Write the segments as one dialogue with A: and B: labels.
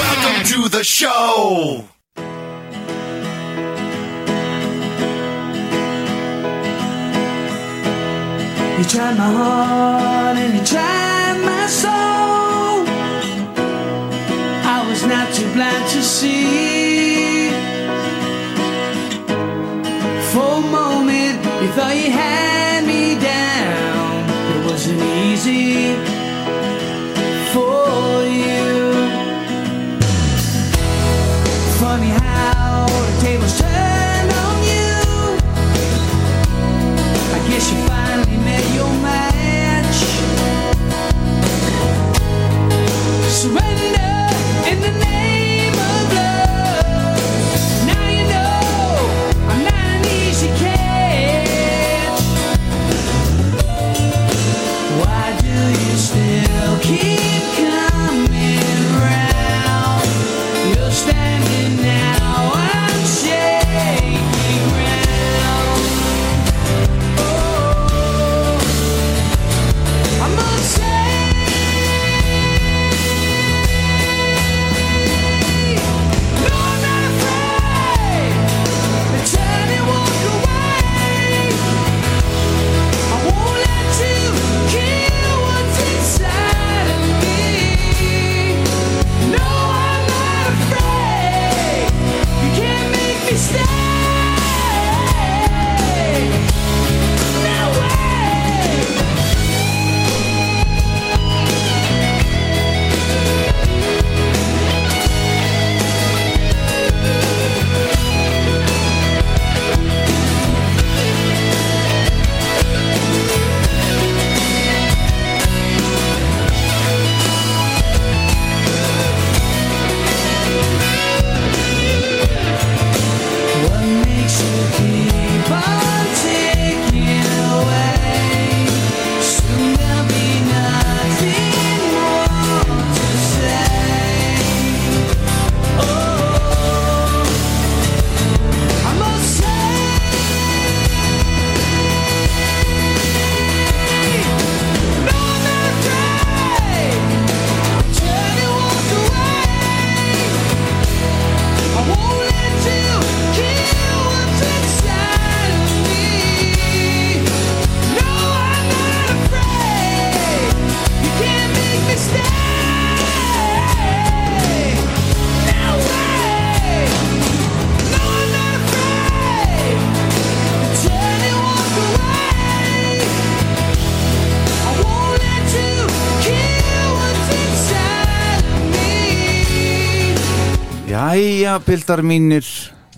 A: Welcome to the show.
B: You tried my heart and you tried my soul. I was not too blind to see. For a moment, you thought you had me down. It wasn't easy for you. Funny how the tables turned on you. I guess you finally met your match. Surrender in the name of love. Now you know I'm not an easy catch. Why do you still keep coming round? You're standing now, I'm shaking round. I'm not safe. No, I'm not afraid. They turn and walk away. I won't let you kill what's inside of me. No, I'm not afraid. You can't make me stay. No way. What makes you keep on taking away? Soon there'll be nothing more to say. Oh, I'm not safe. No, I'm not afraid. Turn and walk away. I won't let you kill what's inside of me. No, I'm not afraid. You can't make me stay. No way. No, I'm not afraid. Turn and walk away. I won't let you kill what's inside of me.
C: Jæja, bildar mínir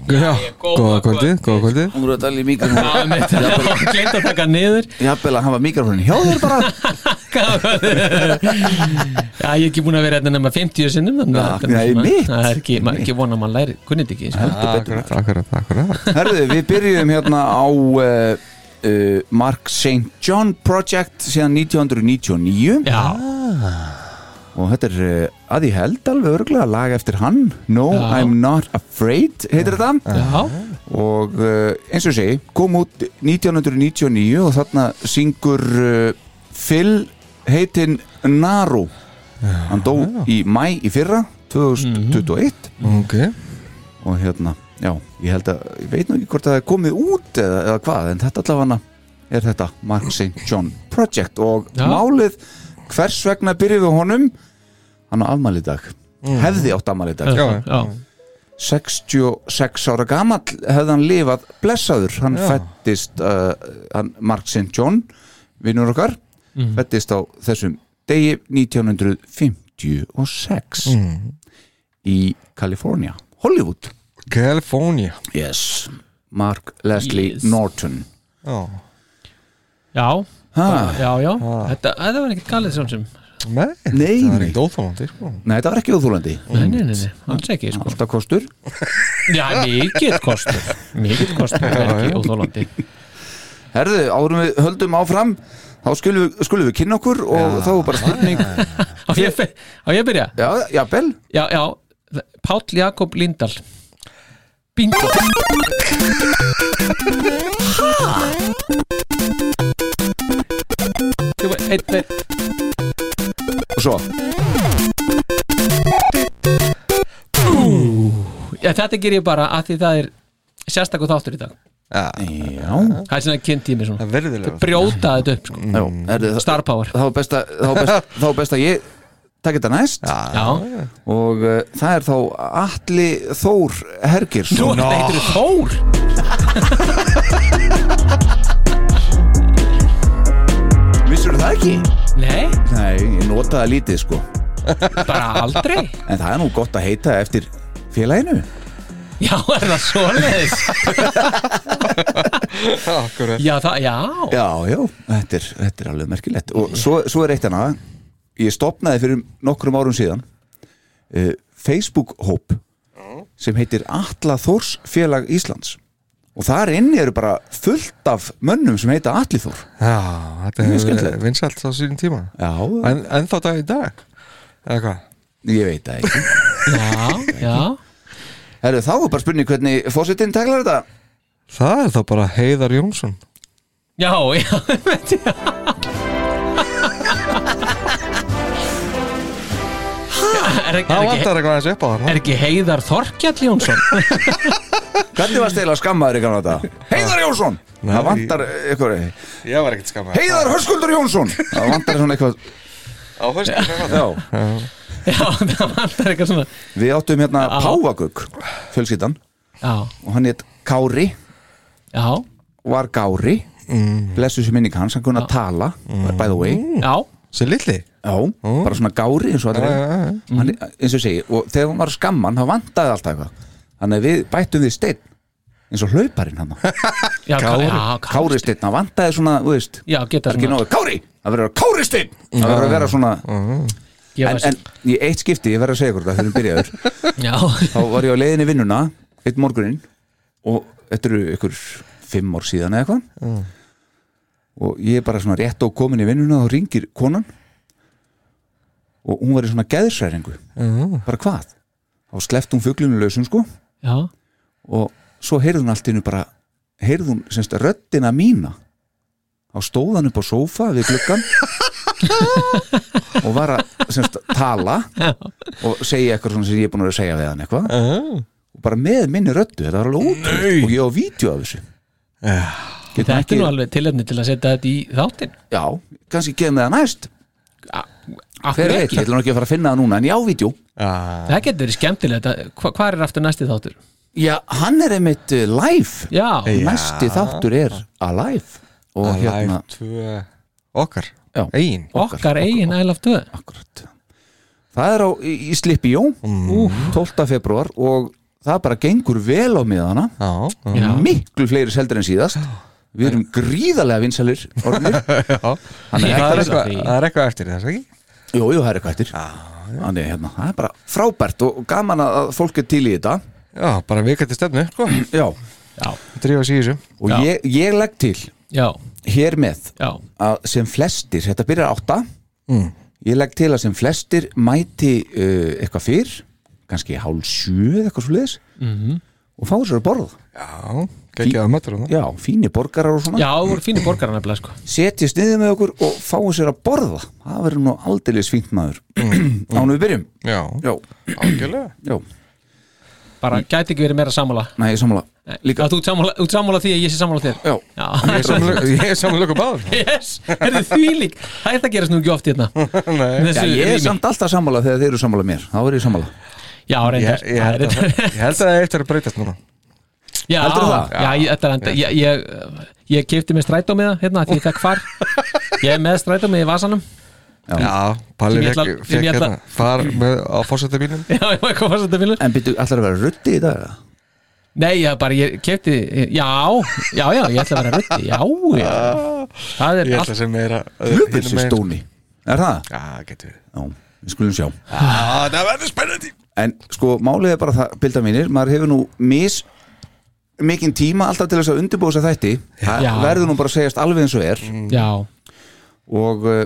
D: Já,
E: góða
D: góða
E: kvöldið.
D: kvöldið, góða kvöldið
C: Hún voru að tala í mikrofónu
E: Gleimt að taka niður
C: Jafnvel að hafa mikrofónin hjá þér bara
E: Já, ég er ekki búin að vera hérna nema 50 sinnum þannig að-
C: Já, nei, mitt.
E: Það er ekki, maður er ekki vona að maður læri kunnit ekki sko.
D: Akkurat, akkurat, akkurat
C: Herðu, við byrjum hérna á uh, uh, Mark St. John Project síðan 1999
E: Já,
C: og þetta er uh, að ég held alveg örgulega lag eftir hann No,
E: Já.
C: I'm Not Afraid heitir þetta
E: já,
C: og uh, eins og ég segi, kom út 1999 og þarna syngur uh, Phil heitinn Naru hann dó í mæ í fyrra 2021
E: Mhm.
D: Ok,
C: og hérna, já, ég held að ég veit nú ekki hvort það er komið út eða, eða hvað, en þetta allavega er þetta Mark St. John Project og
E: Já.
C: málið hvers vegna byrjuð við honum hann á afmæli í dag, hefði átt afmæli í dag
D: já,
E: já.
C: 66 ára gamall hefði hann lifað blessaður, hann
D: Já.
C: fættist uh, hann, Mark St. John vinnur okkar fættist á þessum degi 1956 í Kalifornia, Hollywood
D: California
C: yes. Mark Leslie
E: Yes.
C: Norton
D: Já,
E: Já,
C: Ha.
E: já, já Þetta, þetta var ekkert galið sem sem
D: nei,
C: Nei,
D: það er
C: nei.
D: ekkert óþólandi sko.
C: Nei, þetta var ekki óþúlandi
E: Nei, nei, nei, nei, alls ekki sko.
C: Alltaf kostur
E: Já, mikill kostur Mikill kostur, það er ekki óþólandi
C: Herðu, árum við höldum áfram Þá skulum við, skulum við kynna okkur og þá er bara spurning
E: Á ég að by- á ég að byrja?
C: Já, já, Bell
E: Já, já, Páll Jakob Lindahl Bingo Hæ?
C: Og svo,
E: Já, þetta ger ég bara að því það er sérstakur þáttur í dag
D: Já,
C: já,
E: Það er svona kynntími svona
D: það er virðilega
E: Brjóta þetta upp, sko,
C: já herðu, það-
E: star power
C: Þá er best að- þá er best- þá er best að ég takk þetta næst
E: Já,
C: og uh, það er þá Atli Þór
E: þú
C: Hergirsson
E: no. heitir Þór
C: Vissur það ekki?
E: Nei,
C: Nei, ég nota það lítið sko
E: bara aldrei
C: En það er nú gott að heita eftir félaginu
E: Já, er það svoleiðis?
D: Akkurat
E: Já, það, já
C: Já, já, þetta er, þetta er alveg merkilegt Og svo, svo er eitt hana Ég stopnaði fyrir nokkrum árum síðan uh, Facebook-hóp sem heitir Atla Þórs félag Íslands og þar inni eru bara fullt af mönnum sem heita Atli Þór
D: Já, þetta
C: Mjög
D: hefur
C: skemmtilegt.
D: verið vinsælt á sínum tíma
C: Já,
D: en, en þá dag í dag Eða hvað?
C: ég veit það ekki
E: Já, já
C: Herru, þá er bara spurning hvernig fósittinn teglar þetta
D: Það er þá bara Heiðar Jónsson
E: Já, já, veit ég Er ekki, er
D: Það
E: ekki,
D: vantar eitthvað aðeins upp á það
E: er ekki Heiðar Þorkjall Jónsson?
C: Hvernig var stela skammaður í gamla þetta? Heiðar Jónsson!
D: Nei.
C: það vantar eitthvað
D: Ég var ekkert skammar
C: Heiðar Hörskuldur Jónsson! Það vantar svona eitthvað
D: Á fyrstu
C: Já,
E: Já, það vantar eitthvað svona
C: við áttum hérna
E: Já.
C: Páfagugg fjölskyldan
E: Já,
C: og hann hétt Kári
E: já,
C: var Gári blessu sem minni hans, hann kunna tala by the way,
E: já
D: Sér litli
C: já, bara svona Gári eins og allir hann, eins og ég segi, og þegar hann var að skamma hann, hann vantaði alltaf eitthvað þannig að við bættum því steinn eins og hlauparinn hann
E: Já,
C: Kári,
E: já,
C: Kári steinn, hann vantaði svona, þú veist
E: Já, geta
C: það er ekki
E: svona
C: nógu, Kári, það verður að vera Kári steinn það verður að vera svona, en,
E: gefa sér-
C: en í eitt skipti, ég verður að segja ykkur það þegar við byrjaður,
E: Já,
C: þá var ég á leiðinni í vinnuna eitt morguninn og þetta eru ykkur fimm ár síðan eða eitthvað og ég er bara svona rétt á komin í vinnuna og þá ringir konan og hún var í svona geðsræringu
D: Mm.
C: bara hvað? þá sleft hún fuglinu lausum sko
E: já,
C: og svo heyrði hún allt innu bara heyrði hún semst röddina mína þá stóð hann upp á sófa við gluggan og var að semst tala og segja eitthvað svona sem ég er búin að vera að segja við hann eitthvað og bara með minni röddu, þetta var alveg ótrúð og ég á vídeo af þessu Getum
E: þetta
C: ekki-
E: er nú alveg tilefni til að setja þetta í þáttinn
C: já, kannski geðum við það næst
E: Af
C: hver
E: hverju
C: veit, ég ætlum ekki að fara að finna það núna en ég á vídeo
D: Já,
E: Það getur verið skemmtilegt að- hva- Hvað er aftur næsti þáttur?
C: já, hann er einmitt uh, live
E: Já,
C: næsti þáttur er alive og
D: Alive
C: hérna
D: 2 Okkar
C: Já.
D: Egin
E: okkar eigin I love 2
C: Akkurat Það er á, í, í Slippi Jó 12. februar og það bara gengur vel á miðana
D: Já, já.
E: Já.
C: miklu fleiri seldur en síðast Við erum gríðarlega vinsalir orðnir Þannig
E: Já.
C: að
D: Það er
E: Ég-
D: eitthvað, það er eitthvað eftir þess, ekki?
C: Jú, jú, það er eitthvað eftir Þannig að hérna, það er bara frábært og gaman að að fólk er til í þetta
D: Já, bara vikandi stefnu, sko
C: Já
E: Já,
D: Drífa sig í þessu
C: Og
E: Já.
C: Ég, ég legg til
E: já,
C: hér með
E: já
C: að sem flestir, þetta byrjar átta ég legg til að sem flestir mæti uh, eitthvað fyrr kannski hálf sjö eða eitthvað svo leiðis
E: Mhm.
C: og fá sér að borða
D: Já, geggjaðu möttur hún
C: já, fínir borgarar og svona
E: Já, það voru fínir borgarar nefnilega sko
C: setjist niður með okkur og fá sér að borða það verður nú aldeilis fínt maður ánum við byrjum
D: Já,
C: já,
D: algjörlega
C: já,
E: Bara gæti ekki verið meira sammála
C: næ, ég samla
E: Eh, Líka Þú ert sammála, þú ert sammála því að ég sé sammála þér
C: Eh, já,
E: Já,
D: Ég er samlega- Ég er samlega báður
E: yes, er þið þvílík Það er það gerast nú ekki oft hérna
D: Nei
C: já
E: Þessu
C: ég er
E: rými.
C: samt alltaf sammála þegar þeir eru sammála mér þá er ég sammála
E: Já,
D: Ég,
E: reyndar
D: ég,
E: Það er
D: held að,
E: reyndar.
D: ég held að það er eftir að breytast núna
E: Já,
C: Heldurðu það?
E: Já, ég, þetta er enda Ég, ég, ég kefti mér strætó með það hérna af Því ég fekk far Ég er með strætum í vasanum
D: Já, Palli
E: Sem ég
D: fekk
E: ætla- sem
D: fekk
E: ég ætla-
D: hérna far með, á fórsetabílum
E: Já, ég var komast þetta bílur
C: En byrju, allar að vera ruddi í dag eða?
E: Nei, ég bara, ég kefti Já, já, já, ég ætla að vera röddi Já, já Það er
D: Ég
E: allt
D: ætla sem meira
C: Jöfull sé stóni Er það?
D: Já, getur við
C: Já, við skulum sjá
E: Ah,
D: Já, það verður spennandi
C: En sko, málið er bara það, bilda mínir Maður hefur nú mis mikinn tíma alltaf til þess að undirbúa þess að þætti Það
E: Já. Mm.
C: verður nú bara að segjast alveg eins og er
E: Já,
C: og uh,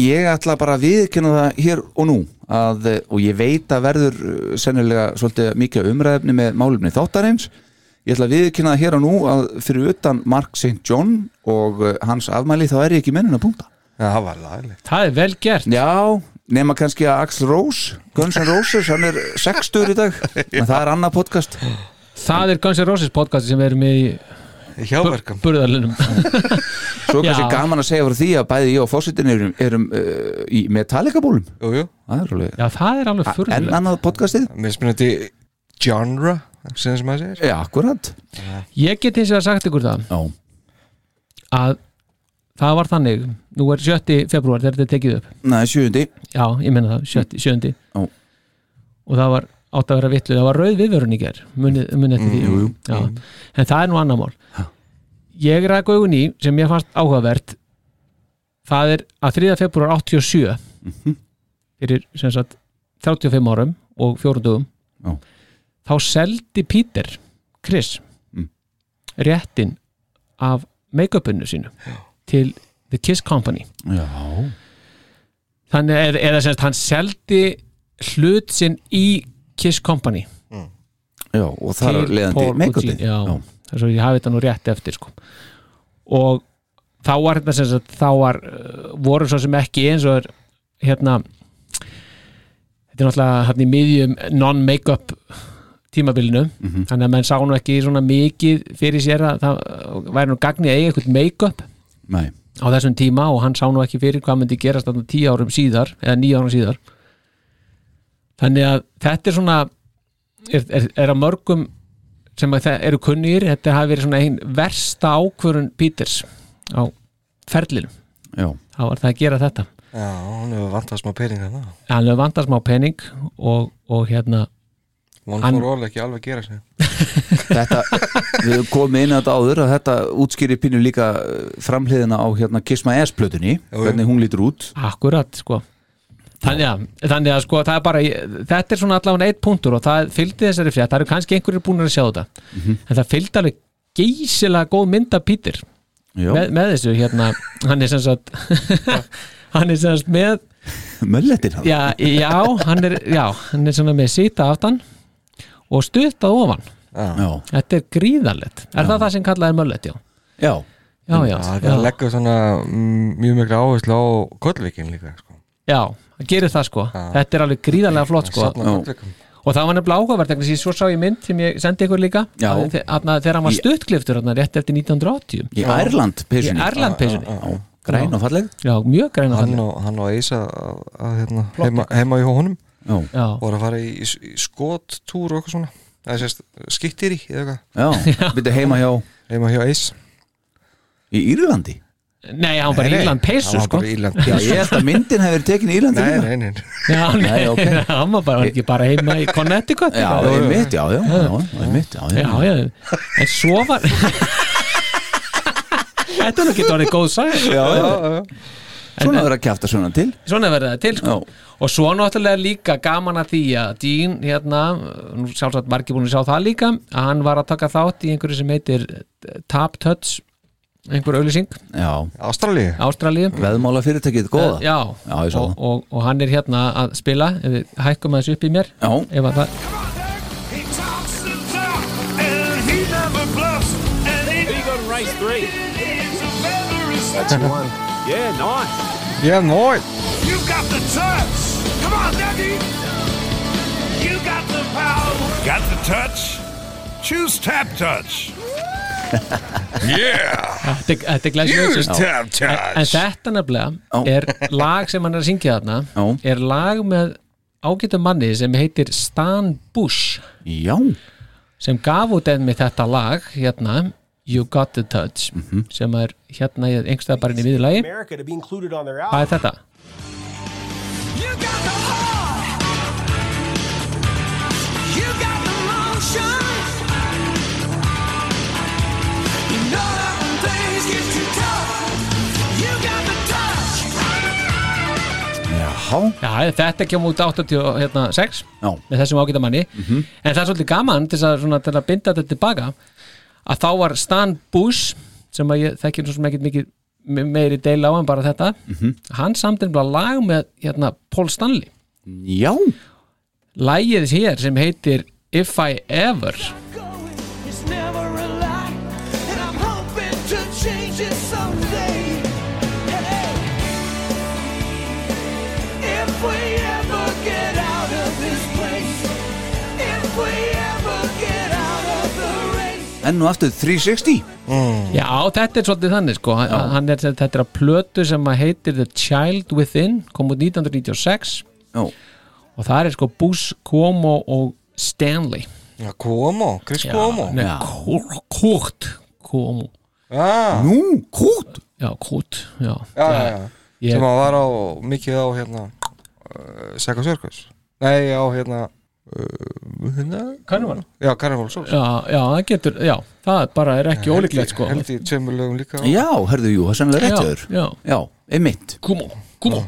C: ég ætla bara að viðkynna það hér og nú að, uh, og ég veit að verður uh, sennilega svolítið mikið umræðefni með málumni þáttarins ég ætla að viðkynna það hér og nú að fyrir utan Mark St. John og uh, hans afmæli þá er ég ekki mennuna punkta
D: Já, það var laglegt
E: það er vel gert
C: já, nema kannski að Axl Rose Guns N' Roses, hann er sextur í dag en það er annað podcast
E: Það er Guns N' Roses podcast sem við erum í
D: Hjáverkam
E: burðarlinum
C: svo er kannski
E: Já.
C: gaman að segja frá því að bæði ég og fósitin erum, erum uh, í Metallica bólum
D: Jú, jú
C: það er alveg
E: Já, það er alveg
C: en
E: furðulegt
C: annað podcastið
D: Mismunandi genre sem sem maður segir
C: Já, akkurat
E: Ég get eins og að sagt ykkur það
C: Já,
E: að það var þannig Nú er 7. februar þegar þetta er tekið upp
C: Nei, sjöundi
E: Já, ég menna það, 7. 7.
C: Já.
E: og það var átt að vera vitlu það var rauð viðvörun í ger munið muni eftir því Mm, jú, jú. en það er nú annar mál ég ræk augun í sem ég fannst áhugavert það er að 3. februar 87 Mhm. fyrir sem sagt 35 árum og 40
C: Já.
E: þá seldi Peter Chris
C: Mm.
E: réttin af make-upinu sínu til The Kiss Company
C: Já,
E: þannig eða, eða semst hann seldi hlut sinn í Kiss Company
C: já og það er
E: til
C: leiðandi
E: Paul
C: make-upið
E: Gugino. já, já. svo ég hafi þetta nú rétt eftir sko. og þá var hérna sem sagt, þá var, uh, voru svo sem ekki eins og er hérna þetta er náttúrulega hann í miðjum non-make-up tímabilinu, þannig að menn sá nú ekki svona mikið fyrir sér að það uh, væri nú gagnið að eiga eitthvað make-up
C: Nei,
E: á þessum tíma og hann sá nú ekki fyrir hvað myndi gerast þarna tíu árum síðar eða níu árum síðar þannig að þetta er svona er, er, er að mörgum sem að það eru kunnir þetta hafi verið svona einn versta ákvörun Peters á ferlinum
C: já,
E: það var það að gera þetta
D: Já, hún hefur vantað smá peninga það
E: hann hefur vandað smá pening og, og hérna
D: One
E: Hann-
D: for all ekki alveg að gera sig
C: þetta við höfum komið inn að þetta áður að þetta útskýri pínu líka eh, framhliðina á hérna Kiss My Ass plötunni
D: jú.
C: hvernig hún lítur út
E: Akkurat, sko Þannig að, þannig að sko, það er bara þetta er svona allavega eitt punktur og það fylgdi þessari frétt, það eru kannski einhverjir búin að sjá þetta en það fylgdi alveg geysilega góð mynd af Pítur
C: Já,
E: með, með þessu, hérna, hann er sem sagt hann er sem sagt með
C: möllettir hann
E: já, já, hann er, já, hann er svona með sýta aftan og stuttað ofan,
C: já,
E: þetta er gríðalett er það það sem kallað er möllet, já Mm,
C: já,
E: já, já,
D: Já,
E: já,
D: það leggur svona mm, mjög mikla áherslu á kollvikin líka sko.
E: já, það gerir það sko þetta er alveg gríðarlega flott sko
D: Safna
C: Já.
D: kollvikum
E: og það var nefnilega áhugavert vegna því svo sá ég mynd sem ég sendi ykkur líka
C: Já.
E: að þe- þarna þegar hann var
C: Í-
E: stuttkliftur þarna rétt eftir 1980
C: í Ærland
E: í
C: peysunni
E: Erland peysunni
C: Já, græn og falleg
E: já, mjög græna
D: hann
E: þannig
D: og, hann og Eisa að, að, hérna, heima, heima í honum
C: Já,
E: já,
D: voru að fara í, í, í skottúr og eitthvað svona það sést skittir í eða eitthvað
C: já, byrju heima hjá
D: heima hjá Eis
C: í Írlandi
E: nei, hann bara í Írland peysu
D: hann var
E: sko
D: bara í Írland
C: Já,
D: peysu
C: ég held að myndin hefur verið tekin í Írlandi
D: nei,
C: líka.
D: nei, nei, nei.
E: já, nei,
C: ok.
E: hann var bara hann ekki bara heima í Connecticut
C: Já,
E: já,
C: einmitt, já, já, já, einmitt, já,
E: já, já, en svo var þetta er nú ekki orðið góð sæð
C: já, já. Svona verður að kjafta svona til
E: svona verður það til sko.
C: Já.
E: og svo náttúrulega líka gaman að því að Dean hérna, nú sjálfsagt margir búin að sjá það líka að hann var að taka þátt í einhverju sem heitir eh, Tap Touch einhver auðlýsing,
C: Já,
D: Ástralíu
E: Ástralíu
C: veðmála fyrirtækið, góða
E: já,
C: Já, ég sá
E: og,
C: það.
E: og, og hann er hérna að spila ef við hækkum að þessu upp í mér
C: Já.
E: ef að það,
F: Eagle race three.
G: That's one.
F: Yeah, nice.
D: já, nói
H: You got the touch. Come on, Dougie. You got the power. Got the touch. Choose tap touch.
E: þetta er- þetta er glæsjóðsins
H: Tap
E: en þetta nefnilega er lag sem hann er að syngja þarna
C: Já.
E: er lag með ágætum manni sem heitir Stan Bush
C: Já,
E: sem gaf út enn með þetta lag hérna You Got The Touch sem er hérna í- einhvers staðar bara inn í miðurlagi
I: America to be included on their album.
E: hvað er þetta?
B: You got the heart. You got the motion. You know that when things get too tough, you got the touch.
C: Jaha,
E: Já, þetta kemur út 86
C: já,
E: með þessum ágæta manni en það er svolítið gaman til að, svona, til að binda þetta tilbaka að þá var Stan Bush sem að ég þekkir svo sem ekkert mikið me- meiri deila á en bara þetta hann samtinn bara lag með hérna, Paul Stanley
C: já
E: Lægið hér sem heitir If I Ever
B: Going is never a lie, and I'm hoping to change it someday. Hey, if we ever get out of this place, if we ever get out of the race.
C: Enn og aftur 360
E: Já, þetta er svolítið þannig sko Hann- hann er, Þetta er að plötu sem að heitir The Child Within kom út 1996
C: Já,
E: og það er sko Bush, Cuomo og Stanley
D: Já, Cuomo, Chris Cuomo
E: Nei,
C: Já.
E: Kú- Kurt Cuomo
D: Já,
C: nú, kút
E: Já, Kurt, já,
D: já, já, já
E: Ég,
D: sem að var á, mikið á hérna uh, Sega Circus Nei, á hérna uh, hérna
E: Carnival.
D: Já, Carnival Souls
E: já, já, það getur, já það bara er ekki ólíklegt sko
D: Held í tveimur lögum líka á-
C: Já, hörðu, jú, það er sannlega
E: Já,
C: réttiður
E: já.
C: já, einmitt
E: Kumo, Kumo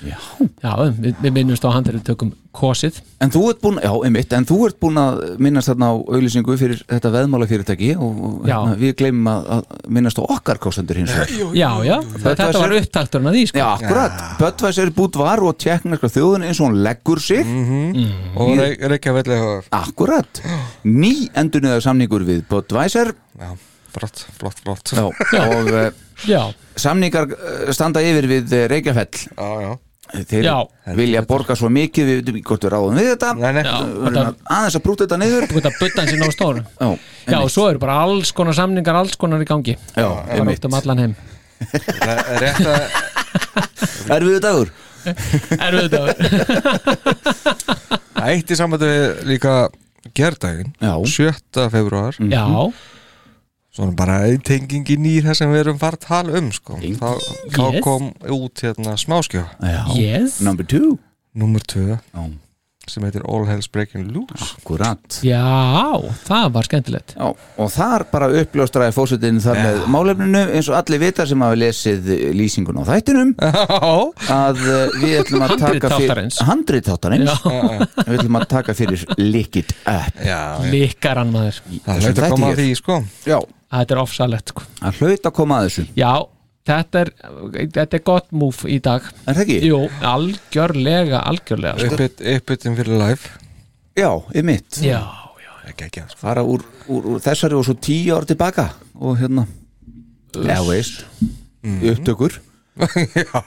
E: Já, já við, við minnumst á hann þegar við tökum kosið
C: En þú ert búin, já, einmitt, en þú ert búin að minnast þarna á auglýsingu fyrir þetta veðmálafyrirtæki og og
E: Já.
C: hérna, við gleymum að, að minnast á okkar kostendur hins vegar.
E: Já, já, þetta
C: Budweiser-
E: var upptakturinn að því sko
C: Já, akkurat, Böttvæsir bútt var og tjekknarska þjóðun eins og hún leggur sig,
D: og Reykjavík Reykjavík höf
C: akkurat, ný endurniðar samningur við Böttvæsir
D: Já, flott, flott, flott
C: og uh,
E: Já,
C: samningar eh, standa yfir við eh, Reykjafell.
D: já, já.
C: Þeir
E: Já.
C: vilja borga svo mikið, við veitum ekki hvort við ráðum við þetta,
D: Nei, nei,
E: já,
C: við verðum
E: þetta
C: að- aðeins að brúta þetta niður.
E: Þú veit að butta hans í nóg stór
C: Já,
E: Já, og svo eru bara alls konar samningar, alls konar í gangi
C: já,
E: Það er
C: einmitt,
E: út um allan heim
D: það er rétt að
C: erfiðu dagur.
E: Er við þetta?
D: Það eitt í sambandi við líka gerdaginn,
C: Já.
D: 7. februar
E: Já,
D: svona bara ein tenging í nýr það sem við erum fara að tala um sko. þá, þá
E: Yes.
D: kom út hérna smáskjöf
C: Já,
E: yes
C: number two.
D: nummer 2
C: Já.
D: sem heitir All Hells Breaking Loose
C: Akkurat
E: Já, það var skemmtilegt
C: Já, og þar bara uppljóstraði fósutin þar með málefninu eins og allir vita sem hafa lesið eh, lýsingun á þættinum
D: Já,
C: að eh, við ætlum að
E: Handrit
C: taka
E: þáttarins.
C: handrið
E: Já,
C: þáttarins við ætlum að taka fyrir likit upp
D: já
E: líkar hann maður
D: Það hlaut að koma að því sko
C: Já,
E: Þetta er ofsalett sko
C: að hlaut að koma að þessu
E: Já, þetta er, þetta er gott múf í dag
C: Er það ekki?
E: Jú, algjörlega, algjörlega sko.
D: Uppbyt- Uppbytun fyrir live
C: Já, ég mitt
E: Já, já,
D: Ekki, ekki, sko.
C: fara úr, úr, úr þessari og svo tíu ár tilbaka og hérna Já, veist,
D: Mhm.
C: í upptökur
D: Já, já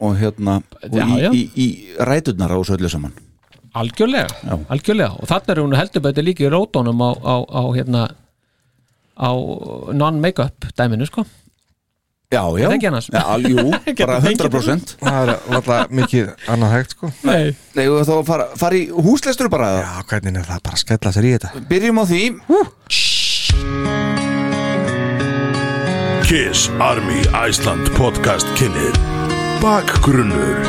C: og hérna og
E: Já, já.
C: Í, í, í ræturnar á þessu öllu saman
E: algjörlega, algjörlega Og þarna er hún heldur betur líka í rótónum á, á, á hérna á non-make-up dæminu sko
C: Já, já,
E: það ekki annars?
C: já al- jú, bara
E: það ekki
C: 100%
D: Það er alltaf mikið annað hægt sko
E: Nei,
C: Nei, og þá fara, fara í húslestur bara
D: Já, hvernig er það bara að skella sér í þetta
C: Byrjum á því
H: Kiss Army Iceland podcast kynir Bakgrunnur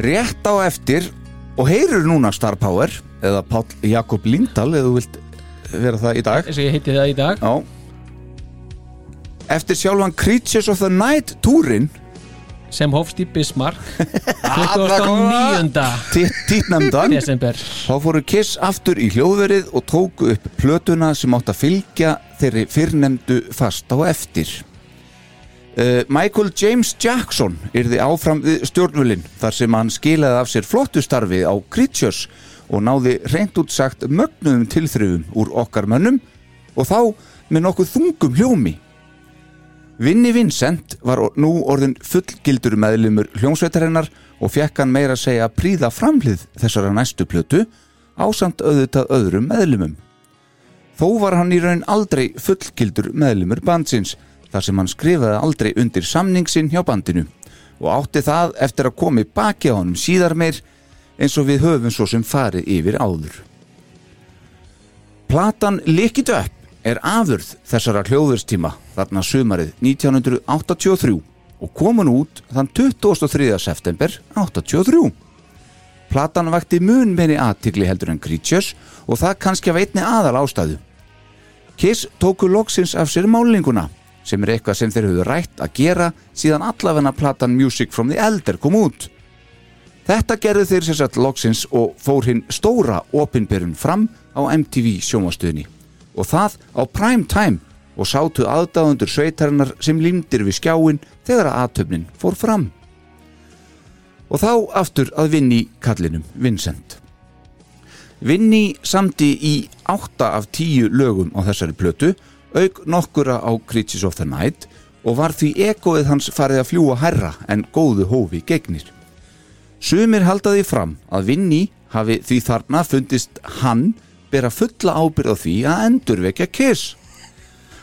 C: Rétt á eftir Og heyrur núna Star Power Eða Páll Jakob Lindahl Eða þú vilt vera það í dag
E: eins og ég heiti það í dag
C: Já Eftir sjálfan Creatures of the Night túrin
E: sem hófst í Bismarck 29.
C: Tittnefndan
E: desember
C: Þá fóru Kiss aftur í hljóðverið Og tóku upp plötuna sem átt að fylgja Þeirri fyrrnemdu fast á eftir Uh, Michael James Jackson yrði áfram við stjórnvölin þar sem hann skilaði af sér flottu starfi á Creatures og náði reynd út sagt mögnuðum tilþrifum úr okkar mönnum og þá með nokkuð þungum hljómi. Vinni Vincent var or- nú orðin fullgildur meðlumur hljómsveitarinnar og fekk hann meira að segja að príða framlið þessara næstu plötu ásamt auðvitað öðrum meðlumum. Þó var hann í raun aldrei fullgildur meðlumur bandsins þar sem hann skrifaði aldrei undir samning sinn hjá bandinu og átti það eftir að komi baki á honum síðar meir eins og við höfum svo sem farið yfir áður. Platan Lick It Up er afurð þessara hljóðurstíma þarna sumarið 1983 og komin út þann 23. september 83. Platan vakti mun meiri aðtigli heldur en Creatures og það kannski af einni aðal ástæðu. Kiss tóku loksins af sér málinguna sem er eitthvað sem þeir höfðu rætt að gera síðan allafinna platan Music from the Elder kom út. Þetta gerðu þeir sér satt loksins og fór hinn stóra opinberun fram á MTV sjónvastuðni og það á prime time og sátu aðdáðundur sveitarinnar sem límdir við skjáin þegar að aðtöfnin fór fram. Og þá aftur að vinni kallinum Vincent. Vinni samdi í 8 af 10 lögum á þessari plötu auk nokkura á Creatures of the Night og var því ekoið hans farið að fljúa herra en góðu hófi gegnir. Sumir halda því fram að Vinni hafi því þarna fundist hann bera fulla ábyrð á því að endurvekja Kiss.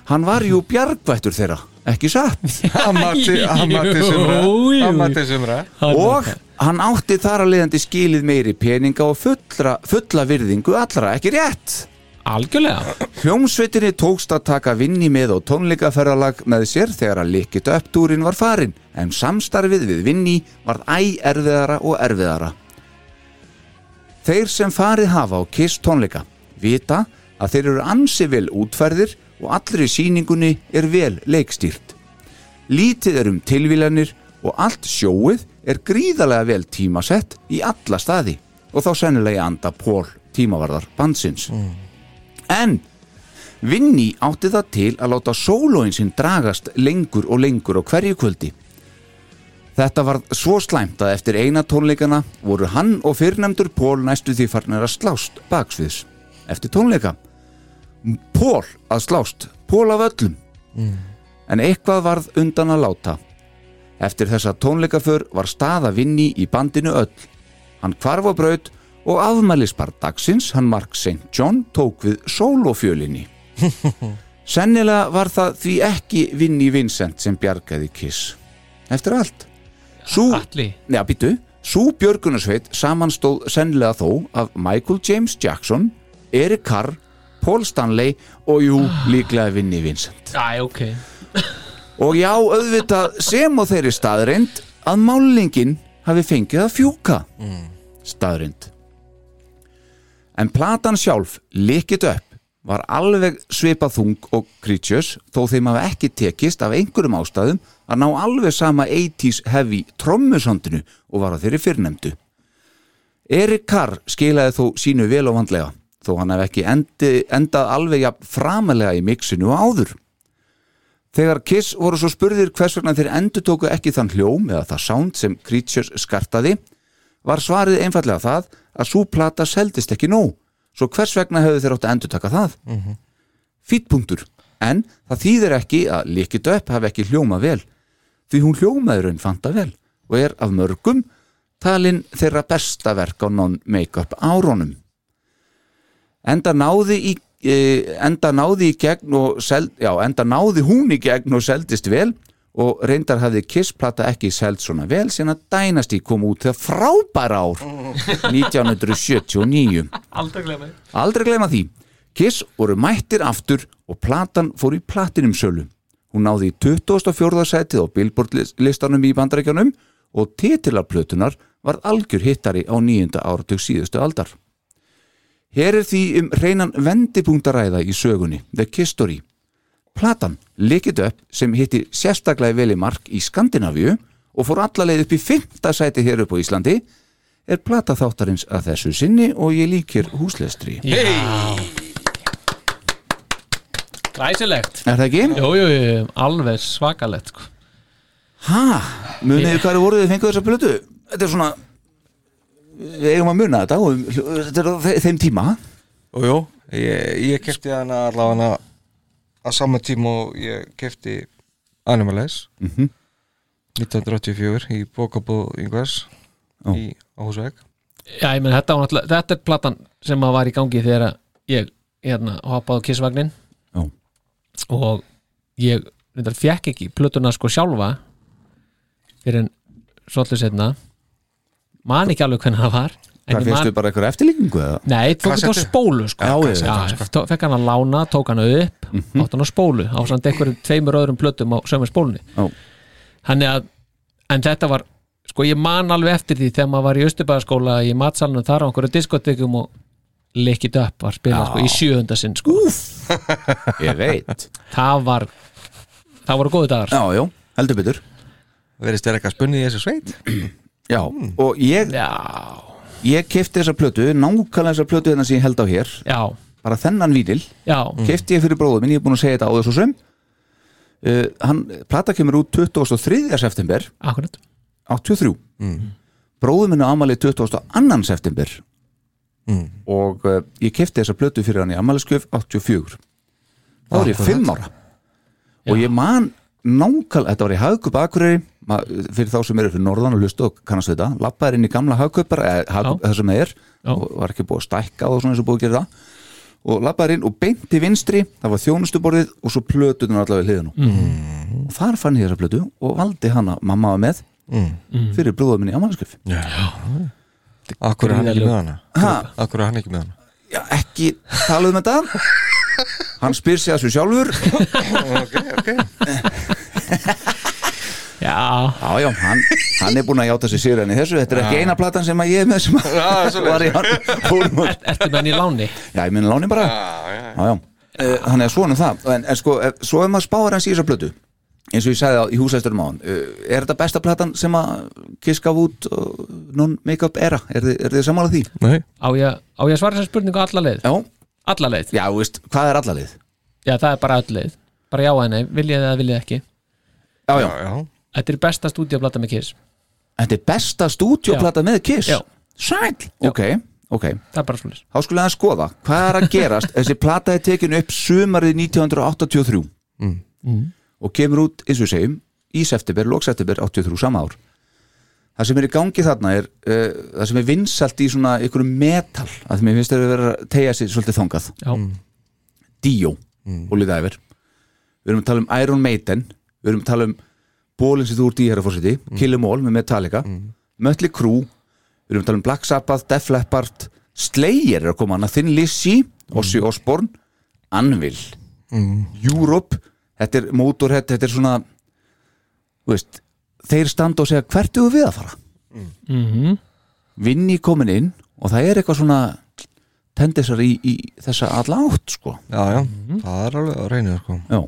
C: Hann var jú bjargvættur þeirra, ekki satt?
D: Amati sumra
E: Jú, jú.
D: Amati sumra
C: Og hann átti þar að leiðandi skilið meiri peninga og fullra, fulla virðingu allra, ekki rétt?
E: algjörlega
C: Hljómsveitinni tókst að taka vinni með á tónleikaferralag með sér þegar að likit uppdúrin var farin en samstarfið við vinni var æ erfiðara og erfiðara. Þeir sem farið hafa á Kiss tónleika vita að þeir eru ansi vel útferðir og allri síningunni er vel leikstýrt. Lítið er um tilvílanir og allt sjóið er gríðarlega vel tímasett í alla staði og þá sennilega í anda Pól tímavarðar bandsins. En Vinni átti það til að láta sólóin sinn dragast lengur og lengur á hverju kvöldi. Þetta var svo slæmt að eftir eina tónleikana voru hann og fyrrnemdur Pól næstu því farnir að slást baksviðs. Eftir tónleika. Pól að slást. Pól af öllum. En eitthvað varð undan að láta. Eftir þessa tónleikaför var staða Vinni í bandinu öll Hann kvarf á braut og afmælisbar dagsins hann Mark St. John tók við sólofjölinni. Sennilega var það því ekki Vinni Vincent sem bjargaði Kiss. Eftir allt. Sú,
E: Atli.
C: Já, býtu. Sú björgunarsveit samanstóð sennilega þó af Michael James Jackson, Eric Carr, Paul Stanley og jú líklega Vinni Vincent.
E: Æ, ok
C: Og já, auðvitað sem á þeirri staðreind að málingin hafi fengið að fjúka mm. staðreind. En platan sjálf, Lick It Up, var alveg svipað þung og Creatures þó þeim hafa ekki tekist af einhverjum ástæðum að ná alveg sama 80s heavy trommusondinu og var á þeirri fyrrnemdu. Erik Carr skilaði þó sínu vel og vandlega þó hann hef ekki endi, endað alveg jafn framalega í mixinu og áður. Þegar Kiss voru svo spurðir hvers vegna þeir endutóku ekki þann hljóm eða það sound sem Creatures skartaði, var svarið einfallega það að svo plata seldist ekki nóg, svo hvers vegna hefðu þeir átt að endutaka það? Mm -hmm. Fýtpunktur, en það þýðir ekki að líkit upp hafi ekki hljóma vel, því hún hljómaði raun fanta vel og er af mörgum talin þeirra besta verk á non-make-up árónum enda náði í eh, enda náði í gegn og seld, já, enda náði hún í gegn og seldist vel og reyndar hafði Kissplata ekki seld svona vel síðan að Dynasty kom út þegar frábæra ár 1979
E: Aldrei glemir
C: Aldrei glema því. Kiss voru mættir aftur og platan fór í platinumsölu. Hún náði í 24. sætið á Billboard list- listanum í bandarækjanum og titilarplötunar var algjör hittari á nýjunda áratug síðustu aldar. Hér er því um reynan vendipunkt að ræða í sögunni, The Kiss Story. Platan Lick It Up sem hitti sérstaklega vel í mark í Skandinavíu og fór allalegð upp í 5. sæti hér upp á Íslandi er plata þáttarins að þessu sinni og ég líkir húslestri.
E: Glæsilegt
C: Er það ekki?
E: Jú, jú, jú, alveg svakalegt sko.
C: Hæ? Munið þið hverju voruð þið fenguð þessa plötu? Þetta er svona við eigum að muna þetta og þetta er á þe- þeim tíma
D: Og jú, ég,
E: Sko-
D: ég kefti hana allavega að sama tíma og ég kefti Animalize
E: Mhm.
D: 1984 í bókabúð yngvers
C: Ó.
D: í Áhúsveg
E: Já, ég menn, þetta, var náttúrulega- þetta er platan sem að var í gangi þegar að ég hérna, hoppaði á kissvagnin
C: Já.
E: og ég reyndar fjekk ekki plötuna sko sjálfa fyrir en svolítið setna man ekki alveg hvernig það var En
C: Hvað
E: ég
C: fyrstu
E: man-
C: bara eitthvað eftirlíkingu eða?
E: Nei, tók þetta á
D: Kassettu?
E: spólu sko.
C: Já, ég-
E: já, tó- fekk hann að lána, tók hann upp
C: Mhm.
E: átt hann á spólu, ásand einhverjum tveimur öðrum plötum á sömu spólunni
C: Já.
E: Þannig að, en þetta var sko ég man alveg eftir því þegar maður var í Östubæðaskóla í matsalunum þar á einhverju diskotekum og Lick It Up var spilað sko, í sjöunda sinn sko.
C: Ég veit
E: það var það voru góðu dagar sko.
C: Já, já, heldur betur
D: verðist þér eitthvað spunnið í þessu sveit
C: Já, og ég,
E: Já,
C: ég kefti þessa plötu Nákvæmlega þessa plötu þennan sem ég held á hér
E: já,
C: Bara þennan vítil
E: já
C: Kefti ég fyrir bróðum minn, ég er búin að segja þetta á þessu sem uh, Hann, plata kemur út 23. september
E: akkurat
C: 83 mm. Bróðum minn á amalið 22. september Og uh, ég kefti þessa plötu fyrir hann í amaliðskjöf 84 Það var ég 5 ára Og ég man nákal, þetta var í Hagkup Akureyri ma- fyrir þá sem eru fyrir norðan og hlustu og kannast við þetta, lappaðir inn í gamla Hagkupar eða Hagkup,
E: Já.
C: það sem það er
E: Já.
C: og var ekki búið að stækka og svona eins og búið að gera það og lappaðir inn og beinti vinstri það var þjónustuborðið og svo plötuðun allavega hliðinu mm. og þar fann ég þessa plötu og valdi hana mamma var með mm. fyrir brúðum minni ámannskjöf
D: Akkur er hann ekki með hana
C: Ha?
D: Akkur er hann ekki með hana
C: Já, ekki tala um þetta hann spyr sig að svo sjálfur já,
E: Já,
C: já, hann, hann er búin að játa sig sér henni þessu, þetta er ekki eina platan sem að ég er með sem að var í hann fórum að
E: ertu með hann í láni
C: Já, ég minna láni bara já, já. Eh, Þannig að svona um það en, en sko, eh, svo ef maður spáir hans í þessa plötu eins og ég sagði á, í húsæsturum á hann er þetta besta platan sem að kiska út og non-make-up era er, þið- er þið sammála því?
D: Nei
E: Á ég, á ég að svara þessar spurningu alla leið
C: Já,
E: Alla leið,
C: já, þú veist, hvað er allalið?
E: já það er bara öll leið Bara já eða nei, viljið þið eða viljið ekki
C: Já, já,
D: Já,
E: Þetta er besta stúdíablata með Kiss
C: þetta er besta stúdíoplata með Kiss
E: Já.
C: Sæll, ok, ok
E: Það er bara svolítið
C: Þá skulle hann skoða, hvað er að gerast þessi plata er tekin upp sumarið 1983
E: Mm.
C: Mm. og kemur út, eins og við segjum í september, lokseptember 83 sama ár það sem er í gangi þarna er uh, það sem er vinsalt í svona ykkur metal, að mér finnst þeir að vera að tegja sér svolítið þangað,
E: Já,
C: Dio mm. og liða yfir við erum að tala um Iron Maiden við erum að tala um bólinn sem þú ert í herra fórseti mm. Kill 'Em All með Metallica Mötley Crüe við erum að tala um Black Sabbath, Def Leppard Slayer er að koma hana, Thin Lizzy Ozzy Osbourne, Anvil Mm. Europe þetta er Motorhead, þetta er svona þú veist, þeir standa og segja hvert eru við að fara mm. vinni komin inn og það er eitthvað svona tendisar í, í þessa alla átt sko
D: já, já.
E: Mhm.
D: Það er alveg að reyna sko.
C: Já,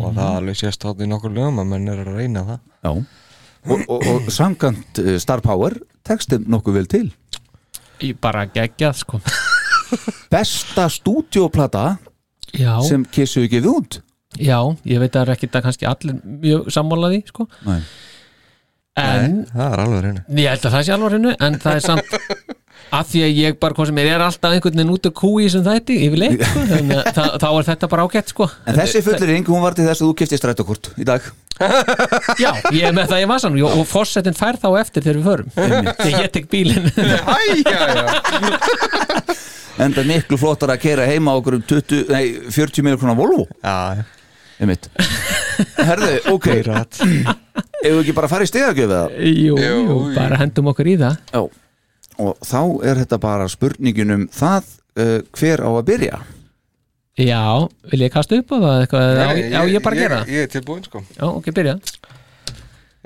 D: Og það er alveg sést þátt í nokkur lögum að menn er að reyna það
C: já Og, og, og samkant uh, Star Power textum nokkuð vel til
E: ég bara geggjað sko
C: Besta stúdíóplata
E: Já,
C: sem kissu ekki við út
E: já, ég veit að það er ekki það kannski allir mjög sammálaði sko
C: Nei.
E: En,
D: Það er alveg að reyna
E: ég held að það sé alveg hennu En það er samt að því að ég bara hvað sem er, er alltaf einhvern veginn út af kúi sem þætti yfirleitt sko, þannig að það- þá er þetta bara ágætt sko
C: En eh, þessi fullering, hún var til þess að þú kifti strætókort í dag
E: Já, ég er með það í vasanum Jó, og fórsetin fær þá eftir þegar við förum Þegar ég tek bílinn
C: Enda miklu flottar að keira heima á okkur um 20, nei, 40 miljór krónar Volvo
D: Já,
C: einmitt. Herðu, ok,
D: rætt
C: eigum við ekki bara að fara í stegagjöf eða?
E: jú, jú, bara hendum okkur í það
C: Já Og þá er þetta bara spurningin um það uh, hver á að byrja
E: Já, vil ég kasta upp á það eitthvað Já, ég, já, ég bara að gera það
D: Ég er tilbúin sko
E: Já, ok, byrja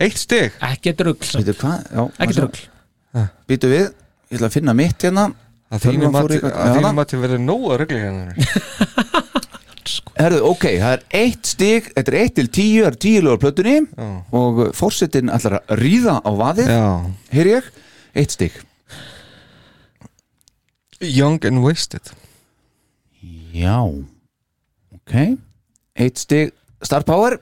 D: Eitt stig
E: Ekki drugl samt.
C: Veitu hvað? Já,
E: Ekki
C: maður-
E: drugl
C: Býtu við, ég ætla að finna mitt hérna
D: Að þínum
C: Tölvan fór í- Já, það-
D: að til verið nóg að regla hérna
C: Herðu, ok, það er eitt stig Þetta er eitt til tíu, það er tíu lögur plötunni Og fórsetin ætlar að ríða á vaðið
D: Já
C: Heyr ég, eitt stig
D: Young and wasted
C: Já, ok Eitt stig, Star Power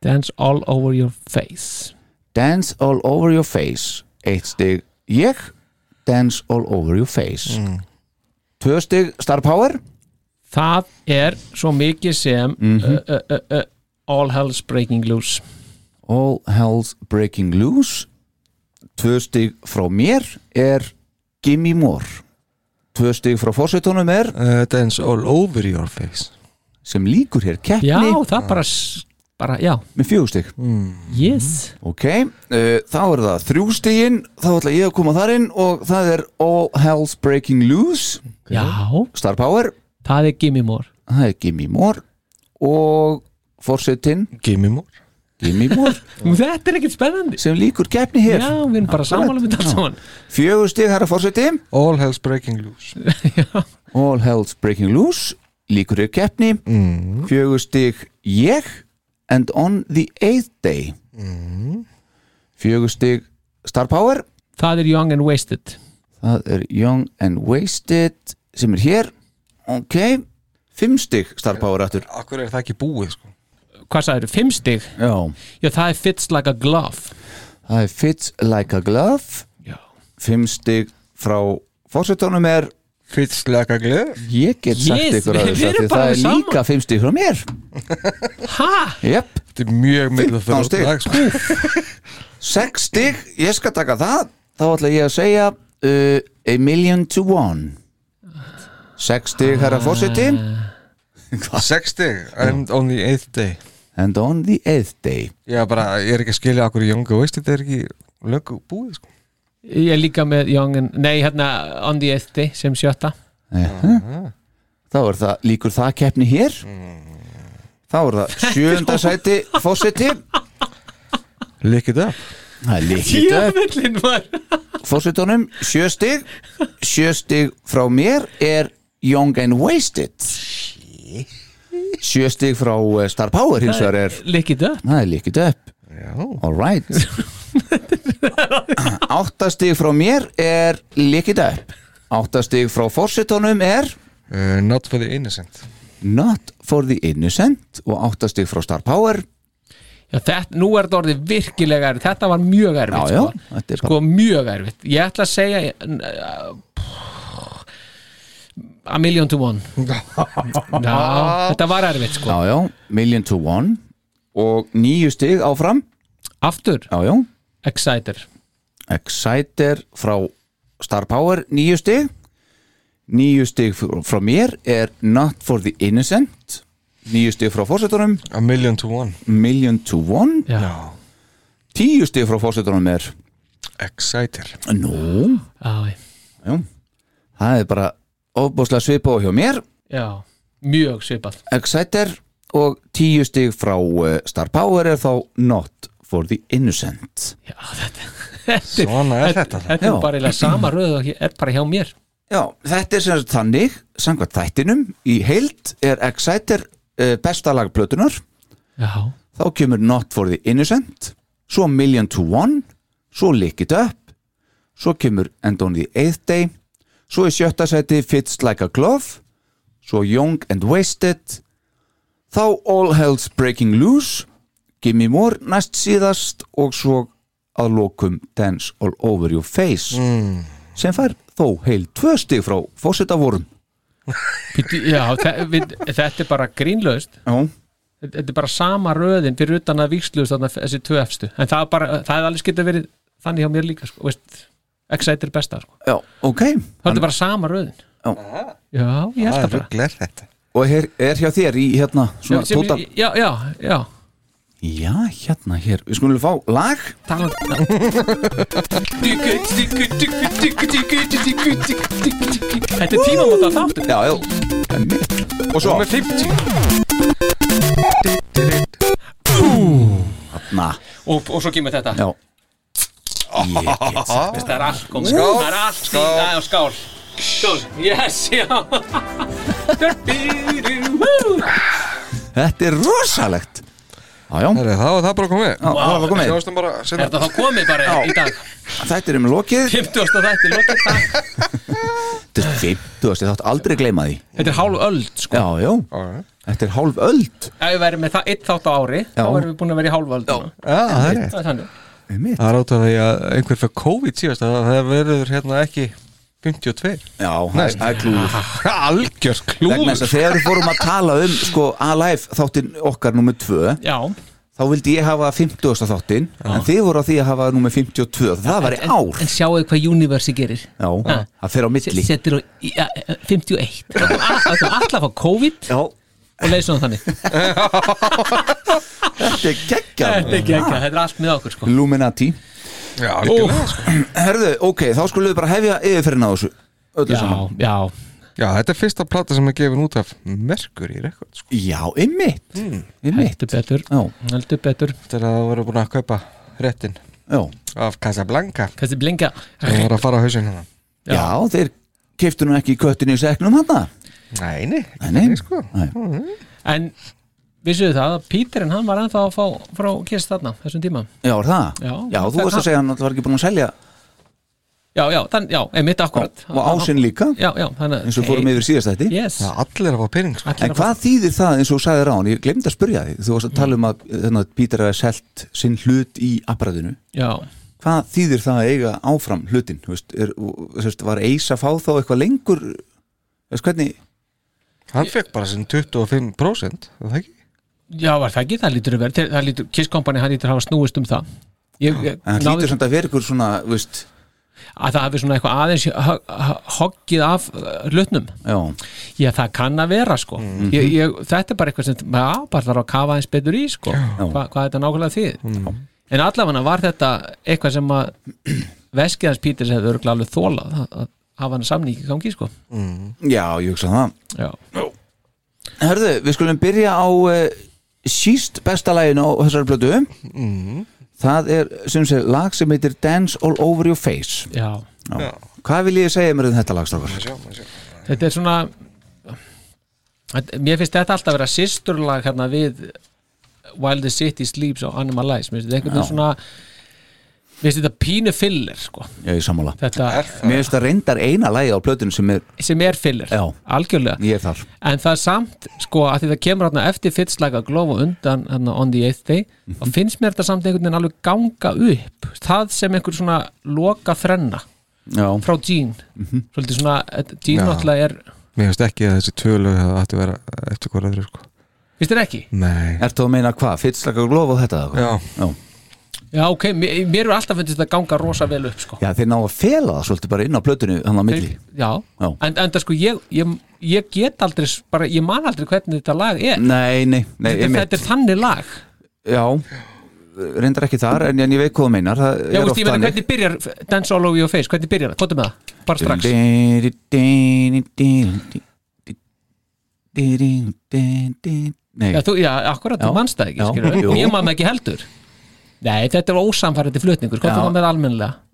E: Dance all over your face
C: Dance all over your face Eitt stig, ég Dance all over your face Tvö stig, Star Power
E: Það er svo mikið sem
C: Mhm.
E: uh, uh, uh, uh, All hell's breaking loose
C: All Hell's Breaking Loose Tvö stig frá mér er Gimme More Tvö stig frá fórsetunum er
D: uh, Dance all over your face
C: sem líkur hér keppni
E: Já, það bara s- bara, já,
C: með fjögustig
E: yes
C: Ok, uh, þá er það þrjústigin, þá ætla ég að koma þar inn og það er All Hell's Breaking Loose,
E: já,
C: Star Power,
E: það er Gimme More
C: það er Gimme More og Forsetin
D: Gimme more
C: Gimme More
E: þetta er ekkert spennandi
C: sem líkur keppni hér.
E: já, við erum bara sammála með þetta saman
C: Fjögustig, herra Forseti,
D: All hell's breaking loose
C: All Hell's Breaking Loose, líkur hér keppni, mm. fjögustig ég and on the eighth day. Mm. Fjögustig Star Power,
E: það er Young and Wasted
C: Það er Young and Wasted sem er hér Ok, fimm stig Star Power aftur
D: Akkur er það ekki búið sko
E: hvað sagður, fimm stig
C: Já,
E: já, það er Fits Like a Glove
C: það er Fits Like a Glove
E: já,
C: Fimm stig frá fórsetunum er
D: Fitz like a glöð
C: Ég get sagt
E: Yes,
C: ykkur að
E: við-
C: þessu af
E: við erum
C: því
E: bara
C: Það er
E: saman.
C: líka fimm stig frá mér
E: ha,
C: Jep,
D: Þetta er mjög mikil
C: 15 stig.
D: sko.
C: sex stig Ég skal taka það Þá ætla ég að segja uh, A million to one Sex stig herra fórseti
E: Ah.
D: Sex stig And on the eighth day
C: And on the eighth day
D: Já bara, ég er ekki að skilja akkur í Jónga Veist þetta er ekki löngu búið sko
E: ég er líka með Young and, nei, hérna On the Eighth Day sem sjötta
C: Þá er það líkur það keppni hér Þá er það sjöunda sæti fórseti
D: Lick it up
C: Það er líkit upp
E: Jöfullinn var
C: fórsetunum sjö stig sjö stig frá mér er Young and Wasted sjö stig frá eh, Star Power hins vegar er
E: Lick it up
C: það er líkit upp
D: Já
C: alright átta stig frá mér er líkit upp átta stig frá fórsetunum er
D: uh, Not for the innocent
C: Not for the Innocent og átta stig frá Star Power
E: Já, þetta, nú er þetta orðið virkilega erfitt Þetta var mjög erfitt
C: Já, já,
E: sko.
C: þetta er
E: sko, mjög erfitt Ég ætla að segja uh, A million to one Já, þetta var erfitt sko.
C: já, já, Million to One og nýju stig áfram
E: Aftur,
C: já, já,
E: Exciter
C: Exciter frá Star Power nýju stig nýju stig fr- frá mér er Not for the Innocent nýju stig frá fórsetunum
D: A million to one
C: Million to One
E: Já, já,
D: Já
C: tíu stig frá fórsetunum er
D: Exciter
C: nú,
E: já,
C: já það er bara ofbúslega svipa á hjá mér
E: já. mjög svipað
C: Exciter og tíu stig frá eh, Star Power er þá Not for the Innocent
E: Já, þetta, þetta, er-
D: Svona er þetta þá.
E: þetta er
C: Já.
E: bara eiginlega sama röð og er bara hjá mér
C: Já, þetta er sem sagt þannig samkvæmt þættinum, í heild er Exciter uh, besta lag plötunar
E: Já,
C: þá kemur Not for the Innocent svo Million to One svo Lick It Up svo kemur End on the Eighth Day svo í sjötta sæti Fits Like a Glove svo Young and Wasted þá All Hell's Breaking Loose Gimme More næst síðast og svo að lokum Dance All Over Your Face sem fær þó heil tvö stig frá fósitavorum
E: Bíddu, já þe við, þetta er bara grínlaust
C: Já,
E: þetta þetta er bara sama röðin fyrir utan að víksluðust þarna þessi tvö efstu en það er bara, það er alveg skilt að verið þannig hjá mér líka, sko, veist Excite er besta, sko,
C: já, ok
E: það er bara sama röðin
C: Já.
E: já, ég held
D: Það
E: það
D: er
E: bara
D: ruggl er þetta
C: og er, er hjá þér í hérna
E: já,
C: svona
E: sem,
C: tóta
E: ég- já, já, já
C: Já, hérna hér, við skulum fá lag
E: talan þetta er tímamóta þáttur
C: Já, já, einmitt. og svo
D: Númer 50
C: Na,
E: og, og svo kemur þetta,
C: já Ég get sagt þér.
E: það er allt komið það er allt, skál, í, að, skál. skál. yes, já
C: Þetta er rosalegt Já, já, já,
D: Herri, Það var það bara komið
C: það var það komið
D: Sjáumstum bara
E: er
D: sinna
E: þetta þá komið bara í dag
C: Þetta er um lokið
E: 50. þætti, lokið dag
C: Þetta er 50, þetta átt aldrei gleyma því
E: Þetta er hálf öld sko
C: Já, já, þetta er hálf öld
E: Ef við verðum með það eitt þátt á ári
C: Já.
E: þá erum við búin að vera í hálf öld núna.
D: Já, það er rétt
E: Það er þannig
C: Einmitt.
D: Það er átaf því að einhver fyrir COVID síðast að það verður hérna ekki 52
C: Já, það er- það er klúður
D: Algjör
C: Vegna þess að þegar við fórum að tala um sko, Alive þáttinn okkar nummer 2
E: Já,
C: þá vildi ég hafa 50. þáttinn en þið voru á því að hafa nummer 52 það var í ár
I: En sjáu hvað Universe gerir
C: Já, það fer á milli
E: eh,
I: Setur á ja, 51 Það kom alltaf að fá COVID
C: Já,
E: og leysum það þannig
C: Þetta er geggjað
E: Þetta er ekki ekki, þetta er allt með okkur sko
C: Illuminati
D: Já, algjörlega
E: Ó.
D: sko.
C: Herðu, ok, þá skulum við bara hefja yfirferðina á þessu Öllu
E: Já,
C: saman
E: já,
D: Já, þetta er fyrsta plata sem er gefin út af Mercury Record sko.
C: Já, einmitt Einmitt
E: heldur betur
C: Já,
E: Heldur betur,
D: Þetta er að það voru búin að kaupa réttin
C: já,
D: af Casablanca
E: kannski blinga
D: Það var að fara á hausinn hérna
E: Já.
C: já þeir keiftu nú ekki köttinu í seknum hann
D: Nei, nei,
C: nei.
D: nei sko.
C: Nei.
E: En vissuðu það að Píterinn hann var ennþá að fá frá Kiss þarna þessum tíma
C: Já, er það?
E: Já.
C: þú varst að segja hann að það var ekki búin að selja
E: Já, já, þann, já, einmitt akkurat
C: og ásinn líka
E: Já, já, þannig að-
C: eins og fórum yfir síðast þetta
E: Yes,
D: Það er allir að fá pening sko.
E: allir
C: En hvað þýðir það eins og þú sagði rán? Ég glemdi að spyrja því, þú varst að tala um að þennan, að Peter hefði selt sinn hlut í apparaðinu
E: Já,
C: Hvað þýðir það að eiga áfram hlutin? Þú Veist, er, þú veist, var Ace að fá þá eitthvað lengur? Þú Veist, hvernig?
D: Hann fekk bara sinn 25% er Það ekki?
E: já, var það ekki, það lítur að vera til- það lítur, Kiss Company, hann lítur að hafa snúist um það Ég, ég
C: En það
E: náði
C: hlýtur samt að vera ykkur svona, þú veist,
E: að það hafi svona eitthvað aðeins hö- hö- hoggið af uh, hlutnum
C: já,
E: Já, það kann að vera sko
C: Mhm.
E: ég, ég, Þetta er bara eitthvað sem maður á bara þarf að kafa eins betur í sko Hva, hvað þetta nákvæmlega þýð
C: Mhm.
E: En allavega var þetta eitthvað sem að veskið hans Píters hefði örgulega alveg þólað að að hafa hann samningi í gangi sko
C: já, ég hugsa það.
E: Já,
C: Herðu, við skulum byrja á uh, síst besta laginu á þessari blötu. Mhm. Það er, sem sé, lag sem heitir Dance All Over Your Face.
E: já
C: Já. Hvað vil ég segja mér um þetta lag, strákar?
D: Sjá, maður sjá.
E: Þetta er svona Þetta- Mér finnst þetta alltaf að vera sýsturlag hérna við While the City Sleeps og Animal Lies Mér finnst þetta einhvern veginn svona Mér finnst þetta pínu filler sko
C: Ég er sammála.
E: Þetta
C: Mér finnst það reyndar eina lagi á blötun sem er,
E: sem er filler
C: Já.
E: Algjörlega
C: ég er þar.
E: en það er samt sko að því það kemur hérna eftir fyrstlæk að glofa undan hérna on the eighth day
C: Mhm.
E: og finnst mér þetta samt einhvern veginn alveg ganga upp það sem einhver svona loka þrenna
C: Já,
E: frá Jean
C: Mhm.
E: svolítið svona, eh, Jean
D: Já.
E: náttúrulega er
D: Mér finnst ekki að þessi tvölu Það ætti að vera eftir hvora þeir sko.
E: finnst þér ekki?
D: Nei
C: ertu að meina hvað? Fyrstlæk og glof og þetta? eða hvað?
D: Já.
C: Já.
E: Já ok, mér, mér er alltaf finnst þetta ganga rosa vel upp sko
C: Já, þeir ná að fela það svolítið bara inn á plötunni hann á milli.
E: Já,
C: Já.
E: en, en það sko ég, ég, ég get aldrei, s- bara ég man aldrei hvernig þetta lag er
C: Nei, nei, nei,
E: þetta,
C: einmitt.
E: þetta er þannig lag
C: Já, reyndar ekki þar en, en ég veit hvað þú meinar Það
E: Já,
C: er
E: veist, ég meina, hvernig byrjar Dance All Over Your Face, hvernig byrjar það? Kvotum með það, bara strax
C: Nei,
E: Já, þú, já, akkurat,
C: Já.
E: þú mannst það
C: Já.
E: ekki, skilur
C: Jú.
E: við Ég maður ekki heldur Nei, þetta er ósamfærandi flutningur, hvað
C: Já.
E: það með almennlega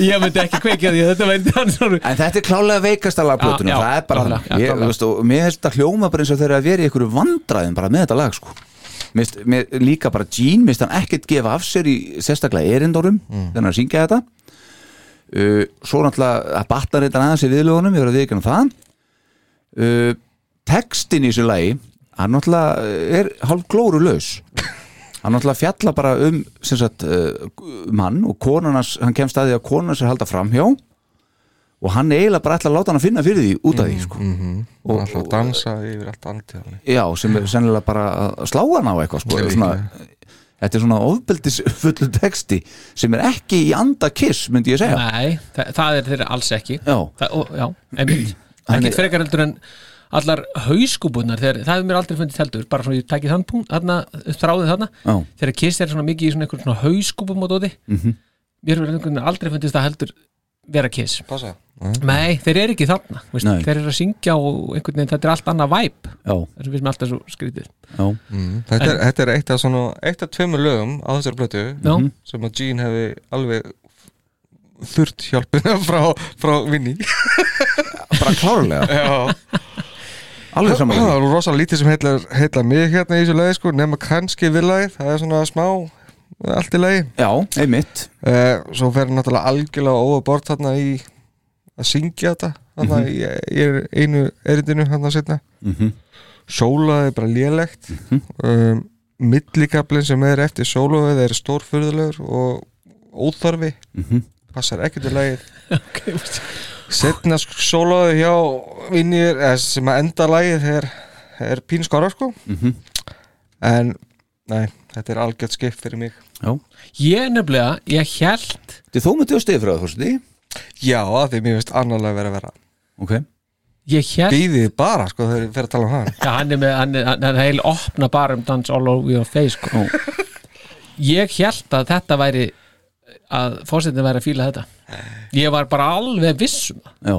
E: Ég myndi ekki kveikja því, þetta veit hann svo
C: En þetta er klálega veikasta lagplötunum
E: Já, já,
C: Það er bara
E: klálega, já,
C: ég,
E: klálega.
C: veist, og Mér finnst þetta hljóma bara eins og þegar að vera í einhverju vandræðum bara með þetta lag sko. mér, finnst- mér, Líka bara Gene, mér finnst hann ekkert gefa af sér í sérstaklega erindorum mm. þegar hann er að syngja þetta uh, Svo náttúrulega að batna reyndar aðeins í viðlögunum ég verður að viðkjöna það uh, Textin í þessu lagi hann náttúrulega uh, er hálf glóru laus hann náttúrulega fjalla bara um sem sagt, uh, mann og konarnas, hann kemst að því að konarnas er halda framhjá og hann eiginlega bara ætla að láta hann að finna fyrir því út af því sko.
D: Og alltaf að dansa yfir allt andið
C: já, sem er sennilega bara að slá hann á eitthvað sko.
D: Líklega.
C: svona, þetta er svona ofbeldisfullu texti sem er ekki í anda kiss myndi ég segja
E: Nei, það, það er þeirra alls ekki
C: Já.
E: það, og, Já, einmitt Ekkert frekar heldur en allar hauskúbunar þegar, það hefur mér aldrei fundið heldur bara svona ég takið þann punkt, þarna þráðið þarna,
C: Já.
E: þegar kiss er svona mikið í svona einhver svona hauskúbum og dóti mm -hmm. mér hefur einhvern veginn aldrei fundið það heldur vera kiss
D: Passa
E: Nei, þeir eru ekki þarna veist,
C: Nei.
E: þeir eru að syngja og einhvern veginn þetta er allt annað væp
C: já,
E: það sem við sem alltaf svo skrítið
C: já,
D: Mm, Þetta er, þetta er eitt af svona Eitt af tveimur lögum á þessari blötu
E: Já,
D: Sem að Gene hefði alveg Þurft hjálpina frá, frá Vinni
C: bara klárlega
D: Já
C: alveg saman
D: Það er rosa lítið sem heitlar, heitlar mig hérna í þessu lagi sko, nema kannski við lagið, það er svona smá allt í lagi
C: já, einmitt
D: uh, svo fer hann náttúrulega algjörlega óabort þarna í að syngja þetta þarna í, í einu erindinu þarna setna sólaði bara lélegt um, millikablin sem er eftir sólaðið er stórfurðulegur og óþarfi passar ekki til lagið
E: ok
D: setna sólaði hjá vinnir eða sem að enda lagið er, er pín skora sko en nei, þetta er algjört skip fyrir mig
C: já.
E: Ég nefnilega, ég held
C: Þið, þú myndið að stiða fyrir það, þú veist því
D: já, að því mér finnst annarlega vera að vera
C: ok
E: ég hér,
D: býðið þið bara sko þegar þið fer að tala um það
E: já, hann er með hann er, hann er heil opna bara um dans all over your face sko. ég held að þetta væri að fórsetin væri að fíla þetta ég var bara alveg viss um það
C: já,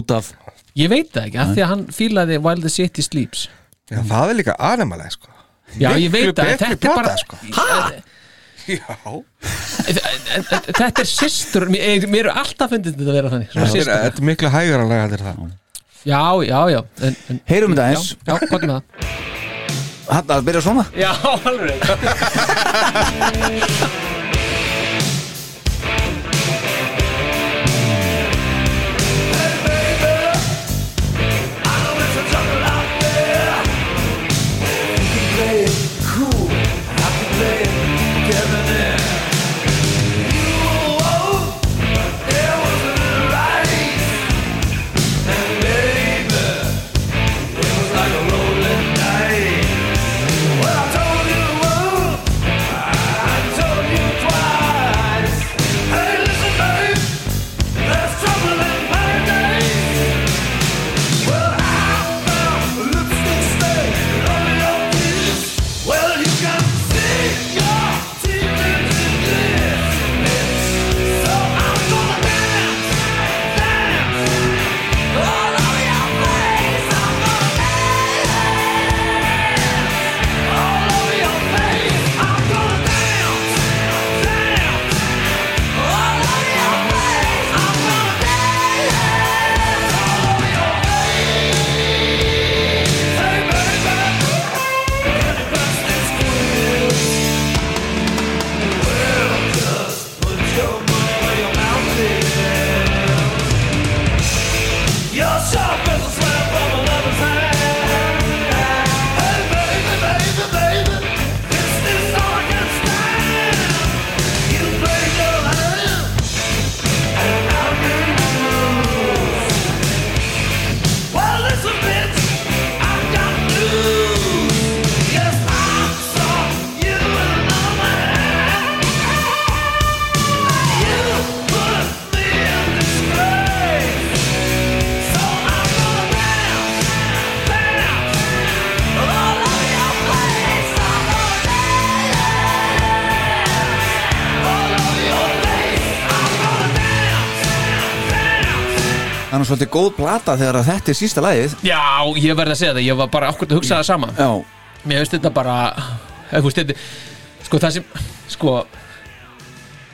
C: út af
E: ég veit það ekki, af því að hann fílaði While the City Sleeps
D: já, það er líka animaleg sko
E: já, ég veit það, en
D: betri
E: þetta er
D: plata,
E: bara
D: sko.
E: ha?
D: já,
E: þetta er systur mér, mér er alltaf fundið þetta að vera þannig svona
D: þetta er,
E: systur,
D: þetta er miklu hægara lag þetta er það
E: já, já, já en, en,
C: heyrum þetta
E: já,
C: eins,
E: já, gott með það
C: hann að byrja svona
E: já, alveg
G: Well, you can see your demons in this. So I'm gonna dance, dance all over your face. I'm gonna dance all over your face. I'm gonna dance, dance all over your face. I'm gonna dance all over your face. Hey, baby, bust this groove. Well, just put your money where your mouth is. You're sharp as a slap from a lover's hand. Hey, baby, baby, baby, this is all I can stand. You play your hand, and I'll do yours. Well, listen, bitch, I've got news. Yes, I saw you in another man. You put me in disgrace. So I'm gonna dance, dance all over your place. I'm gonna dance all over your face. I'm gonna dance, dance.
C: hann er svolítið góð plata þegar að þetta er sísta lagið
E: já, ég verð að segja það, ég var bara okkur að hugsa það sama
C: já,
E: mér finnst þetta bara eða, þú veist, þetta, sko það sem sko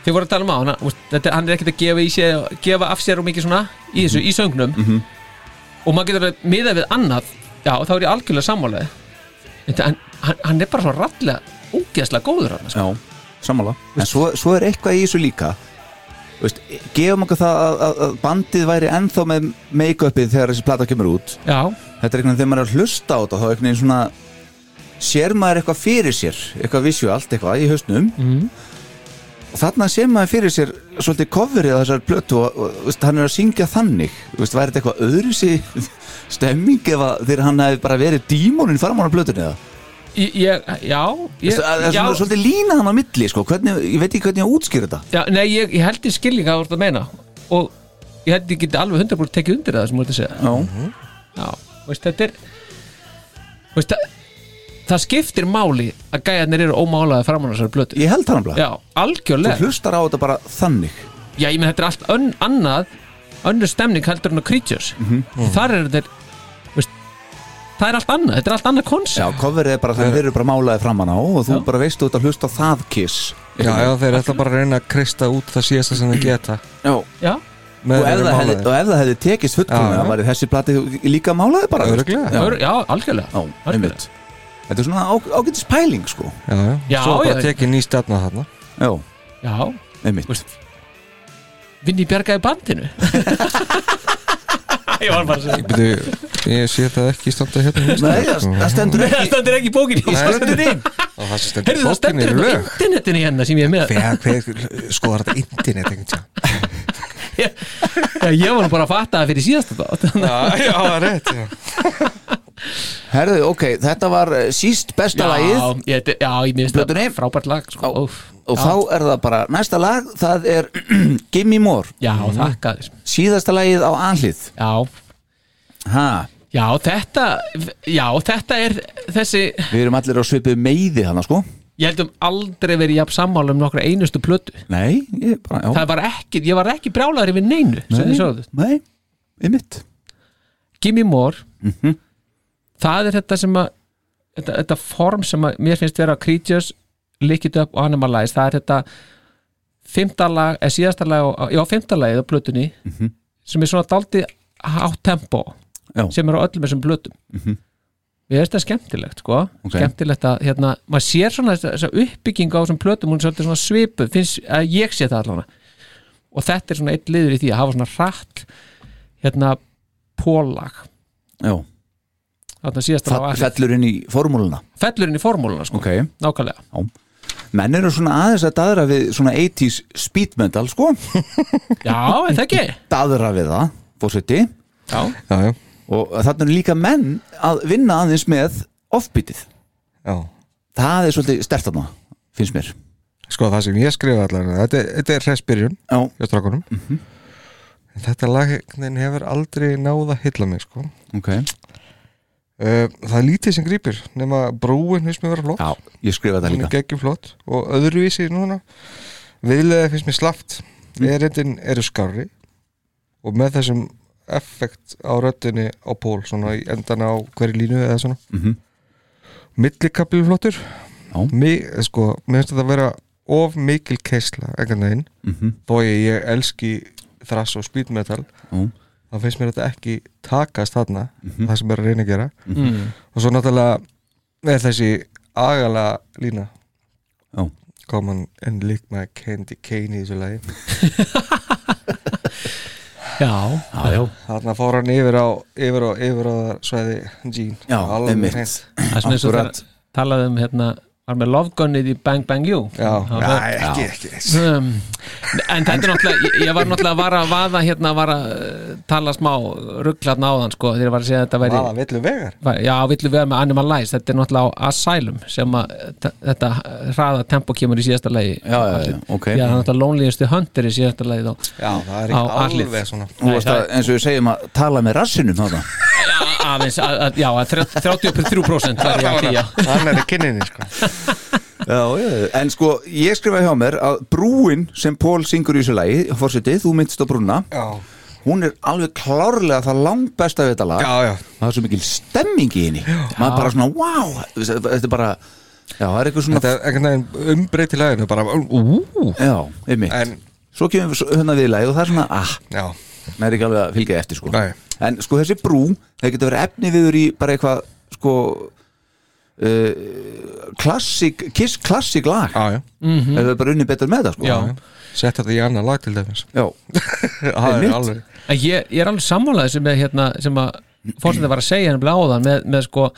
E: þið voru að tala um á hana þú veist, þetta, hann er ekkert að gefa, í sér, gefa af sér og mikið svona í þessu, í söngnum
C: Mhm.
E: og maður getur að miða við annað já, þá er ég algjörlega sammálaði en það- hann, hann, hann er bara svo rallega ógeðslega góður hann sko.
C: já, sammála en svo, svo er eitthvað í þessu líka Þú veist, gefum okkur það að, að, að bandið væri ennþá með make-upið þegar þessi plata kemur út
E: já,
C: þetta er einhvern veginn þegar maður er að hlusta á þetta þá einhvern veginn svona sér maður eitthvað fyrir sér eitthvað visuált eitthvað í hausnum mm. og þarna sér maður fyrir sér svolítið coverið á þessar plötu og, og þú veist, hann er að syngja þannig Þú veist, væri þetta eitthvað öðru stemming ef að þegar hann hefði bara verið dímonin fram á plötunni eða
E: ég, ég, já,
C: Þú
E: ég,
C: veist, það er
E: já,
C: svona svolítið lína hann á milli sko. hvernig, ég veit ekki hvernig ég útskýr þetta
E: já nei, ég, ég held ég skilja hvað þú ert að meina og ég held ég geti alveg 100% tekið undir það sem þú ert að segja
C: já,
E: Já, veist, þetta er veist, það, það skiptir máli að gæjarnir eru ómálaði framan á þessari blötu
C: ég held hann bara
E: Já, algjörlega
C: þú hlustar á þetta bara þannig
E: Já, ég menn þetta er allt ön, annað önnur stemning heldur en á Creatures
C: Mhm.
E: þar er þetta veist, það er allt annað, þetta er allt annað
C: já,
E: konsept
C: coverið er bara þannig, þeir eru bara málaði fram hann á og þú bara veist þú ert að hlusta á það kiss
D: já, já, þeir ætla bara að reyna að krista út það síðasta sem þeir geta
C: já.
E: Já,
C: Og,
D: með
C: ef
D: þeirri
C: það hefði,
D: málaði.
C: og ef það hefði tekist
D: Já,
C: fullkomlega
D: já.
C: það væri þessi plati líka málaði bara þú veist.
D: Örugglega.
C: já,
E: já, já algjörlega
C: já, einmitt þetta er svona á, ágætis pæling sko
D: já, já,
E: Já,
D: svo bara
E: já.
D: tekið ný stefna þarna
C: já,
E: Já,
C: einmitt
E: veist Vinni bjargaði bandinu Ég var bara að segja
D: Byrju, ég sé það ekki standa hérna í
C: nei,
D: stefnu,
C: það,
D: sko.
C: það stendur
E: Það
C: ekki
E: stendur ekki í bókinni
D: Nei.
E: Heyrðu,
D: og það sem stendur
E: það
D: bókinni
E: stendur hérna
D: er
E: á
D: lög
E: internetinu hérna sem ég er með
D: Hver, hver skoðar þetta internet einhvern tíma?
E: Já, ég var nú bara að fatta það fyrir síðasta þátt
D: Já, já, það er rétt já.
C: herðu, ok, þetta var eh, síst besta lagið
E: Já, ég, þetta- já, ég minnst
C: Plötunni?
E: það frábært lag sko.
C: Já.
E: Úff.
C: og þá er það bara næsta lag það er Gimme More Mm.
E: Já, þakka þér
C: síðasta lagið á anhlið
E: Já,
C: ha,
E: Já, þetta, já, þetta er þessi,
C: við erum allir á svipu meiði hana sko
E: ég heldum aldrei verið jafn sammála um nokkra einustu plötu
C: nei, ég bara, já,
E: Það var ekki, ég var ekki brjálæður yfir neinu sem þið sögðu
C: nei, einmitt
E: Gimme More
C: Mhm.
E: Það er þetta sem að þetta, þetta form sem að mér finnst vera Creatures, Lick It Up og Animalize það er þetta fimmta lag, eða síðasta lag, á- já fimmta lagið á plötunni
C: Mhm.
E: sem er svona daldið hátt tempo
C: Já. Mhm.
E: sem er á öllum þessum plötum mm Við erum þetta skemmtilegt sko
C: Ok.
E: skemmtilegt að hérna, maður sér svona þessa þessa uppbyggingu á þessum plötum hún er svolítið svona svipuð, finnst að ég sé það allavega og þetta er svona eitt liður í því að hafa svona hratt hérna pólag
C: já,
E: þarna síðasta lag á
C: Fall,
E: Afi.
C: fellur inn í formúluna
E: fellur inn í formúluna sko,
C: ok,
E: nákvæmlega
C: menn eru svona aðeins að daðra við svona 80s speed metal sko
E: já, er það ekki
C: daðra við það, fórseti
E: já,
D: já, já,
C: og þarna eru líka menn að vinna aðeins með offbeatið,
D: já
C: það er svolítið stert þarna, finnst mér
D: sko það sem ég skrifa allar þetta, er- þetta er hressbyrjun
C: já,
D: hjá strákunum en þetta lag einhvern veginn hefur aldrei náð að hylla mig sko
C: ok
D: uh, það er lítið sem grípir nema brúin finnst mér vera flott
C: já, ég skrifa það
D: hún er
C: líka
D: geggjum flott og öðruvísi núna viðlega finnst mér slaft
C: Mm.
D: erindin eru skarri og með þessum effekt á röddinni á pól svona í endana á hverju línu eða svona mm -hmm. millikabli flottur
C: Mhm. Já.
D: Mi, sko, mér finnst þetta að vera of mikil keisla einhvern veginn
C: Mhm.
D: -hmm. þó ég, ég elski þrass og speed metal
C: Já. Mhm.
D: þá finnst mér þetta ekki takast þarna það sem er að reyna að gera -hmm. og svo náttúrulega er þessi agalega lína
C: Já.
D: Come on and lick my candy cane í þessu lagi
E: já, já, já.
D: Þarna fór hann yfir á yfir á, yfir á svæði Jean
C: já,
D: Alveg hreint.
C: einmitt
E: það er svona eins og
C: Akkurat.
E: það talaði um hérna var með lofgunnið í Bang Bang You
D: Já,
E: Það
D: já,
E: var-
D: ekki, ekki
E: Um, en þetta er náttúrulega ég- ég var náttúrulega að vara að vaða hérna var að uh, tala smá rugglarn áðan sko þegar ég var að segja að þetta væri
D: Vaða villu vegar
E: var- já, villu vera með Animal Lies þetta er náttúrulega á Asylum sem að þetta- þetta hraða tempo kemur í síðasta lagi
C: já, já, já, ok
E: Já, það er náttúrulega Loneliest Hunter í síðasta lagi þá
D: Já, það er
E: Á
D: ekki alveg
E: allið.
D: svona
C: Þú varst að, eins og við segjum að tala með rassinum þarna
E: aðeins, að, að, já, að þrjá- 33% var ég að því, já.
D: Hann er í kinninni, sko
C: Já, já, já. en sko, ég skrifaði hjá mér að brúin sem Pól syngur í þessu lagi fórsetið, þú myndst á brúna
D: Já,
C: hún er alveg klárlega það langbesta við þetta lag
D: já, já
C: það er svo mikil stemming í henni maður bara svona, wow þetta er bara, já, það er eitthvað svona
D: Þetta er einhvern veginn umbreyt í laginu bara, ú,
C: já, einmitt
D: En,
C: svo kemur við svo- hérna við í lagið og það er svona, ah,
D: já,
C: maður er ekki alveg að fylgja eftir sko.
D: Nei.
C: en sko þessi brú, það getur verið efni viður í bara eitthvað sko uh, klassik, kiss klassik lag
D: já, Mhm. já
C: ef við bara unni betur með það sko
E: Já.
D: Sett þetta í annað lag til dæmis
C: Já.
D: Það er
C: Einmitt.
D: alveg
E: En ég, ég er alveg sammálaði sem, er, hérna, sem að fórsetið var að segja henni bláðan með, með sko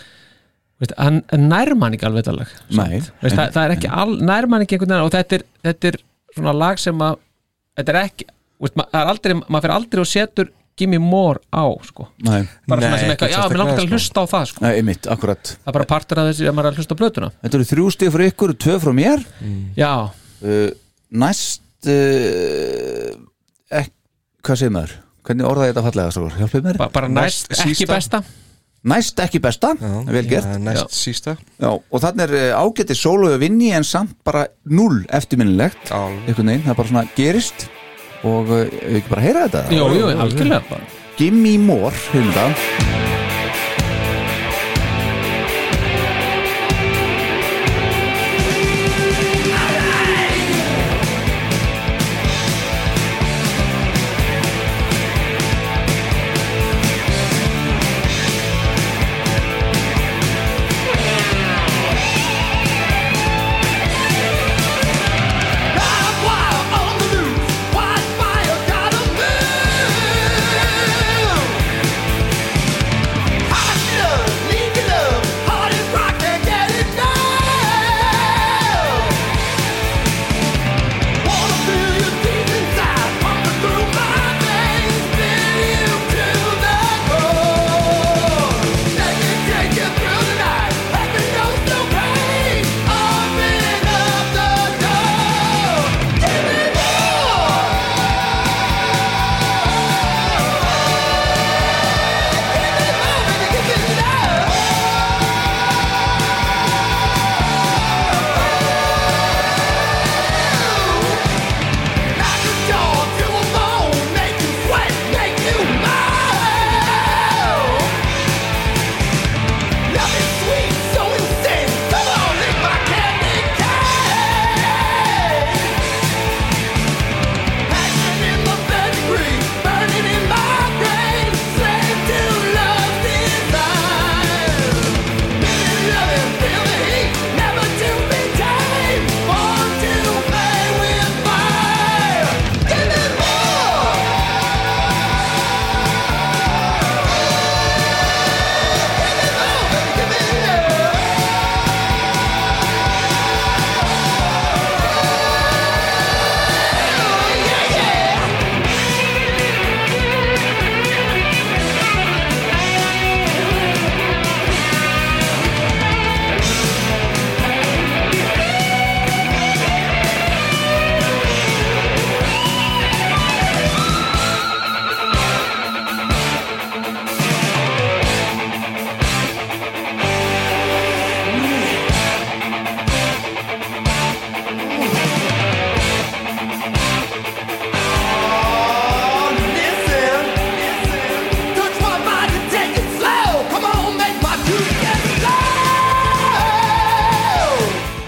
E: veist, hann nærmann ekki alveg þetta lag
C: Nei,
E: veist, það, það er ekki al, nærmann ekki einhvern veginn og þetta er, þetta er svona lag sem að þetta er ekki, veist, mað, er aldrei, maður fyrir aldrei og setur Gimme More á sko.
C: nei,
E: bara
D: Nei,
E: svona sem eitthvað,
D: ekki
E: já, mér langt
D: sérstaklega,
E: að hlusta á það sko.
C: nei, einmitt, akkurat
E: það er bara partur af þessi að maður er að hlusta á blötuna
C: Þetta eru þrjú stig frá ykkur og tvö frá mér
E: Já,
C: uh, Næst uh, ek, Hvað segir maður? Hvernig orðaði þetta fallega, strókur? Hjálpið mér?
E: ba- bara
D: Næst
E: næst, ekki
D: sísta.
E: besta
C: Næst ekki besta, vel gert
D: Það er sko. Næst sísta
C: Já, og þannig er uh, ágætið sólu að vinni en samt bara null eftirminnilegt
D: Alveg.
C: einhvern veginn, það er bara svona gerist og uh, ef ekki bara heyra þetta
E: Jú, jú, algjörlega bara
C: Gimme more, hefum það
G: Wildfire gotta move.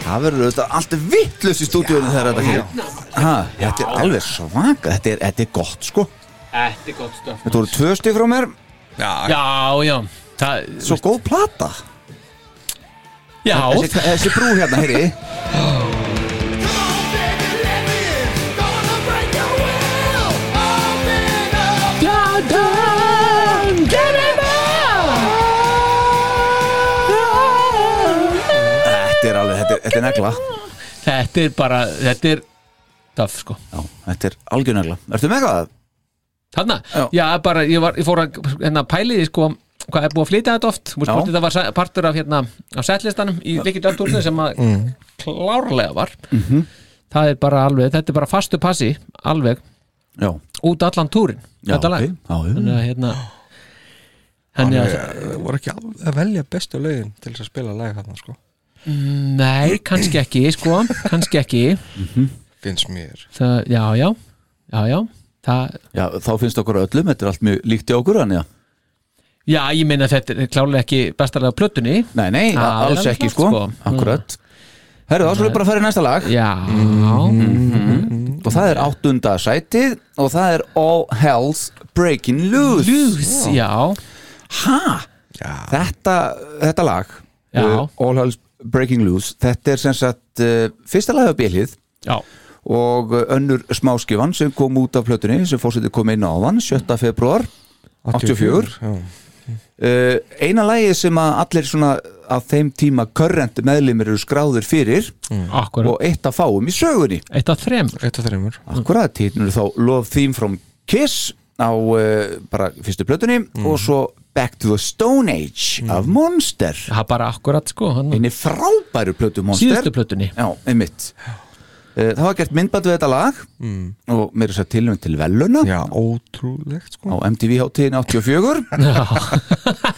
C: Það verður auðvitað alltaf vittlust í stúdíunum þegar þetta kemur Ha, Þetta er alveg svaka, þetta er, þetta er gott sko
E: Þetta er gott stöf
C: Þetta voru tvö stig frá mér,
E: Já, já Það,
C: svo góð plata
E: já,
C: Þessi, þessi brú hérna, heyri Þetta er alveg, þetta er, þetta er negla
E: þetta er bara Þetta er töff sko
C: Já, þetta er algjör negla Ertu með eitthvað?
E: Þarna,
C: Já.
E: já, bara, ég, var, ég fór að hérna, pæli því sko hvað er búið að flytja þetta oft Þú veist
C: Já.
E: hvort þetta var sa- partur af, hérna, af setlistanum í Rikki Döldúrinu sem að
C: Mm.
E: klárlega var
C: Mhm.
E: það er bara alveg, þetta er bara fastu passi alveg
C: Já,
E: út allan túrin
C: já,
E: þetta lag
C: ok, Mm. já, já.
E: þannig að hérna þannig að það-
D: Það Eh, voru ekki alveg að velja bestu lögin til þess að spila lag hann sko.
E: nei, kannski ekki sko, kannski ekki
D: finnst mér
E: það, já, já, já, já það,
C: já, þá finnst okkur öllum, þetta er allt mjög líkt í okkur hann, já.
E: já, ég meina þetta er klárlega ekki bestalega á plötunni
C: Nei, nei,
E: Það er
C: alls
E: alveg
C: ekki
E: klárt,
C: sko, Mm.
E: sko.
C: akkurat Herru, þá skulum við bara að fara í næsta lag
E: já,
C: Mhm. og það er áttunda sætið og það er All Hells Breaking Loose
E: ljús, já
C: ha? Þetta, þetta lag
E: Já.
C: uh, All Hells Breaking Loose þetta er sem sagt uh, fyrsta lag af bílið
E: já,
C: og uh, önnur smáskifan sem kom út af plötunni sem fórsetið kom inn á áðan 7. februar 84
D: já.
C: uh, eina lagi sem að allir svona á þeim tíma körrent meðlimir eru skráður fyrir
E: akkurat
C: Mhm. og eitt að fáum í sögunni
E: eitt af þrem,
D: Eitt af þreymur
C: Akkurat, hittin eru þá Love Theme from Kiss á uh, bara fyrstu plötunni
E: Mm.
C: og svo Back to the Stone Age af Monster
E: það er bara akkurat sko hann,
C: einni frábæru plötu Monster
E: síðustu plötunni
C: Já, einmitt uh, Það var gert myndbætt við þetta lag
E: Mm.
C: og mér er sér tilvæm til veluna
D: Já, ótrúlegt
C: á
D: sko
C: MTV hátíðin 84
E: já,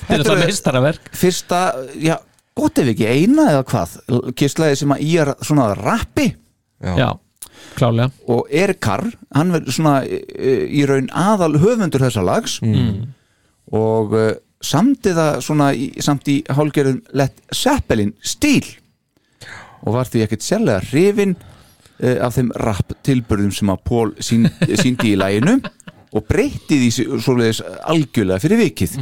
E: þetta er það mistaraverk
C: Fyrsta, já, gott ef ekki eina eða hvað, kisslæði sem að í er svona rappi
E: já, klárlega
C: og Erkar hann verður svona e, e, í raun aðal höfundur þessa lags og uh, samti það svona í, samt í hálgerðum Lett Seppelin stíl og var því ekkert sérlega hrifin uh, af þeim rapp tilburðum sem að Pól sín, síndi í læginu og breytti því s- svoleiðis algjörlega fyrir vikið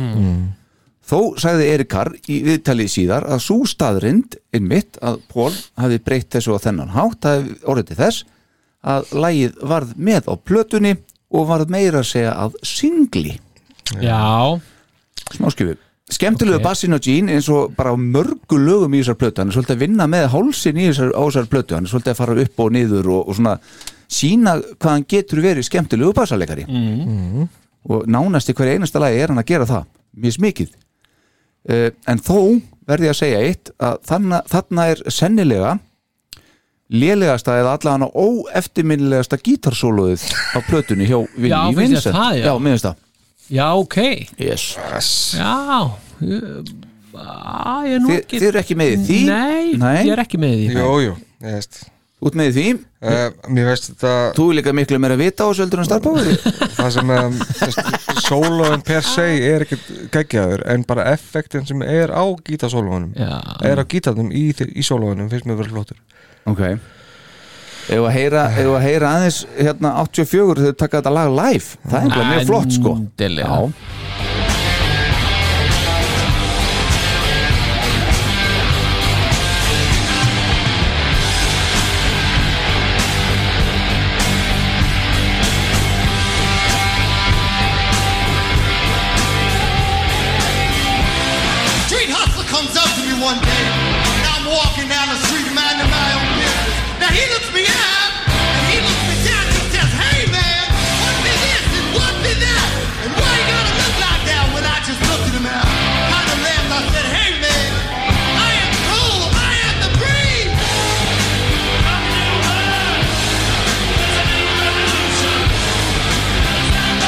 C: Þó sagði Erikar í viðtalið síðar að svo staðrind einmitt að Pól hafi breytt þessu á þennan hátt hafi orðið til þess að lægið varð með á plötunni og varð meira að segja að singli
E: já,
C: smáskjöfu skemmtilegu
E: Ok.
C: okay. bassin og Jean eins og bara á mörgu lögum í þessar plötu hann er svolítið að vinna með hálsin í þessar, á þessar plötu hann er svolítið að fara upp og niður og, og svona sína hvað hann getur verið skemmtilegu bassalegari mm.
E: Mhm.
C: og nánast í hverja einasta lagi er hann að gera það mjög smikið uh, en þó verði ég að segja eitt að þarna, þarna er sennilega lélegasta eða allavega óeftirminnilegasta gítarsóluðið á plötunni hjá
E: Já,
C: Vinni
E: finnst þér
C: Vincent
E: það, já?
C: já, mér finnst það
E: já, ok
C: yes.
E: já ég- Á, ég er nú
C: Þi,
E: ekki
C: þið eru ekki með í því
E: Nei,
C: Nei.
E: ég er ekki með í því
D: Jú, jú, ég veist
C: út með í því
D: uh, Mér veist þetta,
C: þú er líka miklu meira að vita á þessu heldur en starfbáður
D: það sem um, sólóin per se er ekkert geggjaður en bara effektin sem er á gítasólóinum
E: Já.
D: er á gítarnum í, þi- í sólóinum finnst mér verið flottur
C: ok ef að heyra, ef að heyra aðeins hérna 84 þau taka þetta lag live það er eitthvað mjög flott sko
E: Endilega.
C: Já.
A: Street hustler comes up to me one day. Now I'm walking down the street minding my own business. Now he looks me up and he looks me down and says, Hey man, what's be this and what's be that? And why you gotta look like that when I just looked at him out? Kind of laughed. I said, Hey man, I am cool. I am the breeze.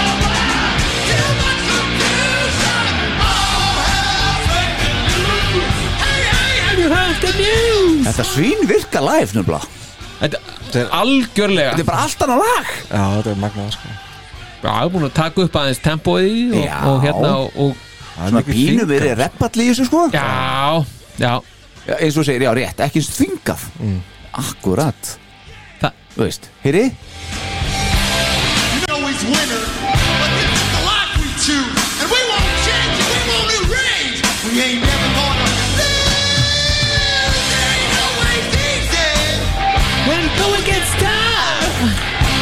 A: Too much confusion. All hell's breaking loose. Hey, hey, hey.
C: þetta svín virka live nefnilega
E: Þetta er algjörlega
C: þetta er bara allt annað lag
D: Já, þetta er magnað sko
E: Já, ég er búin að taka upp aðeins tempóið í því og,
C: Já.
E: og hérna og, og
C: svona
D: mikið
C: pínum verið reppall í þessu sko
E: Já, já
C: Já, eins og þú segir, já rétt, ekki eins þvingað akkurat
E: Mm. Þa-
C: þú veist, heyri
A: You know he's winner, but this is the life we choose, and we won't change it, we won't arrange. We ain't never gonna live. There ain't no way easy. When going gets tough,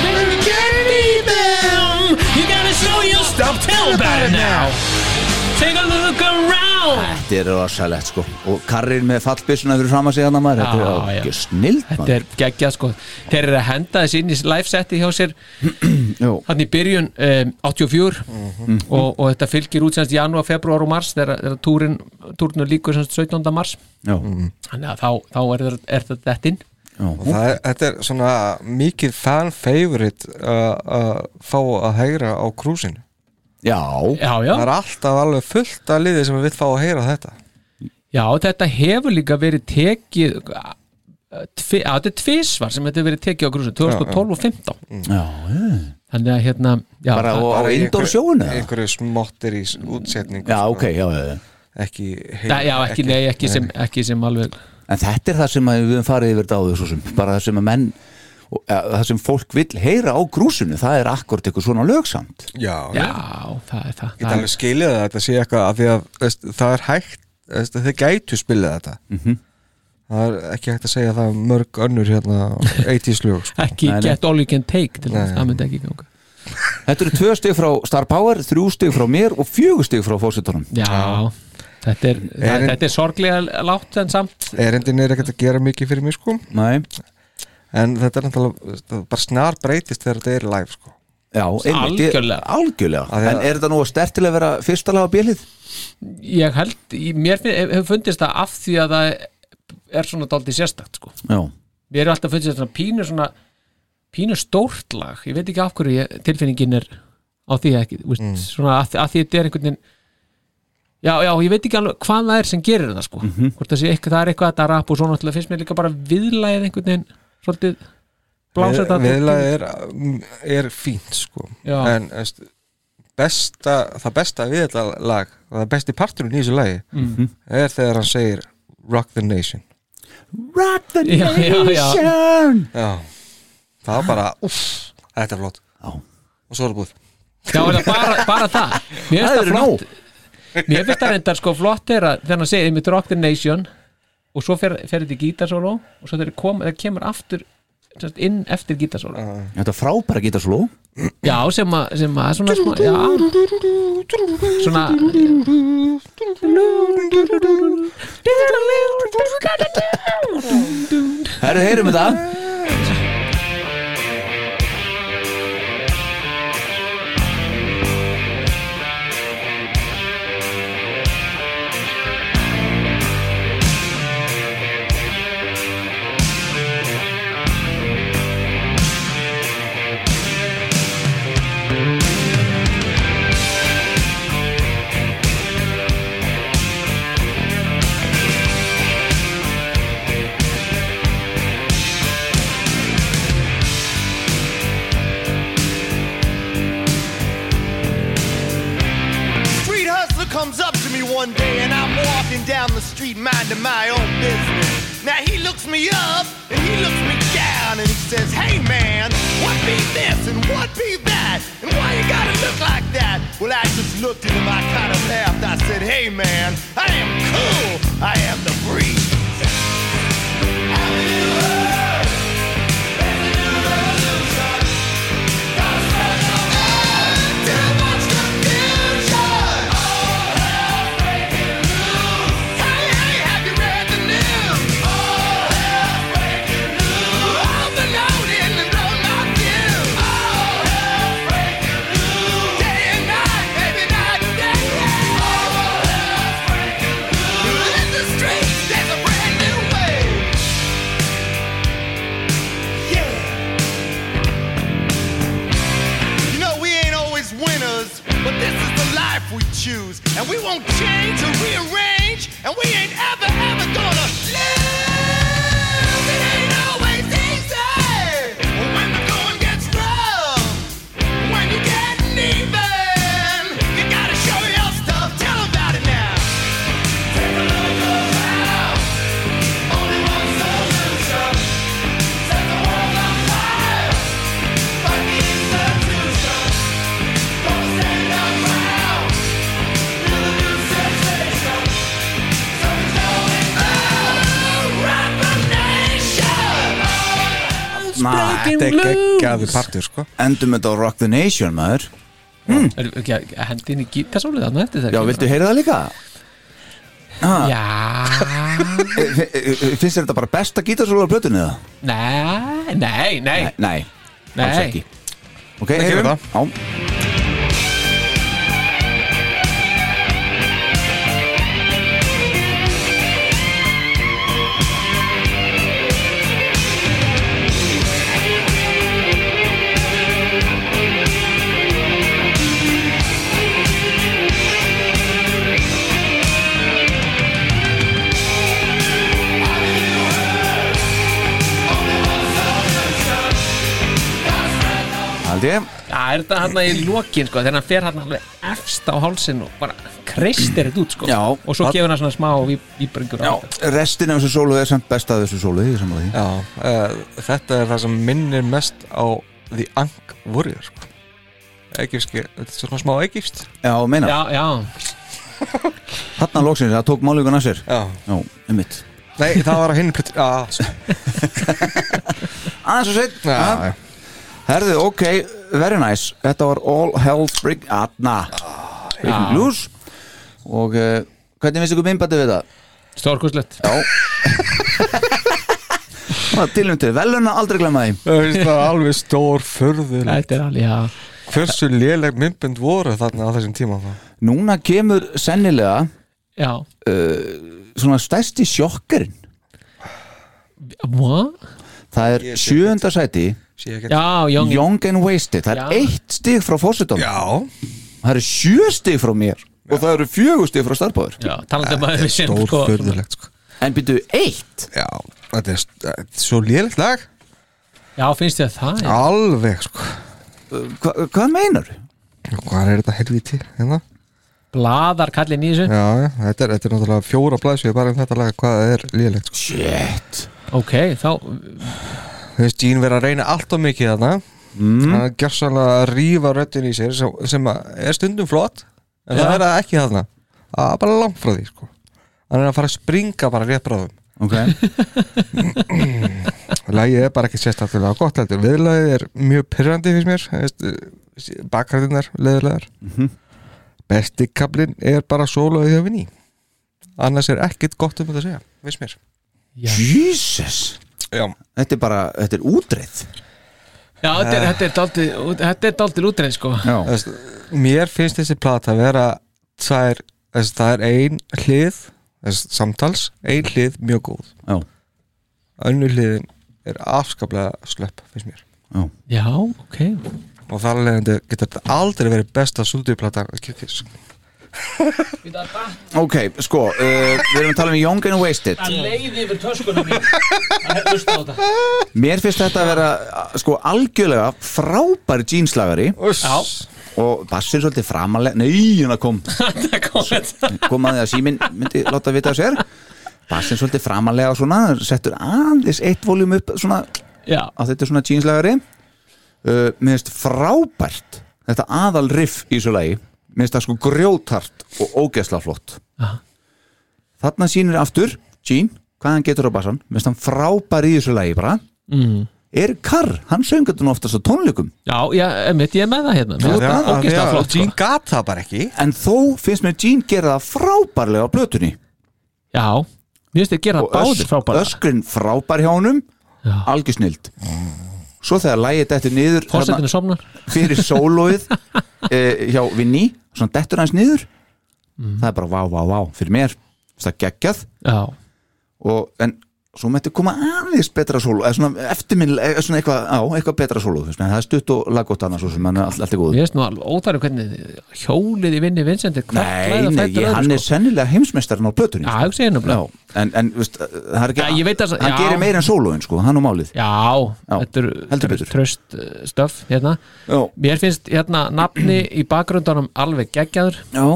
A: when you can't beat them, you gotta show your stuff. Tell about it now.
C: þetta er rosalegt sko og karrin með fallbissuna fyrir fram að segja hann að maður þetta
E: Já,
C: er
E: já.
C: ekki snild
E: Þetta er geggjað sko Þeir eru að henda þessi inn í livesetti hjá sér hann í byrjun um, 84 og, og þetta fylgir út semst janúar, februar og mars þegar, þegar túrin, túrinu líkur semst 17. mars þannig að þá, þá er, þeir- er þetta þetta inn
D: Og það, er- þetta er svona mikið fan favorite uh, að fá að heyra á krúsinu
C: já,
E: Já, já,
D: Það er alltaf alveg fullt af liði sem við fá að heyra þetta
E: já, þetta hefur líka verið tekið uh, tvi, að þetta er tvisvar sem þetta hefur verið tekið á grúsum 2012 og 15
C: já, já.
E: þannig að hérna já,
C: bara
E: það-
C: á, á
D: Bara í
C: indoor
D: einhverju-
C: sjóinu eða?
D: Einhverju smottir í útsetningu
C: já,
D: sko.
C: ok, já, já, já
D: Ekki
E: Nei, já, ekki, nei, ekki, sem, ekki sem alveg
C: En þetta er það sem að við höfum farið yfir dáðu svo sem, bara það sem að menn og, ja, það sem fólk vill heyra á grúsinu það er akkord eitthvað svona lögsamt
D: Já, já
E: Já, það er það,
D: Ég
E: það
D: get alveg skilja það að þetta sé eitthvað af því að veist, það er hægt, veist, þið gætu spilað þetta það er ekki hægt að segja það um mörg önnur hérna 80s lög sko.
E: Ekki
C: Nei, nei.
E: get all you can take til
D: Nei.
E: þess, það myndi ekki ganga
C: Þetta eru tvö stig frá Star Power, þrjú stig frá mér og fjögur stig frá fórsetunum
E: Já, þetta er, það,
D: Erin-
E: þetta er sorglega látt en samt
D: erindin er ekkert að gera mikið fyrir mig sko
C: Nei,
D: en þetta er náttúrulega veist, það bara snar breytist þegar þetta er live sko
C: já, einmitt ég-
E: Algjörlega.
C: Algjörlega,
D: Af því að-
C: en er þetta nú að stert til að vera fyrstalega á bjölið?
E: Ég held, í- mér finn- hefur fundist það af því að það er svona dálítið sérstakt sko.
C: Já,
E: Mér hefur alltaf fundist þetta pínu svona pínu stórt lag, ég veit ekki af hverju ég, tilfinningin er á því ekki þú veist, svona að, að því þetta er einhvern veginn Já, já, ég veit ekki alveg hvað það er sem gerir það sko hvort það sé eitthvað, það er eitthvað að þetta rap og svo náttúrulega finnst mér líka bara viðlæðið einhvern veginn svolítið blása þetta
D: viðlega er, er fínt sko
E: Já.
D: en veist, besta, það besta við þetta lag það besti parturinn í þessu lagi
E: Mhm.
D: er þegar hann segir Rock the Nation
C: Rock the
E: Já, já, já.
C: Nation
D: Já, það var bara uff, Þetta er flott
C: Já.
D: Og svo er það búið
E: Já, er það bara, bara það Mér finnst
C: Það
E: það
C: eru
E: flott
C: nóg
E: Mér finnst það reyndar sko flott er að þegar hann segir einmitt Rock the Nation og svo fer, fer þetta í gítarsóló og svo þegar kom, það kemur aftur sem sagt, inn eftir gítarsóló
C: Þetta er frábæra geta sló
E: Já, sem að, sem að svona, svona, já, svona
C: Herru, heyrum þetta
A: Street hustler comes up to me one day and I'm walking down the street minding my own business. Now he looks me up and he looks me down and he says, Hey man, what be this and what be that? And why you gotta look like that? Well, I just looked at him, I kind of laughed. I said, Hey man, I am cool, I am the breeze.
G: There's a brand new way.
A: Yeah. You know, we ain't always winners, but this is the life we choose. And we won't change or rearrange, and we ain't ever, ever gonna live. It ain't always easy. But when the going gets rough, when you getting even, you gotta show your stuff. Tell 'em about it now. Take a look around.
E: breaking
D: Þetta er geggjaði
E: loose
D: partur sko
C: Endum þetta á Rock the Nation, maður
E: Er ekki að að hendi inn í gítasólið þannig eftir þegar
C: Já,
E: kemur?
C: viltu heyra það líka?
E: Já,
C: E, e, e, Finnst þér þetta bara besta gítarsóla á plötunni það?
E: nei, nei, nei
C: Nei, alls
E: Nei.
C: ekki Ok,
D: gerum
C: heyrum
D: það.
C: Já, held ég
E: Það er þetta hann í lokin sko, þegar hann fer hann alveg efst á hálsin og bara kreistir þetta út sko
C: Já.
E: og svo gefur hann svona smá víbringur
C: Já, restin af þessu sólu er samt besta af þessu sólu, ég samla því
D: Já, uh, þetta er það sem minnir mest á The Ankh Warrior sko. Egipski, þetta er svona smá egipst
C: Já, meina,
E: já, já,
C: þarna loksins, það tók málingun að sér
D: Já,
C: Já, um mitt
D: nei, það var að hinn plötu Já, sko,
C: Aðeins og
D: já,
C: seitt
D: já,
C: Herðu, ok, very nice Þetta var All Hell Break Atna Breaking Blues Og uh, hvernig finnst ykkur minnbæti við það?
E: stórkurslegt
C: Það tilum til veluna, aldrei glemma því
D: Það finnst það alveg stór förðulegt
E: Þetta er alveg, já
D: Hversu léleg myndbönd voru þarna á þessum tíma þá?
C: Núna kemur sennilega
E: Já,
C: svona stærsti sjokkurinn
E: Hva?
C: Það er sjöunda sæti
D: Sé ekki
E: já, Young
C: Young and Wasted Það er
E: Já.
C: eitt stig frá fórsetum
D: já.
C: Það eru sjö stig frá mér Og það eru fjögur stig frá starfbáður
E: Já, talandi um að við sem
D: Stór
E: sko
D: förðulegt sko.
C: En byrju eitt
D: Já, þetta er, þetta er svo lélegt lag
E: Já, finnst þér það? Já,
D: Alveg sko
C: Hva, Hvað meinar?
D: Hvað er þetta helviti hérna?
E: Blaðar kallin í þessu
D: Já, já, þetta er, þetta er náttúrulega fjóra blæsvið bara um þetta lag hvað það er lélegt sko.
C: Shit
E: Ok, þá
D: Þú veist, Gene verið að reyna allt of mikið þarna mm. hann gjör sannlega að rífa röddin í sér sem, sem að er stundum flott en
E: Já.
D: það er það ekki þarna það er bara langt frá því sko. hann er að fara að springa bara rétt bráðum
C: Ok
D: Lægið er bara ekki sérstaklega gott heldur Viðlagið er mjög pyrrandi fyrir mér veist, Bakræðinar leðilegar Besti kablin er bara sólaðið hjá vinni Annars er ekkit gott um þetta að segja Viss mér
C: Jesus
D: Já,
C: Þetta er bara, þetta er útreið
E: Já, þetta er, þetta er daldið Þetta er daldið útreið sko
C: Já
D: veist, Mér finnst þessi plata að vera tvær, þess, Það er ein hlið þess, Samtals, ein hlið mjög góð
C: Já,
D: Önnu hliðin er afskaplega slöpp Viss mér
C: já
E: Já, ok
D: Og þar leðandi getur þetta aldrei verið besta súlduplata
C: Ok, sko, uh, við erum að tala um Young and Wasted
E: Leiði yfir töskuna mín Það er hlusta á þetta
C: Mér finnst þetta að vera uh, sko algjörlega frábær jeanslagari
E: Já,
C: og bassir svolítið framalega Nei, hérna kom,
E: þetta kom þetta
C: kom að því að síminn myndi láta vita af sér Bassir svolítið framalega og svona settur aðeins eitt voljum upp svona
E: Já,
C: að þetta er svona jeanslagari uh, Mér finnst frábært þetta aðal riff í þessu lagi Mér finnst það sko grjótart og ógeðsla flott
E: Aha.
C: Þarna sýnir aftur Jean, hvað hann getur á bassan Mér finnst hann frábær í þessu lagi bara
E: mm.
C: Erik Carr, hann söngur þetta nú oftast á tónleikum
E: já, já emitt, ég er með það hérna Mér finnst það ógeðslega flott sko
D: Gene gat það bara ekki
C: en þó finnst mér Jean gera það frábærlega á blötunni
E: Já, mér finnst þér gera
C: og
E: báðir frábæra
C: öskrin frábær hjá honum
E: Já.
C: algjör snild svo þegar lægið dettur niður þarna
E: Fórsetinu somnar
C: fyrir sólóið e, hjá Vinni, svona dettur hans niður
E: Mhm.
C: það er bara vá, vá, vá fyrir mér, Finnst það geggjað
E: Já,
C: og, en svo mætti koma aðeins betra sóló eða svona eftirminn, svona eitthvað, á, eitthvað betra sóló finnst mér. það er stutt og laggótt annars og sem hann er allt, allt er góð
E: mér finnst nú alveg óþæru hvernig hjólið í vinni Vincent er hvert
C: nei,
E: lagið á
C: nei,
E: fætur
C: ég,
E: öðru,
C: hann er
E: sko.
C: sennilega heimsmeistarinn á plötunni
E: Já, hugsa ég nefnilega
C: Já, en, en veist, það er ekki
E: Já, ég veit að-
C: hann
E: já.
C: gerir meira en sólóin sko, hann og málið
E: Já,
C: Já,
E: þetta
C: heldur
E: er
C: betur.
E: tröst stöf hérna.
C: já,
E: Mér finnst hérna nafni í bakgrundanum alveg geggjaður
C: já,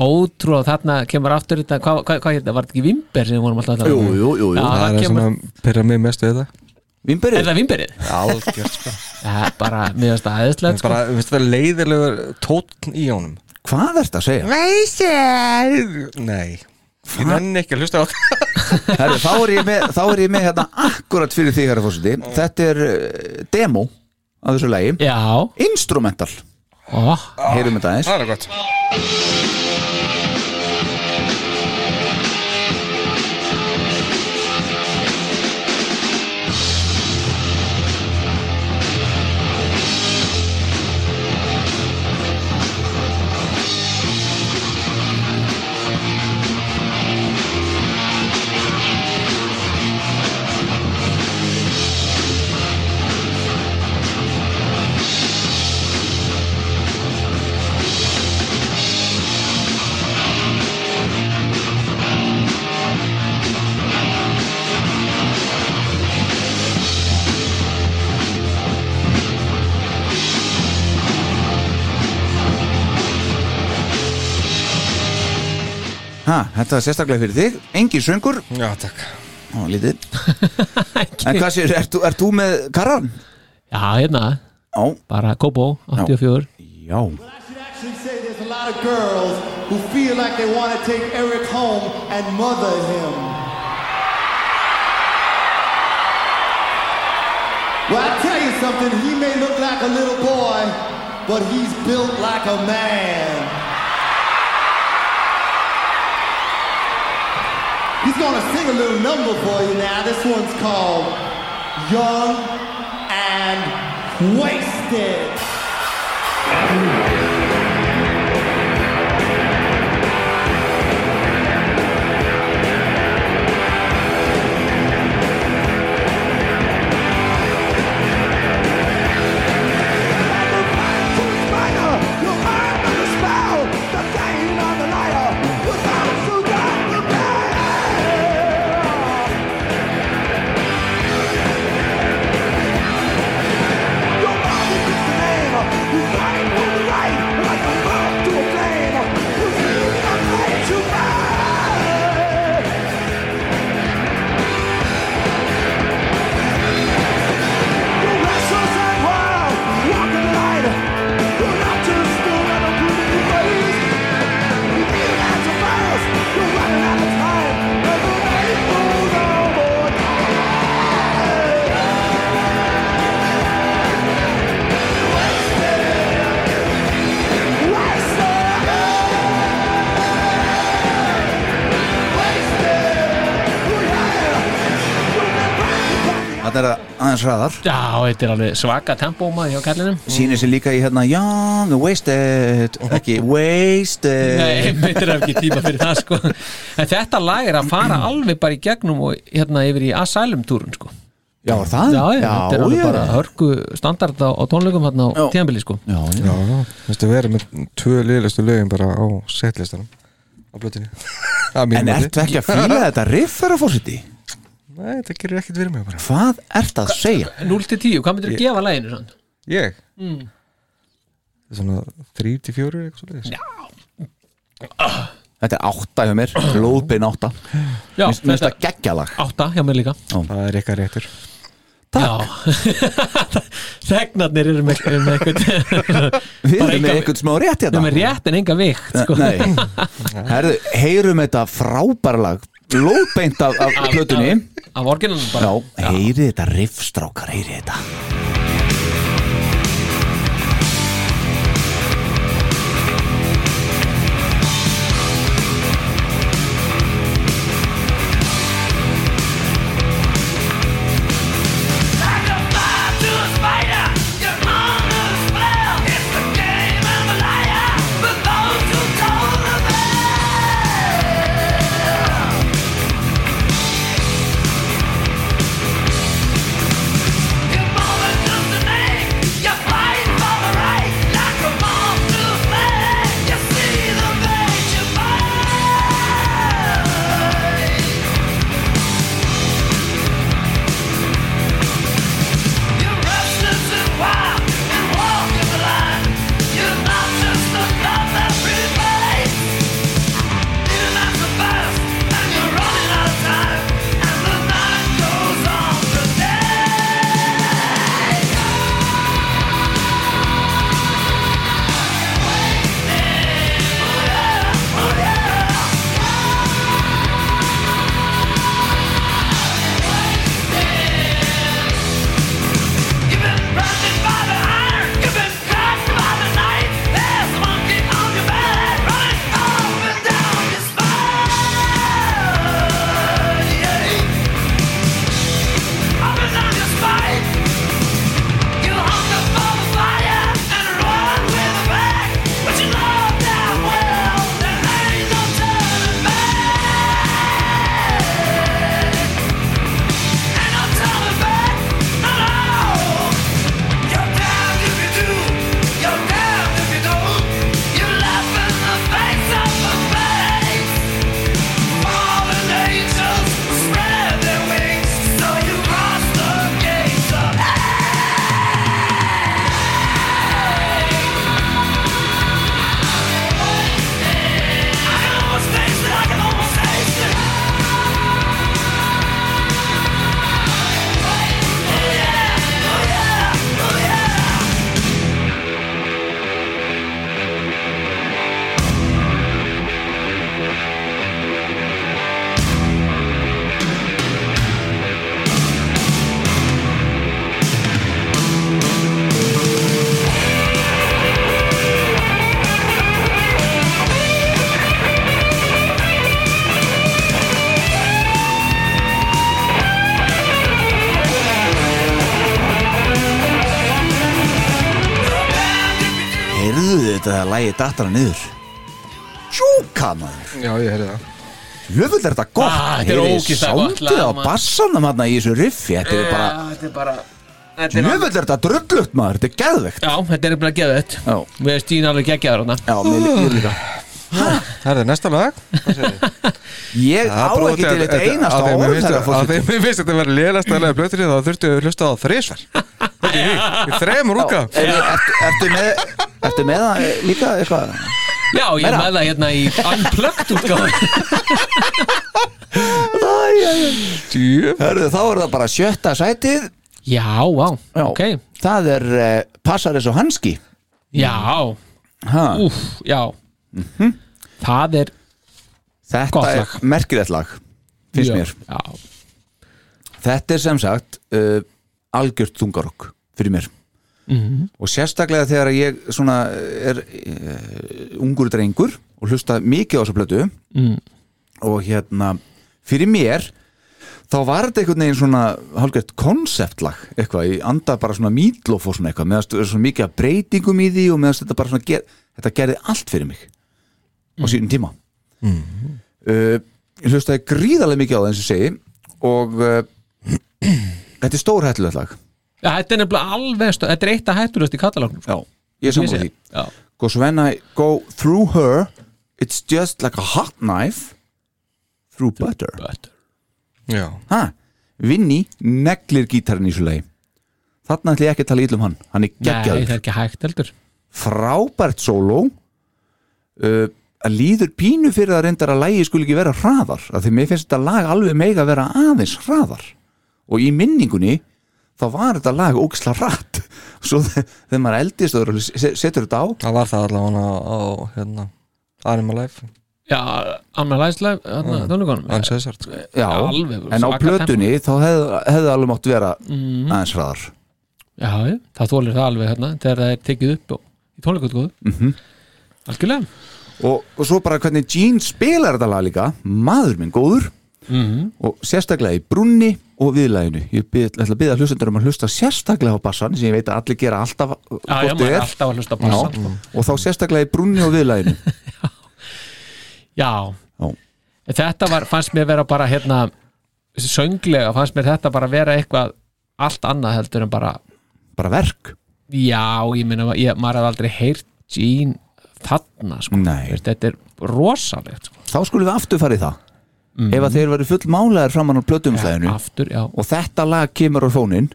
E: Ótrúlega þarna kemur aftur þetta Hvað hva, hva, hérna, var þetta ekki Vimber sem við vorum alltaf að tala
C: jú,
E: um?
C: jú, jú, jú.
E: Já,
D: Það
E: það
D: er það
E: kemur,
D: sem pyrra mig mest við þetta
E: er
C: Vínberið,
E: það Vimberið?
D: Algjört sko
E: Já, bara miðast að aðeinslega sko.
D: bara, veist það, leiðilegur tótn í honum
C: hvað er þetta að segja?
D: Veisir Nei Ég nenni ekki að hlusta á það
C: Herri, þá, er ég með, þá er ég með hérna akkurat fyrir því herra fórseti Þetta er uh, demo af þessu lagi
E: Já,
C: Instrumental,
E: ó,
C: heyrum þetta aðeins
D: Það er gott
C: ha, Þetta er sérstaklega fyrir þig, engin söngur
D: Já, takk
C: Ó, lítið En hvað sér, ert þú, ert þú með karran?
E: já, hérna
C: Já,
E: bara Kobo, 84
C: já
A: actually say there's a lot of girls who feel like they want to take Eric home and mother him. Well, I tell you something, he may look like a little boy, but he's built like a man. He's gonna sing a little number for you now. This one's called Young and Wasted.
C: Þetta er að- aðeins hraðar
E: Já, þetta er alveg svaka tempóma hjá kallinum
C: Sýnir sér líka í hérna Young, wasted, ekki wasted
E: Nei, meitir er ekki tíma fyrir það sko En þetta lag er að fara alveg bara í gegnum og hérna yfir í Asylum túrun sko
C: Já, er það?
E: Já, já, þetta er alveg
C: já.
E: bara hörku standard á, á tónleikum hérna á tíðanbili sko
C: Já, já.
D: Já, já, þú veist að vera með tvö liðlistu lögin bara á setlistanum á blötinni
C: En ertu ekki að fýla þetta riff þeirra fórsiti?
D: Nei, það gerir ekkert verið mig bara
C: Hvað ert að segja?
E: 0 til 10, hvað myndir að gefa laginu sann?
D: Ég? Mm. Svona 3-4 eitthvað svo leiðis
C: Þetta er átta hjá mér, lóðbein átta Mér
E: Já,
C: finnst
E: þetta
C: það geggjalag
E: 8 hjá mér líka
D: Það er eitthvað réttur
E: Já Þegnarnir eru með, eru með eitthvað
C: Við
E: Bara
C: erum með
E: engan-
C: eitthvað smá rétt
E: Þeim
C: hérna
E: er rétt en enga vikt sko
C: Nei, herðu, heyrum þetta frábærlag Lóðbeint af, af plötunni
E: Af orginanum
C: Já,
E: bara
C: heyrið þetta riffstrákar, heyrið þetta
G: You're
C: erfitt að það lægi dattara niður Sjúka maður
D: Já, ég heyrði það
C: Jöfull er þetta gott
E: Ah, þetta er
C: Heyriði
E: ógeðslega gott
C: Soundið á
E: lag, maður.
C: bassanum hann í þessu riffi Þetta er bara
E: Eh, þetta er bara þetta er
C: Jöfull er þetta drullut maður, þetta er geðvegt
E: Já, þetta er bara geðvett
C: Já,
E: Við erum stíðin alveg geggjaður hana
C: já, mér
E: Mm.
C: lí- ég líka
D: Herði, næsta lag
C: Ég á
D: broti
C: ekki til
D: að-
C: þetta
D: að-
C: einasta
D: að þeim
C: orð
D: mér finnst-
C: þeirra
D: Að
C: fólki
D: þeim mér finnst þetta verið lélegast að lega blöttur þá þurftu að hlusta á það þrísvar Þetta er því, í þremur úka
C: Ertu með Ertu með það eh, líka eitthvað
E: Já, ég
C: Meira.
E: mæla hérna í unplugged útgáð
C: Hörðu, þá er það bara sjötta sætið
E: Já, vá,
C: Já.
E: ok
C: Það er eh, passar eins og hanski
E: Já,
C: ha,
E: úf, já
C: Mhm.
E: Það er
C: Þetta
E: gott
C: er
E: lag.
C: merkilegt lag Finnst
E: Já,
C: mér
E: Já,
C: Þetta er sem sagt uh, algjört þungarokk fyrir mér og sérstaklega þegar ég svona eh, er uh, ungur drengur og hlusta mikið á þessu plötu og hérna fyrir mér þá var þetta einhvern veginn svona hálfgert konceptlag eitthvað, ég anda bara svona mýtlof og svona eitthvað, meðast er svona mikið af breytingum í því og meðast þetta bara svona ger, þetta gerði allt fyrir mig á sínum tíma uh, ég hlustaði gríðarlega mikið á það eins og ég segi og uh, þetta er stór hættulegt lag
E: Já, þetta er nefnilega alveg stó- Þetta er eitt að hætturast í katalógnum sko,
C: já, ég er sammála því
E: Já,
C: because when I go through her it's just like a hot knife through butter
E: but
D: Já,
C: ha, Vinni neglir gítarinn í svo lei þarna ætla ég ekki að tala ítlum hann hann er
E: Nei, það er
C: geggjaður,
E: ekki hægt heldur
C: frábært sóló uh, að líður pínu fyrir að reyndar að lægi skuli ekki vera hraðar af því mér finnst þetta lag alveg mega að vera aðeins hraðar og í minningunni þá var þetta lag ógisla hratt svo þe- þegar maður eldist og se- setur þetta á
D: það var það allavega á, hérna Animal Life,
E: Já, Anna Læsla, hérna,
C: Ah,
E: tónleikonum
D: Hans Hesart sko.
C: Já,
E: Alveg,
C: en á
E: svaka Mhm.
C: plötunni þá hefði, hefði alveg mátt vera aðeins hraðar
E: Já, já, það þólir það alveg hérna þegar það er tekið upp og, í tónleikutgóðu mm
C: Mhm.
E: -hmm. Algjörlega
C: og, og svo bara hvernig Gene spilar þetta lag líka maður minn góður
E: Mhm.
C: og sérstaklega í brunni og viðlæginu ég bið, ætla að byggja hlustendur um að hlusta sérstaklega á bassan sem ég veit að allir gera alltaf
E: Já, já,
C: hvort
E: maður
C: þið
E: er
C: er
E: alltaf að hlusta á
C: Já,
E: bassann, sko.
C: og þá sérstaklega í brunni og viðlæginu
E: Já,
C: Já.
E: þetta var, fannst mér vera bara hérna, sönglega fannst mér þetta bara vera eitthvað allt annað heldur en bara
C: bara verk
E: já, ég meina, ég, maður hafði aldrei heyrt Jean þarna sko.
C: Nei.
E: Veist, þetta er rosalegt sko.
C: þá skulum við aftur farið það ef að þeir verið fullmálaðir framan á plötumflæðinu
E: aftur, Mhm. já,
C: og þetta lag kemur á fónin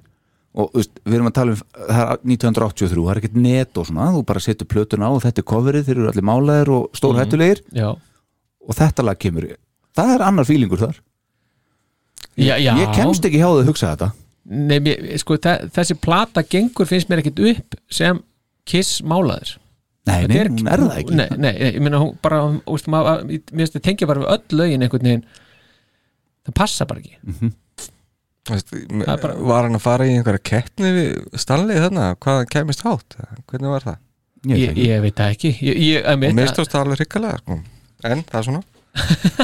C: og þú veist, við erum að tala um það er 1983, það er ekkert net og svona þú bara setur plötuna á og þetta er coverið þeir eru allir málaðir og stórhættulegir
E: já,
C: og þetta lag kemur, það er annar fílingur þar
E: já, já
C: ég kemst ekki hjá það að hugsa þetta
E: Nei, mér, sko, þe- þessi plata gengur finnst mér ekkit upp sem Kiss málaður
C: nei, nei,
E: Þetta
C: hún er það ekki
E: Nei, nei, nei, ég meina hún bara, hún- þú veist, maður, mér finnst þetta tengja bara við öll lögin einhvern veginn það passa bara ekki
D: Þú veist, m-
E: Það er bara-
D: Var hann að fara í einhverja keppni við Stanley þarna, hvað hann kemist hátt hvernig var það?
C: ég, ég,
E: ég,
C: ég,
E: ég veit það ekki ég, ég,
D: Og
E: einmitt,
D: mistóst það alveg hryggalega sko. En það er svona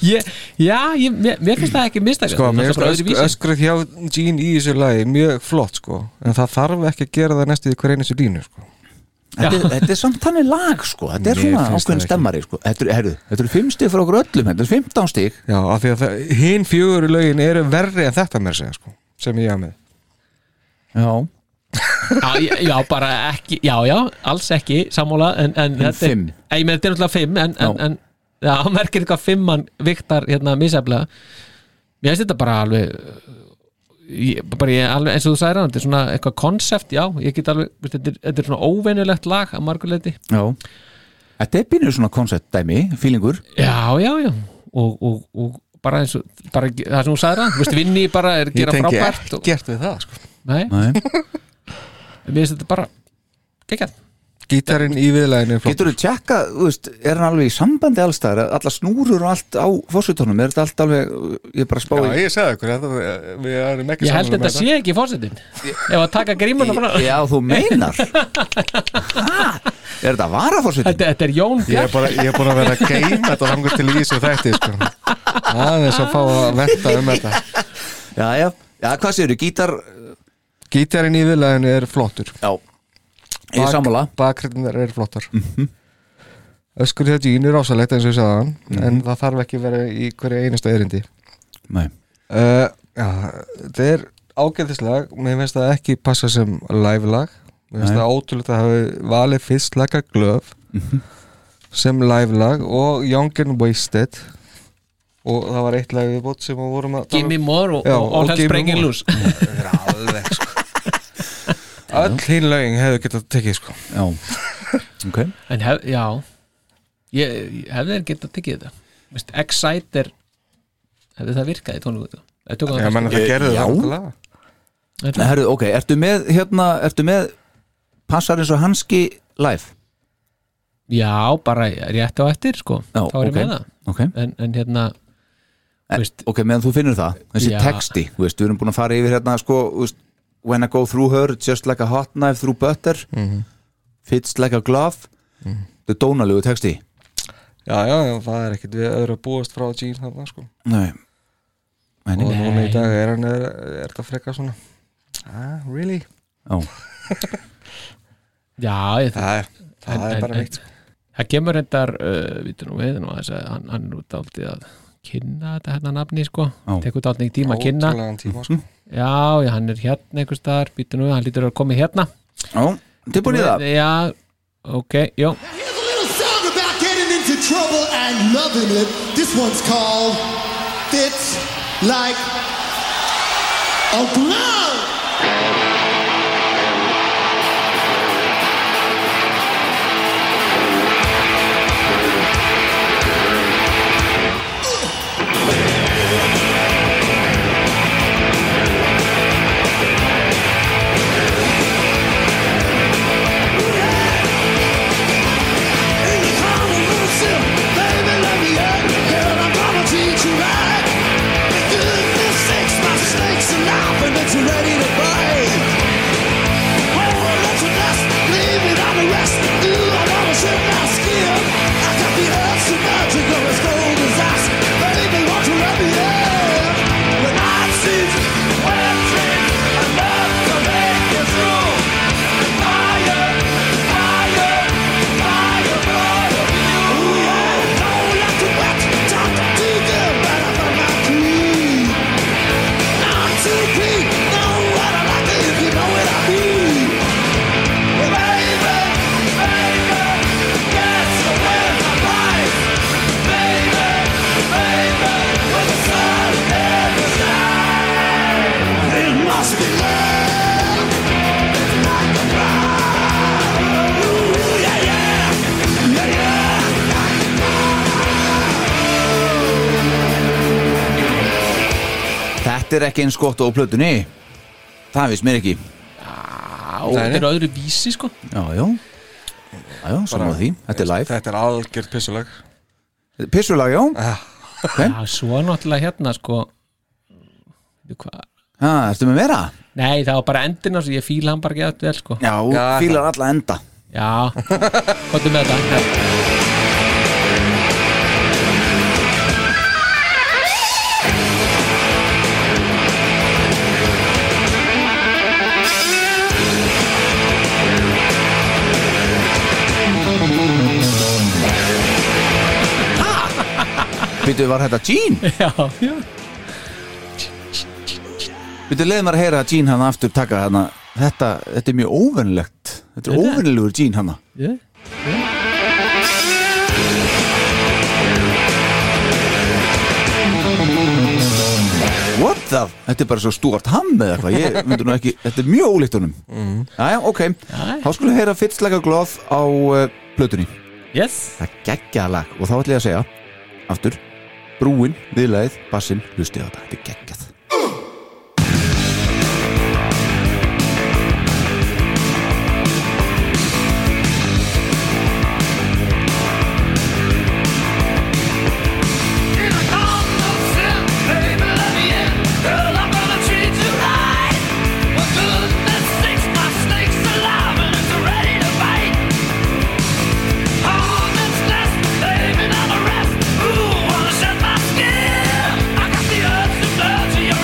E: ég, já, ég, mér, mér finnst það ekki mistakast
D: sko, mér
E: bara
D: finnst
E: öðru
D: ösk-
E: vísi
D: öskrið hjá Gene í þessu lagi mjög flott sko en það þarf ekki að gera það næstu í hver einu línu sko.
C: þetta, er- þetta er samt þannig lag sko, þetta er
D: Mér
C: svona
D: finnst það
C: ákveðin
D: ekki.
C: stemmari sko. þetta, er, heyrðu, þetta er fimm stig fyrir okkur öllum þetta er 15 stig
D: já, af því að það- hin fjögur lögin eru verri en þetta mér segja sko, sem ég á með
C: já,
E: já, ég- já, bara ekki, já, já, alls ekki sammála, en, en þetta er-
C: fimm.
E: Eh, ég meina, þetta er náttúrulega fimm, en, en,
C: Já.
E: en já, hann merkir eitthvað fimmann viktar hérna misjaflega mér finnst þetta bara alveg ég, bara ég, alveg, eins og þú sagðir á þetta er svona eitthvað konsept, já, ég get alveg veist, þetta, er, þetta er svona óvenjulegt lag að marguleiti
C: já þetta er bínuð svona koncept dæmi, fílingur
E: já, já, já, og, og, og bara eins og, bara það sem þú sagðir á þú veist, vinni bara er að
D: ég
E: gera
D: tengi
E: frábært og,
D: ekkert við það sko.
E: nei,
C: Nei.
E: mér finnst þetta bara geggjart
D: gítarinn í viðlæginu er flott.
C: Getur þú tjekka, þú veist, er hann alveg í sambandi allstaðar, alla snúrur og allt á fósutónum, er þetta allt alveg ég er bara að spá
D: já,
C: í-
D: ég sagði ykkur þetta, við erum ekki
E: Ég held
D: sammála um
E: þetta
D: með
E: sé ekki fórsetin Ef að taka grímuna frá
C: Já, þú meinar ha, Er þetta varafósutin?
E: Þetta, þetta er Jón
D: Ég er
E: Björk
D: bara, ég er bara að vera að geima þetta þangur til í þessu þætti sko. aðeins að fá að velta um þetta
C: Já, já, já, hvað séu, gítar
D: gítarinn í viðlæginu er flottur
C: Já, Ég er sammála Mhm.
D: bakgrindar eru flottar öskur þetta dýn er ásalegt eins og ég sagði hann
C: Mhm.
D: en það þarf ekki að vera í hverju einasta erindi
C: Nei.
D: uh, já, þetta er ágæðislag mér finnst það ekki passa sem live lag mér finnst
C: Nei.
D: það ótrúlega að hafa valið fyrst laga glöf
E: Mhm.
D: sem live lag og Young and Wasted og það var eitt lag við bótt sem við vorum að tala um.
E: Gimme More og,
D: Já,
E: og All
D: og
E: Hell's
D: Gimme
E: Breaking
D: More.
E: Loose
D: Það er alveg sko Öll hinn lögin hefðu getað tekið sko
C: Já Ok
E: En hef, já Ég, ég hefði þeir getað tekið þetta Vist, Excite er hefði það virkað í tónleikum Það sko- tökum
D: Ég menna það
C: Eh,
D: gerðu
C: já.
D: það náttúrulega.
C: Nei, herru, ok, ertu með hérna, ertu með passar eins og hanski live?
E: Já, bara rétt á eftir sko
C: Já,
E: Þá
C: ok.
E: er ég með það
C: Ok,
E: En, en hérna,
C: En-
E: veist,
C: ok, meðan þú finnur það, þessi
E: Já.
C: texti, þú veist, við erum búin að fara yfir hérna, sko, þú veist, when I go through her, just like a hot knife through butter, fits like a glove, þetta er dónalugu texti.
D: Já, já, já, það er ekkert við öðru að búast frá Gene þarna sko
C: Nei, Nei,
D: Og
C: nei,
D: núna í dag er hann er, er það frekar svona Ah, really?
C: já,
E: já ég, það,
D: Það er, það
E: En-
D: er
E: en-
D: bara
E: en-
D: veikt sko
E: það kemur reyndar uh, við nú við nú, þess að hann, hann er út áltið að kynna þetta hérna nafni sko
C: Já.
E: tekur þetta áltið tíma um að kynna
D: Ótrúlegan tíma sko
E: Já, já, hann er hérna einhvers staðar, býtu nú, hann lítur að koma hérna
C: já, tilbúin í það.
E: Já, ok, jú
B: Here's a little song about getting into trouble and loving it. This one's called Fits Like a Glove. Must be love. It's like a fire. Ooh, yeah, yeah, yeah, yeah.
C: Þetta er ekki eins gott á plötunni, það finnst mér ekki.
E: Á, þetta er öðru vísi sko
C: Já, já, já, já, saman því, þetta er live.
D: Þetta er algjörð pissulag
C: Pissulag, já,
E: Já, svo er náttúrulega hérna sko Veitu hvað?
C: ha, ertu með meira?
E: Nei, það var bara endina svo ég fíla hann bara ekki eftir vel sko
C: Já,
D: Já,
C: fílar alla enda.
E: Já, hvað er með þetta? Já.
C: Býtu, var þetta Gene?
E: Já, já,
C: Býttu leið maður að heyra Gene hann aftur taka hana Þetta, þetta er mjög óvennlegt Þetta er
E: Þetta-
C: óvennilegur Gene hana
E: já.
C: What the? Þetta er bara svo stúart ham eða eitthvað Ég myndi nú ekki, þetta er mjög ólíkt honum Mm. Jæja, ok Þá skulum við heyra fyrstlega glóð á uh, plötunni
E: Yes
C: Það er geggjað lag og þá ætlum ég að segja Aftur, brúin, viðlaðið, bassinn, hlustið á þetta Þetta er geggjað
J: Baby, now the rest. Ooh, wanna shed my skin. I got the urge to blow to you.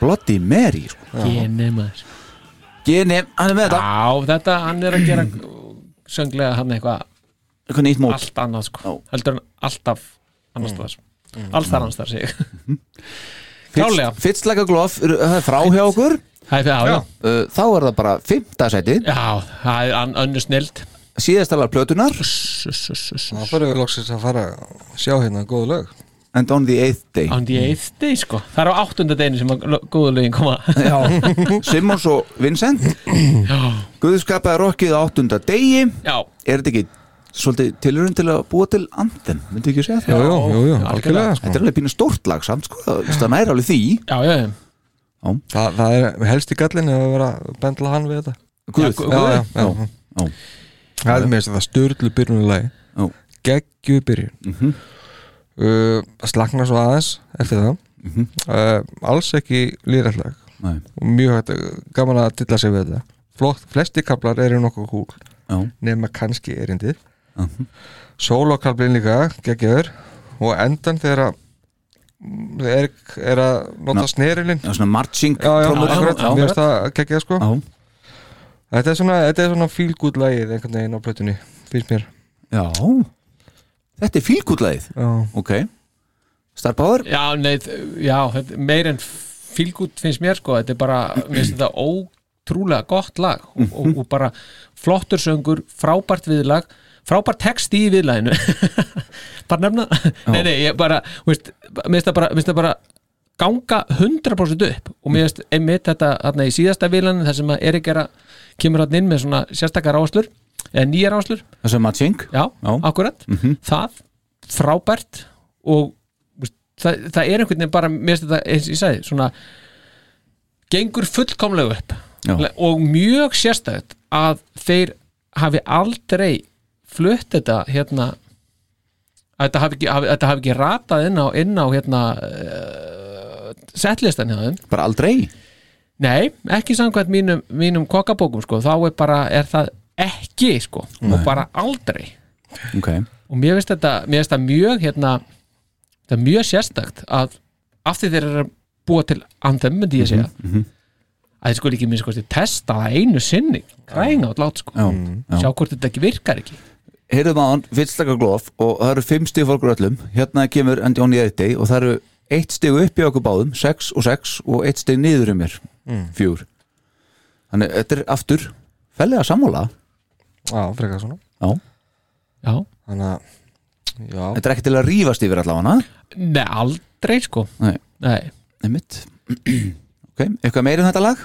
C: Bloody Mary sko.
E: Gene maður
C: Gene, hann er með
D: Ah,
C: þetta
E: Já, þetta, hann er að gera sönglega hann eitthvað
C: Eitthvað nýtt mót
E: allt annað sko
C: Já.
E: heldur hann alltaf annars staðar sko. alls þar annars staðar sig klálega.
C: Fitz- Fitz like a glove, eru- það er frá hjá okkur
E: Hæ, já, já.
C: Uh, Þá er það bara fymta seti
E: já, það er an- önnur snild
C: Síðastalar plötunar
D: Það fyrir við loksins að fara að sjá hérna góð lög
C: And on the eighth day
E: on the eighth day sko það er á áttunda deginu sem að lo- góðu lögin koma
C: Simmons og Vincent Guðskapaði rockið á áttunda degi
E: Mm. já,
C: Er þetta ekki svolítið tilurinn til að búa til andin Myndi ekki segja
D: Jú,
C: það
D: jú, jú, jú, algjörlega
C: Þetta
D: sko.
C: er alveg pínu stórt lag samt sko Það það nær alveg því
E: já, já, já.
D: Þa, Það er helst í gallinu að vera að bendla hann við þetta
C: Guð,
E: gu-
D: Já, já, já,
C: Já, já.
D: Það er mér að það styrlu
C: Já.
D: byrjunulegi Geggju byrjun
C: Mhm.
D: uh, Slagna svo aðeins eftir það uh, Alls ekki lýrætlag
C: Mhm. Nei.
D: og mjög hægt að- gaman að dilla sig við þetta Flott, flesti kaplar eru nokkuð kúl
C: Já.
D: nema kannski erindið
C: Mhm.
D: Sólokablin líka geggjöður og endan þegar að mm, er, er að nota
C: Ná.
D: snerilinn
C: Já, svona marching
D: Já, já,
C: trommur.
D: akkurat,
C: Já,
D: mér finnst það geggjað sko
C: já,
D: Þetta er svona, þetta er svona feel good lagið einhvern veginn á plötunni, finnst mér
C: já Þetta er fílgútlaðið
D: Já,
C: Ok Star Power
E: já, nei, þ- já þetta er meir en fílgút finnst mér sko þetta er bara, mér finnst þetta ótrúlega gott lag og, og, og bara flottur söngur, frábært viðlag frábært text í viðlaginu bara nefna nei, nei, ég bara, þú veist, mér finnst það bara, mér finnst það bara ganga 100% upp og mér finnst einmitt þetta þarna í síðasta viðlaginu þar sem að Erik er að kemur hann inn með svona sérstakar áslur eða nýjar áslur
C: Þessi matching
E: já,
C: Já. Mhm.
E: akkurat það, frábært og veist, það, það er einhvern veginn bara, mér finnst þetta eins og ég sagði, svona gengur fullkomlega upp
C: Já.
E: og mjög sérstætt að þeir hafi aldrei flutt þetta hérna að þetta hafi ekki, hafi, þetta hafi ekki ratað inn á, inn á hérna uh, setlistan hjá þeim
C: Bara aldrei
E: Nei, ekki samkvæmt mínum, mínum kokkabókum sko, þá er bara, er það ekki sko, og bara aldrei
C: Ok
E: og mér finnst þetta, mér finnst það mjög hérna, það er mjög sérstakt að af því þeir eru að búa til anthem, myndi ég segja að þeir sko ekki minnst kosti testa það einu sinni, græna og lát sko
C: Já, já.
E: sjá hvort þetta ekki virkar ekki
C: Heyrðum á Mm. hann, fyrstaka glof og það eru fimm stig fólkur öllum Hérna kemur Andy Only Eight Day og það eru eitt stig upp í okkur báðum sex og sex og eitt stig niður um mér fjúr Þannig, þetta er aftur fellega sammála
D: já frekar svona
C: Já,
E: Já,
D: Þannig að, já,
C: þetta er ekki til að rífast yfir allavega
E: nei, aldrei sko
C: Nei.
E: Nei,
C: Nei mitt Ok, eitthvað meira um þetta lag?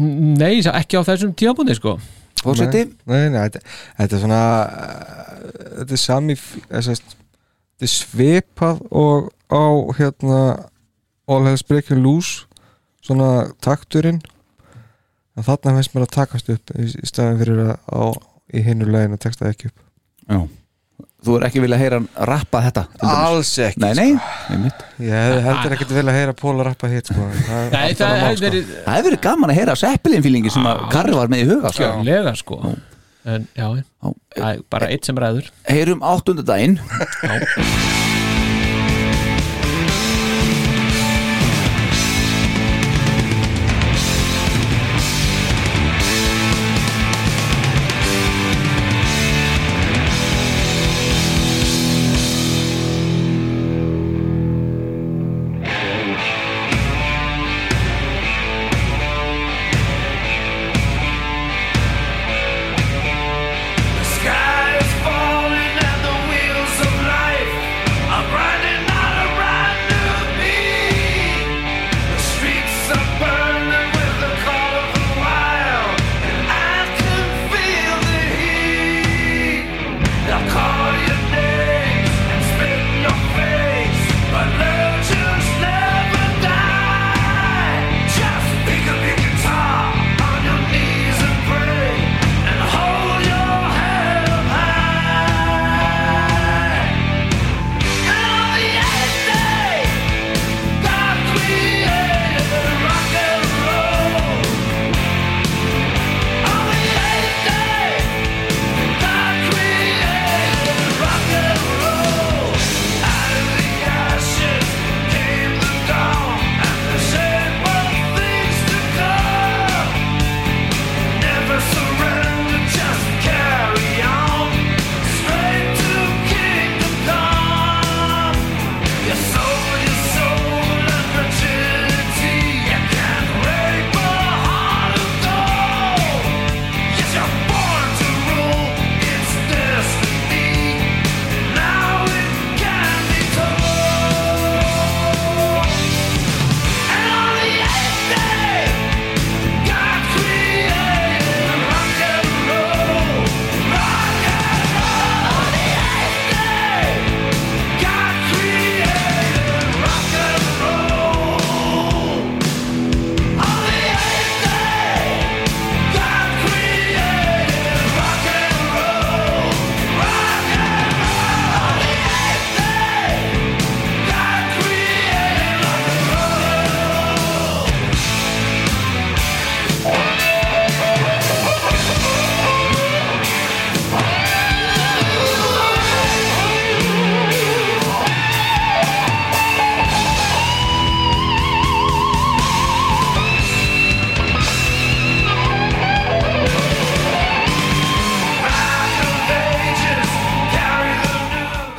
E: nei sá- ekki á þessum tímabúndi sko
C: Fórseti?
D: nei, nei, þetta, þetta er svona eh, Þetta er sami eh, sest, Þetta er svipað og á hérna All Hells Breaking Loose svona takturinn en þarna finnst mér að takast upp í, í staðin fyrir að á, í hinu legin að texta ekki upp
C: Já Þú er ekki vilja heyra hann rappa þetta til dæmis?
D: ekki
C: Nei, nei, einmitt
D: Ég hefði heldur ekkert vel að heyra Póla rappa hitt sko. Það
E: Nei,
D: allt annað
E: það
D: mál,
E: hefur
D: sko.
E: verið
C: Það hefur verið gaman að heyra seppilin fílingi sem að Karri var með í huga sko.
E: Kjörlega sko En já, já. Æ, bara eitt sem ræður
C: Heyrum áttundadaginn
H: The sky is falling and the wheels of life are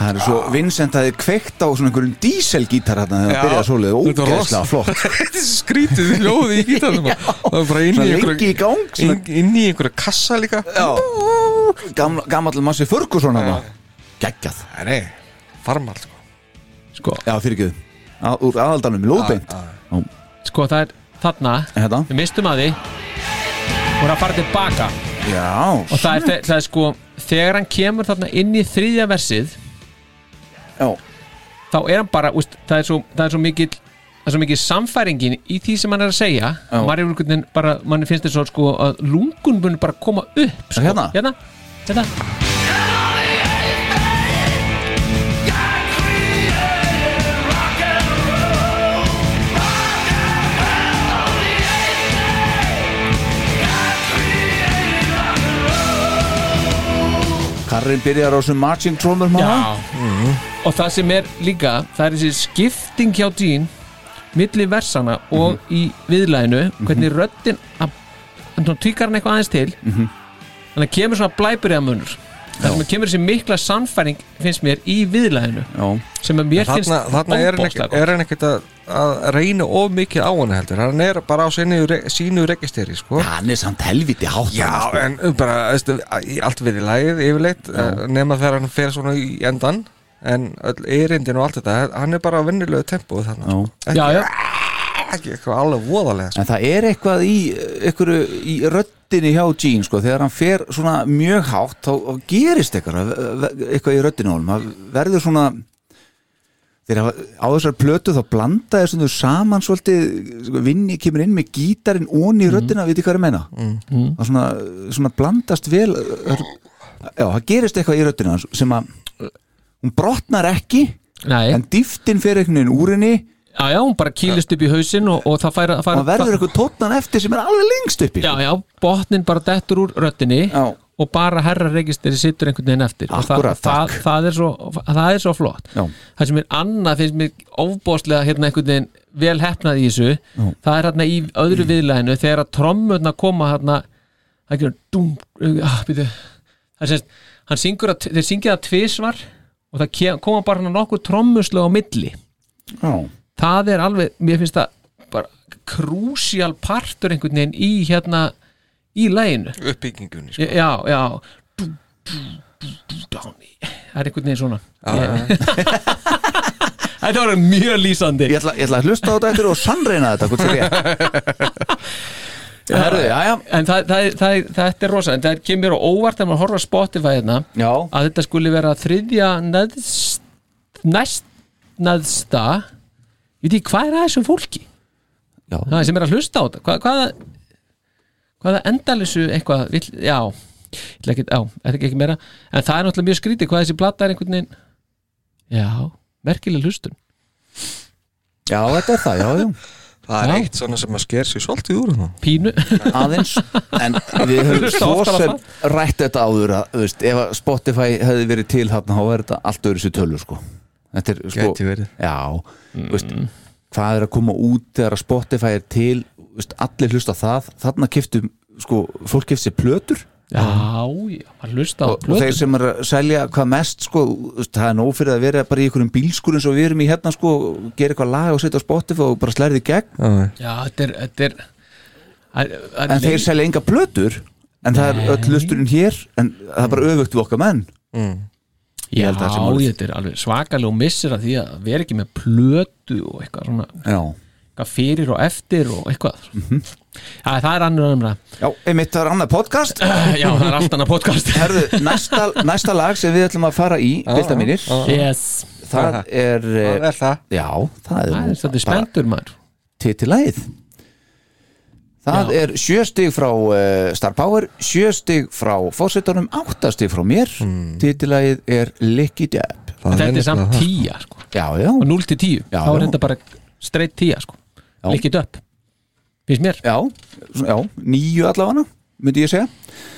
C: eins og Vincent hafi kveikt á svona einhverjum díselgítar hérna þegar
D: Ah. Já.
C: hann byrjaði svoleið
D: Þetta var
C: ógeðslega
D: rosa-
C: flott
D: Þetta er svo skrítið ljóð í gítarnum Það var bara inn í
C: Svona lengi í
D: einhverju
C: gang svona,
D: inn, inn í einhverju kassa líka
C: já, gamla, gamall massi Ferguson hann geggjað,
D: Nei, farmal sko.
C: já fyrirgjöð úr aðaldanum, lóðbeint
E: sko það er þarna
C: hérna,
E: við mistum að því og er að fara tilbaka
C: já,
E: og það er, þe- það er sko þegar hann kemur þarna inn í þriðja versið
C: já
E: þá er hann bara, úst, það er svo, það er svo mikill það er svo mikill samfæringin í því sem hann er að segja
C: Já.
E: maður er einhvern veginn bara, mann finnst þess að sko að lungun muni bara koma upp sko.
C: Hérna?
E: hérna, hérna
C: Karin byrjar á þessum marching trommur
E: Já. og það sem er líka það er þessi skipting hjá Jean milli versana og í viðlæðinu hvernig röddin að- þannig að tvíkar hann eitthvað aðeins til þannig að kemur svona blæpur eða munur þannig að kemur þessi mikla sannfæring finnst mér í viðlæðinu
C: já,
E: sem að mér finnst
D: Þarna, þarna er hann
E: ofboðslega
D: ekkert-
E: gott.
D: er hann ekkert að, að reyna of mikið á hann heldur Hann er bara á sínu, re- sínu registeri sko.
C: hann er samt helviti hátt hann,
D: Já,
C: sko.
D: en bara veistu, í allt við í lagið yfirleitt eh, nema þegar hann fer svona í endan en öll erindin og allt þetta hann er bara á vennilegu tempóð þannig
C: Já.
E: já, já.
D: sko. ekki eitthvað alveg voðalega sko.
C: En það er eitthvað í, eitthvað í röddinni hjá Gene sko, þegar hann fer svona mjög hátt þá þá gerist eitthvað, eh, eitthvað í röddinni á honum, það verður svona þegar hann- á þessar plötu þá blanda þessum þau saman svolítið sko, vinni kemur inn með gítarinn onni
E: Mhm.
C: í röddina, mm. veitir hvað ég meina mm. það svona, svona blandast vel já, það gerist eitthvað í röddina hans sem að hún brotnar ekki
E: Nei,
C: en dýftin fer einhvern veginn úr henni
E: já, já, hún bara kýlist upp í hausinn og, og það fær, fær
C: og það verður
E: það-
C: eitthvað tótnan eftir sem er alveg lengst uppi
E: Já, já, botnin bara dettur úr röttinni
C: Já.
E: og bara herrarregisteri sittur einhvern veginn eftir
C: Akkúrat,
E: og það,
C: takk.
E: það, það, er svo, það er svo flott
C: Já.
E: Það sem er annað finnst mér ofbóðslega hérna einhvern veginn vel hefnað í þessu það er hérna í öðru viðlæðinu þegar að trommurna koma hérna það er ekki dum ah, byrju. það er semst, hann syngur að, þeir syngja það tvisvar og það ke- koma bara hérna nokkur trommuslega á milli
C: Já,
E: það er alveg, mér finnst það bara krúsjál partur einhvern veginn í hérna í læginu
D: uppbyggingunni sko.
E: já, já Dú, dú, dú, dú, dáni. það er einhvern veginn svona þetta var mjög lýsandi
C: ég ætla, ég ætla að hlusta á þetta eftir og sannreina þetta hvort þér ég Herðu, já, já,
E: en það, það, er- það, er- þetta er rosa en það kemur á óvart þegar maður horfa Spotify hérna
C: já
E: að þetta skuli vera þriðja neðst, næst neðsta ég veit ekki hvað er að þessu fólki
C: Já.
E: það sem er að hlusta á þetta hvað, hvaða, hvaða endalisu eitthvað vill, já, ég ætla ekki, já, er ekki ekki meira en það er náttúrulega mjög skrítið hvað þessi plata er einhvern veginn já, merkileg hlustun
C: Já, þetta er það, já, já
D: það
E: Já.
D: er eitt svona sem að sker sér svolítið úr hann
E: pínu,
C: Aðeins, en við höfum
E: Hlusta
C: svo
E: oftar á
C: sem
E: það.
C: rætt þetta áður að, þú veist, ef að Spotify hefði verið til hann, þá er þetta allt öðru sér tölur, sko Þetta er, sko,
D: Gæti verið.
C: já, þú veist hvað er að koma út þegar að Spotify er til þú veist, allir hlusta á það, þarna kiftum, sko, fólk kift sér plötur
E: já, já að hlusta á
C: og, og þeir sem er að selja hvað mest sko, þú veist, það er nóg fyrir að vera bara í einhverjum bílskur eins og við erum í hérna sko, gera eitthvað lag og setja á Spotify og bara slærið í gegn
E: já, þetta er, þetta er að, að
C: en þeir selja enga plötur en það er öll lusturinn hér en það er bara öfugt við okkar menn
E: Já,
C: held að það sé málið.
E: þetta er alveg svakalega og missir að því að vera ekki með plötu og eitthvað svona,
C: já,
E: eitthvað fyrir og eftir og eitthvað
C: Mhm.
E: Já, það er annar ömra
C: já einmitt það er annað podcast
E: Já, það er allt annað podcast
C: Herðu, næsta, næsta lag sem við ætlum að fara í bylda mínir,
E: Yes
C: það er
D: það
C: eh,
D: er það
C: já, það
E: Það
C: er
E: er
C: nú
E: svolítið spenntur maður
C: titilæð Það er sjö stig frá uh, Star Power, sjö stig frá fórsetunum, átta stig frá mér mm. Titilæð er Licky Depp
D: Það
E: Þetta er
D: nefnilega
E: samt
D: það.
E: tíja, sko
C: Já, já,
E: Og 0 til 10,
C: Já.
E: þá er þetta bara streitt tíja, sko
C: Já.
E: Líkkið upp, finnst mér
C: já, svona- já, nýju allavega myndi ég segja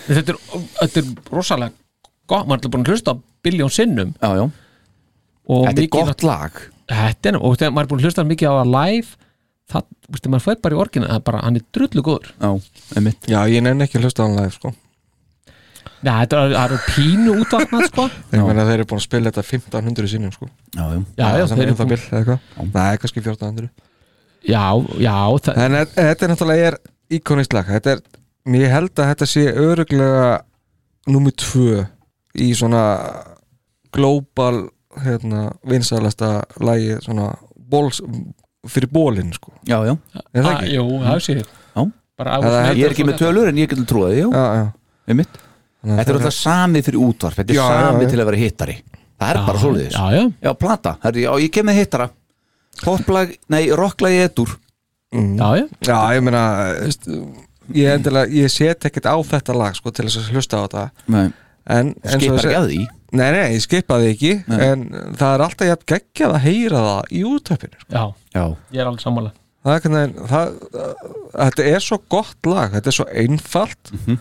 E: Þetta er, þetta er rosalega gott, maður er búin að hlusta á biljón sinnum
C: Já, já,
E: og
C: þetta er
E: mikið-
C: gott lag
E: Þetta er, og þegar maður er búin að hlusta mikið á að live það, veistu, maður fær bara í orginna það er bara, hann er drullu góður
C: Já, einmitt
D: já, ég nenni ekki að hlusta á hann live sko.
E: Nei, þetta er- það eru pínu útvatnað sko
D: Ég meina þeir eru búin að spila þetta 1500 sinnum sko
C: Já, já.
E: Já, já,
D: það
E: þeir
D: er
E: eru
D: um
E: búin
D: það bil eða eitthvað Nei, kannski 1400
E: Já, já, það,
D: En þe- þetta er náttúrulega er íkonist lag Þetta er, mér held að þetta sé öruglega Númi tvö Í svona Global, hérna, vinsælasta Lagi, svona Bóls, fyrir bólinn sko
C: já, já.
D: Er það
E: það
D: ekki?
E: Ah, Jú, það sé
C: Já.
E: Bara á-
D: Það er-
C: Ég er ekki með tölur en ég getur trúið, já,
D: Já, já
C: með mitt
D: Þannig að
C: Þetta er
D: þeir-
C: alltaf samið fyrir útvarp Þetta er
D: Já, já,
C: samið
D: já.
C: til að vera hittari Það er bara svoleiðis
E: Já, já,
C: Já, plata, herri, já, ég kem með hittara Poplag, nei, rocklagi ettur
E: já, já
D: Mm. Já, ég meina veist, ég, endilega, ég set ekkert á þetta lag sko, til þess að hlusta á þetta
C: Nei,
D: en, en svo
C: skipar
D: þessi-
C: ekki að því
D: Nei, nei, ég skipaði ekki
C: Nei.
D: en það er alltaf jafn geggjað að heyra það í útöpinu sko.
E: Já,
C: Já,
E: ég er alveg sammála
D: það er hvernig, það, þetta er svo gott lag, þetta er svo einfalt
C: Mhm.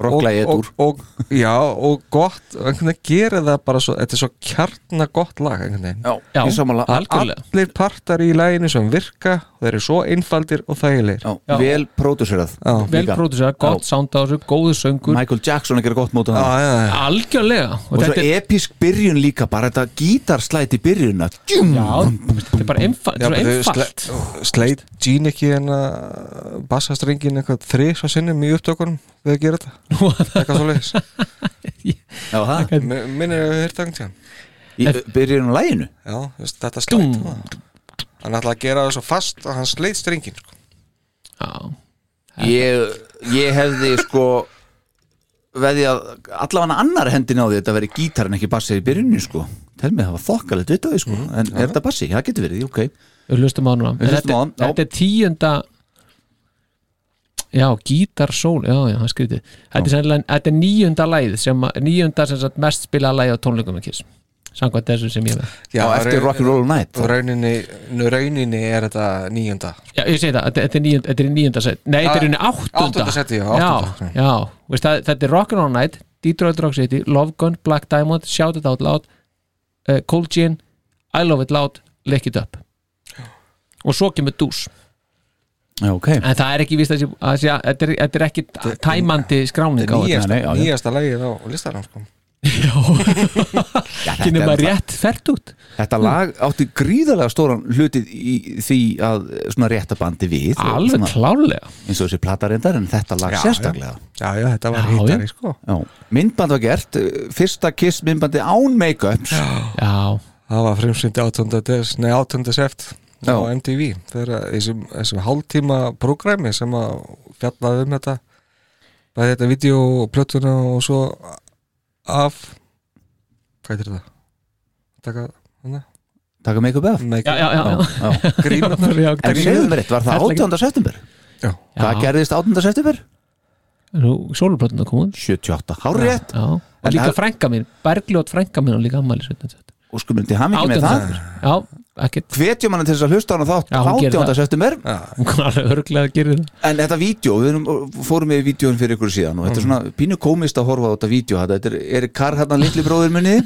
C: rocklagi
D: og,
C: ettur
D: og, og, já, og gott einhvern veginn gerir það bara svo þetta er svo kjarna gott lag einhvern veginn
C: Já,
E: Já.
C: ég sammála
E: Algjörlega.
D: allir partar í læginu sem virka þeir eru svo einfaldir og þægilegir
C: Já,
E: Já.
C: vel pródúserað
D: Já.
E: Vel
C: Líka.
E: pródusera, gott sound á þessu, góðu söngur
C: Michael Jackson að gera gott móta það
D: Já, já, já.
E: Algjörlega Og,
C: Og svo
E: þetta er,
C: episk byrjun líka bara þetta gítarslæti byrjun að djúm
E: já, þetta er bara einfalt
D: Já,
E: Þetta er svo
D: bara þau
E: einfalt
D: sle- Sleit Gene ekki en að bassastringin eitthvað þrið svo sinnum í upptökunum við að gera þetta eitthvað svo leiðis
C: Já, það,
D: Minn er að við hýrt angtján
C: í byrjun á læginu
D: Já, þú veist, þetta
E: Dúm.
D: slæt Hann ætlaði að gera það svo fast að hann sleit stringin sko.
E: Já,
C: ég, ég hefði sko veði að allavega annar hendin á því þetta veri gítar en ekki bassið í byrjunni sko tel mig það var þokkalegt við það sko en er þetta bassi, það getur verið, ok
E: við hlustum á hann núna
C: Við
E: En
C: hlustum
E: þetta-
C: á hann, já.
E: Þetta er tíunda Já, gítarsól Já, já, það er skrítið Þetta er, sennilega- þetta er níunda læð sem, að- Níunda sem sagt, mest spila læð á tónleikum með kiss Samkvæmt þessu sem ég er með
C: Já, eftir
D: raun-
C: Rock'n'Roll Night
D: og rauninni, nú rauninni er þetta níunda
E: Já, ég segi það, þetta- þetta er níunda, þetta er níunda set Nei, þetta er unni áttunda
D: áttunda seti, já,
E: Já,
D: áttunda.
E: já, veist það, þetta er Rock'n'Roll Night Detroit Rock City, Love Gun, Black Diamond Shout It Out Loud uh, Cold Gin, I Love It Loud Lick It Up og svo kemur dús
C: Já, ok
E: en það er ekki vist að, sé- að, sé- að þetta, er, þetta er ekki tæmandi skráning á þetta
D: nýjasta,
C: nei, já, já.
D: nýjasta lagið á listanum sko.
C: Já,
E: ekki
C: þetta,
E: nema
C: er náttúrulega-
E: rétt fært út
C: þetta lag átti gríðarlega stóran hlutið í því að eh, svona rétta bandi við og
E: alveg
C: svona,
E: klárlega
C: eins og þessi platarendar en þetta lag
D: Já,
C: sérstaklega
D: Já, já, þetta var
E: Já,
D: hýttari
E: já.
D: sko.
C: Já. myndband var gert, eh, fyrsta kiss myndbandi án make-ups
E: já,
D: Það var frumsýndi áttunda des, nei, áttunda seft
C: Já.
D: á MTV þegar þessum, þessum hálftíma prógræmi sem að fjallaði um þetta bæði þetta vídeo og plötuna og svo af hvað er þetta? Taka, hana?
C: taka make-up af
D: Make
E: já, já, já, já.
C: Já.
D: grínunar
E: Já,
C: En segðu mér eitt, var það
E: Ferlega.
C: 8. september?
D: Já.
C: Hvað
E: Já.
C: gerðist 8. september?
E: Nú, sóluplötuna kom hún
C: 78, hárrétt
E: já, og
C: En
E: líka
C: það-
E: frænka mín, Bergljót frænka mín og líka ammæli
C: og skumur til hamingi með það
E: átjönda já, ekkert
C: hvetjum hann til þess að hlusta hann á þátt
E: Já, hún gerir
C: 18.
E: það.
C: september
E: hún kom alveg örglega að gera það
C: en þetta vídeo, við erum, fórum með vídjóin fyrir ykkur síðan og þetta
E: Mm.
C: er svona pínu komist að horfa á þetta vídeo þetta er, er Karl hann litli bróðir munni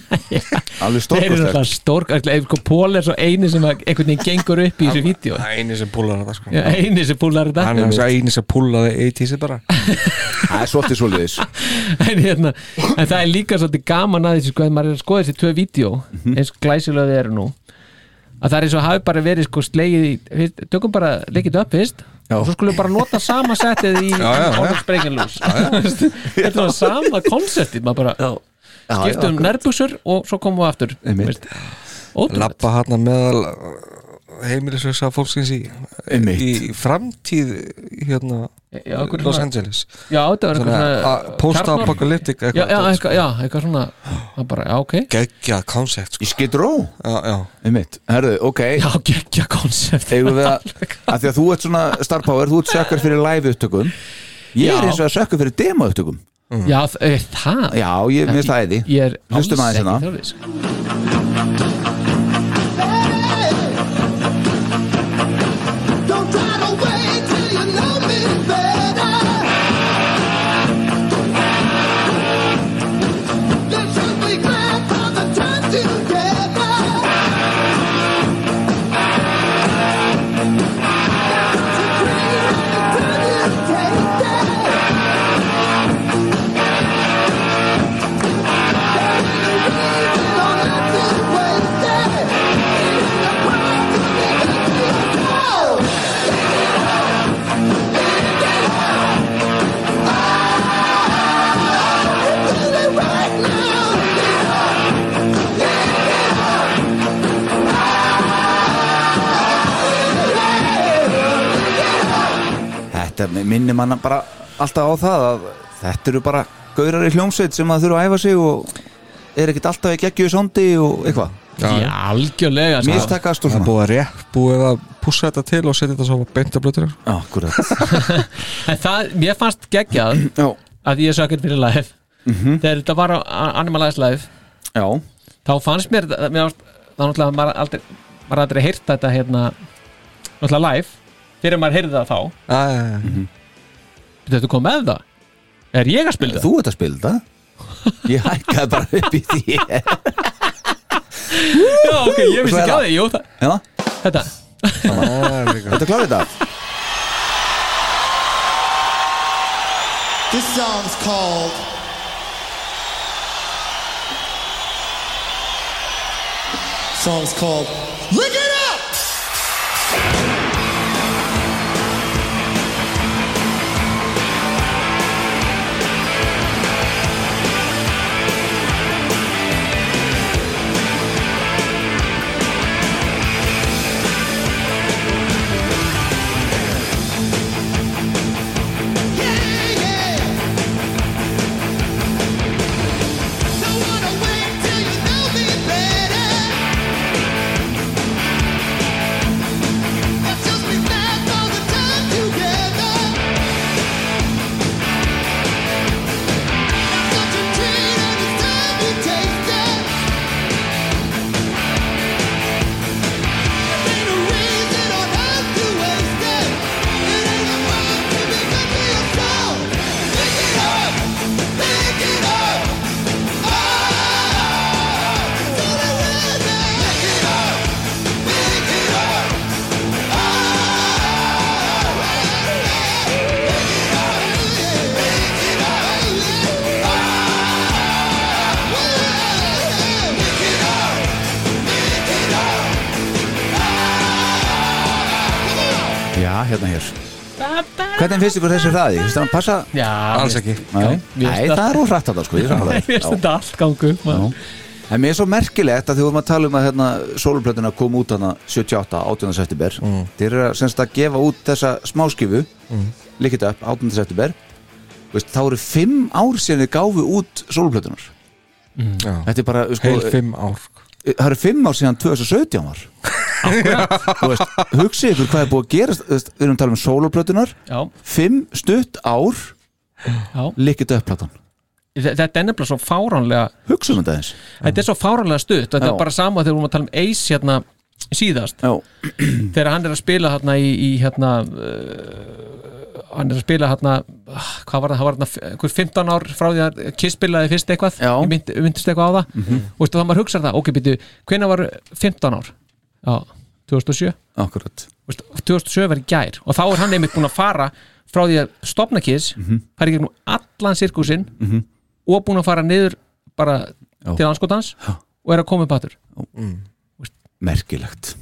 C: alveg
E: þeir eru
C: stórkostlegt
E: alltaf stórkastlega einhver pól sko, er svo eini sem að einhvern veginn gengur upp í þessu vídeo
D: Það er eini sem púlar þetta sko
E: eini sem púlar
D: Hann
E: þetta
D: er þess að eini sem púlaði 80s bara
C: það er svolítið svolítið
E: en, hérna, en það er líka svolítið gaman að þessu sko, ef maður er að skoða þessi tvö vídeo
D: Mhm.
E: eins glæsilega þið eru nú að það er svo hafi bara verið sko slegið í fyrst, tökum bara leikið upp fyrst og svo skulum við bara nota sama settið í
D: já, já.
E: Ólaf Sprengenlús þetta var sama konceptið maður bara skiptum
C: já,
E: nærbuxur og svo komum við aftur
C: Einmitt.
E: veist. ótrúlegt
D: Lappa hann meðal heimilisvösa fólksins í,
C: Einmitt.
D: í framtíð hérna
E: Já, okkur
D: Los
E: svona-
D: Angeles
E: já, þetta var
D: Svona, a- post-apocalyptic
E: já,
D: eitthvað
E: já, eitthvað, já, eitthvað svona það bara, já, ok
D: Gekkja koncept sko.
C: í skidró,
D: Já, já
C: einmitt, herðu, ok
E: já, geggja konsept
C: eigum við að, að því að þú ert svona star power, þú ert sökkar fyrir live upptökum ég
E: Já.
C: er eins og að sökkar fyrir demo upptökum
E: já, þ- eh, það
C: já, ég minnst það eði
E: ég er alls
C: hlustum aðeins
E: ekki
C: hérna
E: þjóðis
A: Don't try to wait till you know me better. You should be glad for the time together. To breathe until you take that.
C: þetta minnir manna bara alltaf á það að þetta eru bara gaurar í hljómsveit sem að þurfa að æfa sig og er ekkert alltaf í geggju í sondi og eitthvað,
E: Já, algjörlega sko.
C: mistakast og
D: Það er
C: svona
D: búið að rétt, búið að pússa þetta til og setja þetta svo beint að blötur
C: Akkurat
E: En það, mér fannst geggjað
C: Já,
E: að ég sökkert fyrir live
C: Mhm.
E: þegar þetta var á á Animalize live
C: já,
E: þá fannst mér, það- mér fannst, þá náttúrulega maður aldrei, maður aldrei heyrt þetta hérna, náttúrulega live fyrir maður heyrði það þá,
D: Já,
E: þetta kom með það er ég að spila það?
C: þú ert að spila þetta Ég hækkaði bara upp í því
E: Já, ok, ég vissi
C: Svo er
E: ekki
C: það.
E: að því, jú, það,
C: Já,
E: þetta
C: þetta er klárið þetta
A: This song's called Song's called Lick It Up! Pick it up!
C: Já, hérna hér Hvernig finnst ykkur þessi hraði? Finnst hann passa?
E: Já,
D: alls
E: mér-
D: ekki
C: Nei,
E: Mér
C: Nei
E: finnst
C: það
E: það-
C: er úr hrætt að það sko ég er sammála
E: Mér
C: þér.
E: finnst þetta allt gangu upp
C: Já.
E: maður.
C: En mér er svo merkilegt að því vorum að tala um að hérna, sólplötuna kom út hana 78, 18. september mm. þeir eru að, semst, að gefa út þessa smáskifu mm. líkit upp, 18. september Veist, þá eru fimm ár síðan þið gáfu út sólplötunar
D: Já.
C: Þetta er bara, sko,
D: Heil fimm ár
C: það eru fimm ár síðan 2017 var Þú veist, hugsið ykkur hvað er búið að gerast þú veist, við erum að tala um sólplötunar
E: Já,
C: fimm stutt ár
E: já.
C: líkit upp platan
E: Þe- þetta er nefnilega svo fáránlega
C: Hugsaðum þetta eins
E: þetta er svo fáránlega stutt, þetta
C: Já.
E: er bara sama þegar við erum að tala um Ace hérna síðast
C: Já, Mm.
E: þegar hann er að spila hérna í, í hérna uh, hann er að spila hérna ah, hvað var það, hann var hérna einhver 15 ár frá því að Kiss spilaði fyrst eitthvað
C: Já. Mhm.
E: ég mynd, myndist eitthvað á það mm -hmm. og þá maður hugsar það, ok, byrju, hvenær var 15 ár? Já, 2007
C: akkurat
E: Veistu, 2007 var í gær og þá er hann einmitt búin að fara frá því að stopna Kiss mm
C: Mhm.
E: -hmm. fara í gegnum allan sirkusinn og búin að fara niður bara
C: Já.
E: til anskotans og er að koma upp aður
C: Merkilegt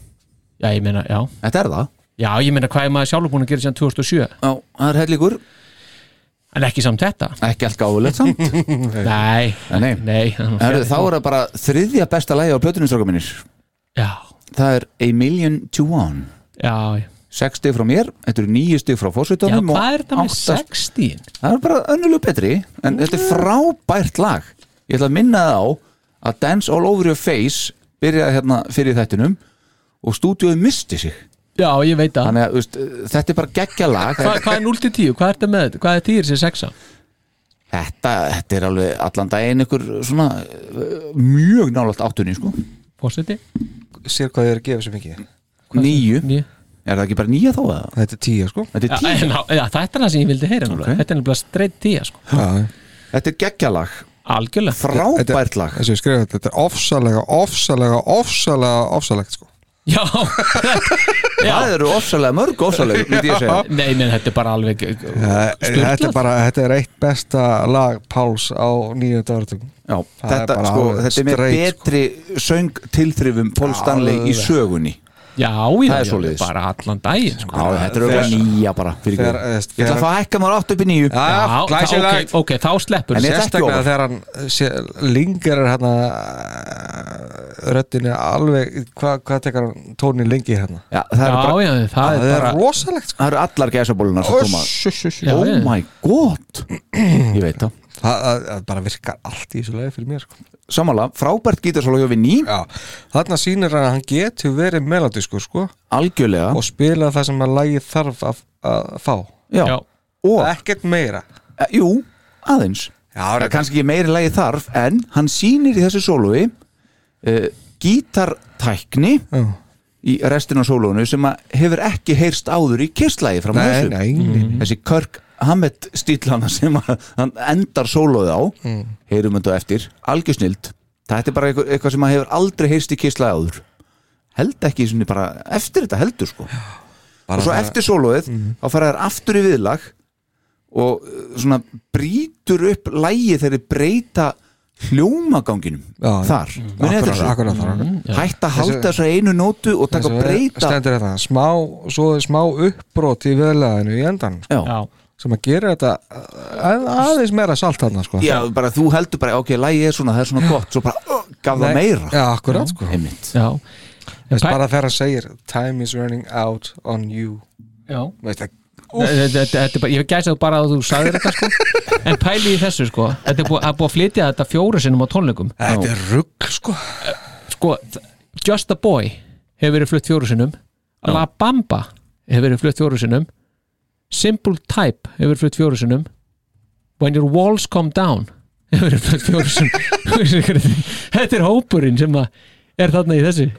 E: já, ég meina, já,
C: Þetta er það
E: já, ég meina hvað er maður sjálfur búin að gera síðan 2007
C: Já, það er hellingur
E: en ekki samt þetta
C: ekki allt gáðulegt samt
E: Nei,
C: Nei.
E: nei
C: Herðu, þá er það bara þriðja besta lægi á plötunum stráka mínir
E: Já,
C: það er A Million to One
E: já, já
C: 6 stig frá mér, þetta eru 9 stig frá
E: Já,
C: fórsveitunum
E: hvað er þetta með 60?
C: það er bara önnulegu betri
E: Mm.
C: en þetta er frábært lag ég ætla að minna það á að Dance All Over Your Face byrjaði hérna fyrir þættinum og stúdíóið misti sig
E: Já, ég veit það
C: þannig að þú veist, þetta er bara geggja lag
E: Hva, Hvað er 0 til 10? Hvað er þetta með þetta? Hvað er 10 sem 6?
C: þetta, þetta er alveg allan daginn ykkur svona eh, mjög nálægt áttunni sko
E: Fórseti?
D: Sér hvað þið er að gefa sér mikið
C: níu,
E: Níu.
C: er það ekki bara nýja þá eða?
D: Þetta er tíu sko
C: Þetta
E: Já,
C: er tíu
E: en á- já, þetta er það sem ég vildi heyra okay.
C: Ok.
E: Þetta er nefnilega streitt 10 sko.
D: Já,
C: Þetta er geggjalag,
E: Algjörlega
C: frábært lag
D: Þessi ég skrifa þetta, þetta er ofsalega, ofsalega, ofsalega, ofsalegt sko
E: Já,
C: Það eru ofsalega mörg ofsalega myndi ég segja
E: nei, nei, þetta er bara alveg
D: Eh, Þetta
E: Sturlað.
D: er bara, þetta er eitt besta lag Páls á nýjönda áratugum
C: Já,
D: Það er
C: þetta,
D: bara
C: sko,
D: alveg
C: þetta er með
D: straight,
C: betri söngtilþrifum Paul Stanley í sögunni
E: já, já,
C: Það er
E: já,
C: svoleiðis.
E: bara allan daginn sko.
C: Já, þetta er auðvitað nýja bara fyrir
D: þegar-
C: guð.
D: þegar-
C: Ég ætla að fá að hækka maður átt upp í nýju
D: Já,
E: Já, það-
D: glæsilegt.
E: ok, ok, þá
C: Ah,
E: sleppur
C: En
E: þessu.
C: ég-
D: Sérstaklega
C: ofar.
D: þegar hann eh, sé, lingar er hérna eh, röddinni alveg hvað hva tekar hann tónin lengi hérna
C: Já, það
E: Já,
C: eru bara-
E: já, það
D: það
E: er
D: er
E: bara
D: rosalegt sko.
C: það eru allar gæsabólunar sem koma
D: Öss, öss, öss.
E: Já,
C: Oh
E: já.
C: my god Ég veit það
D: það það- það bara virkar allt í þessu lagi fyrir mér sko.
C: Samanlega, frábært gítarsóla hjá við ný
D: þarna sýnir hann að hann getur verið melodískur sko,
C: Algjörlega
D: og spila það sem að lagi þarf að, að fá
C: Já.
E: Já.
C: Og,
D: ekkert meira
C: e, jú, aðeins Það
D: Já,
C: er
D: reyndar.
C: kannski ekki meiri lagi þarf En hann sýnir í þessu sólói uh, Gítartækni
D: Já.
C: Í restina af sólóinu Sem að hefur ekki heyrst áður í kistlagi Fram að
D: nei,
C: þessu
D: nei, nei.
C: Þessi Kirk Hammett stílana Sem að hann endar sólóið á
D: Mm.
C: Heyrum þetta á eftir, algjör snild Þetta er bara eitthvað, eitthvað sem að hefur aldrei heyrst í kistlagi áður Held ekki sinni bara Eftir þetta heldur sko
D: Bara
C: og svo
D: það- Mm.
C: eftir sólóið þá fara þær aftur í viðlag og uh, svona brýtur upp lægi þegar þeir breyta hljómaganginum
D: Já, já.
C: þar Munið eftir
D: akkurat,
C: þessu?
D: akkurat, akkurat.
C: hætt að halda þess að einu nótu Mm. og taka
D: Þessu
C: og breyta
D: stendur þetta smá, svo er smá uppbrot í viðlaðinu í endan sko,
C: já.
E: já,
D: sem að gera þetta uh, að, aðeins meira salt þarna sko.
C: já, bara þú heldur bara ok, lægi er svona, það er svona gott svo bara uh, gaf
D: Nei,
C: það meira Mm.
D: já, akkurat sko.
C: einmitt
E: já,
D: Þess,
E: Hvað-
D: bara þegar hann segir time is running out on you
E: já.
D: Veist, það,
E: Þetta- þetta- þetta er bara- ég gæsa þú bara að þú sagðir þetta sko. en pæli í þessu sko þetta er búið að, búið að flytja þetta fjóru sinnum á tónleikum
D: þetta er rugg sko.
E: sko, th- Just a Boy hefur verið flutt fjóru sinnum La Bamba hefur verið flutt fjóru sinnum Simple Type hefur verið flutt fjóru sinnum When Your Walls Come Down hefur verið flutt fjóru sinnum þetta er hópurinn sem að er þarna í þessu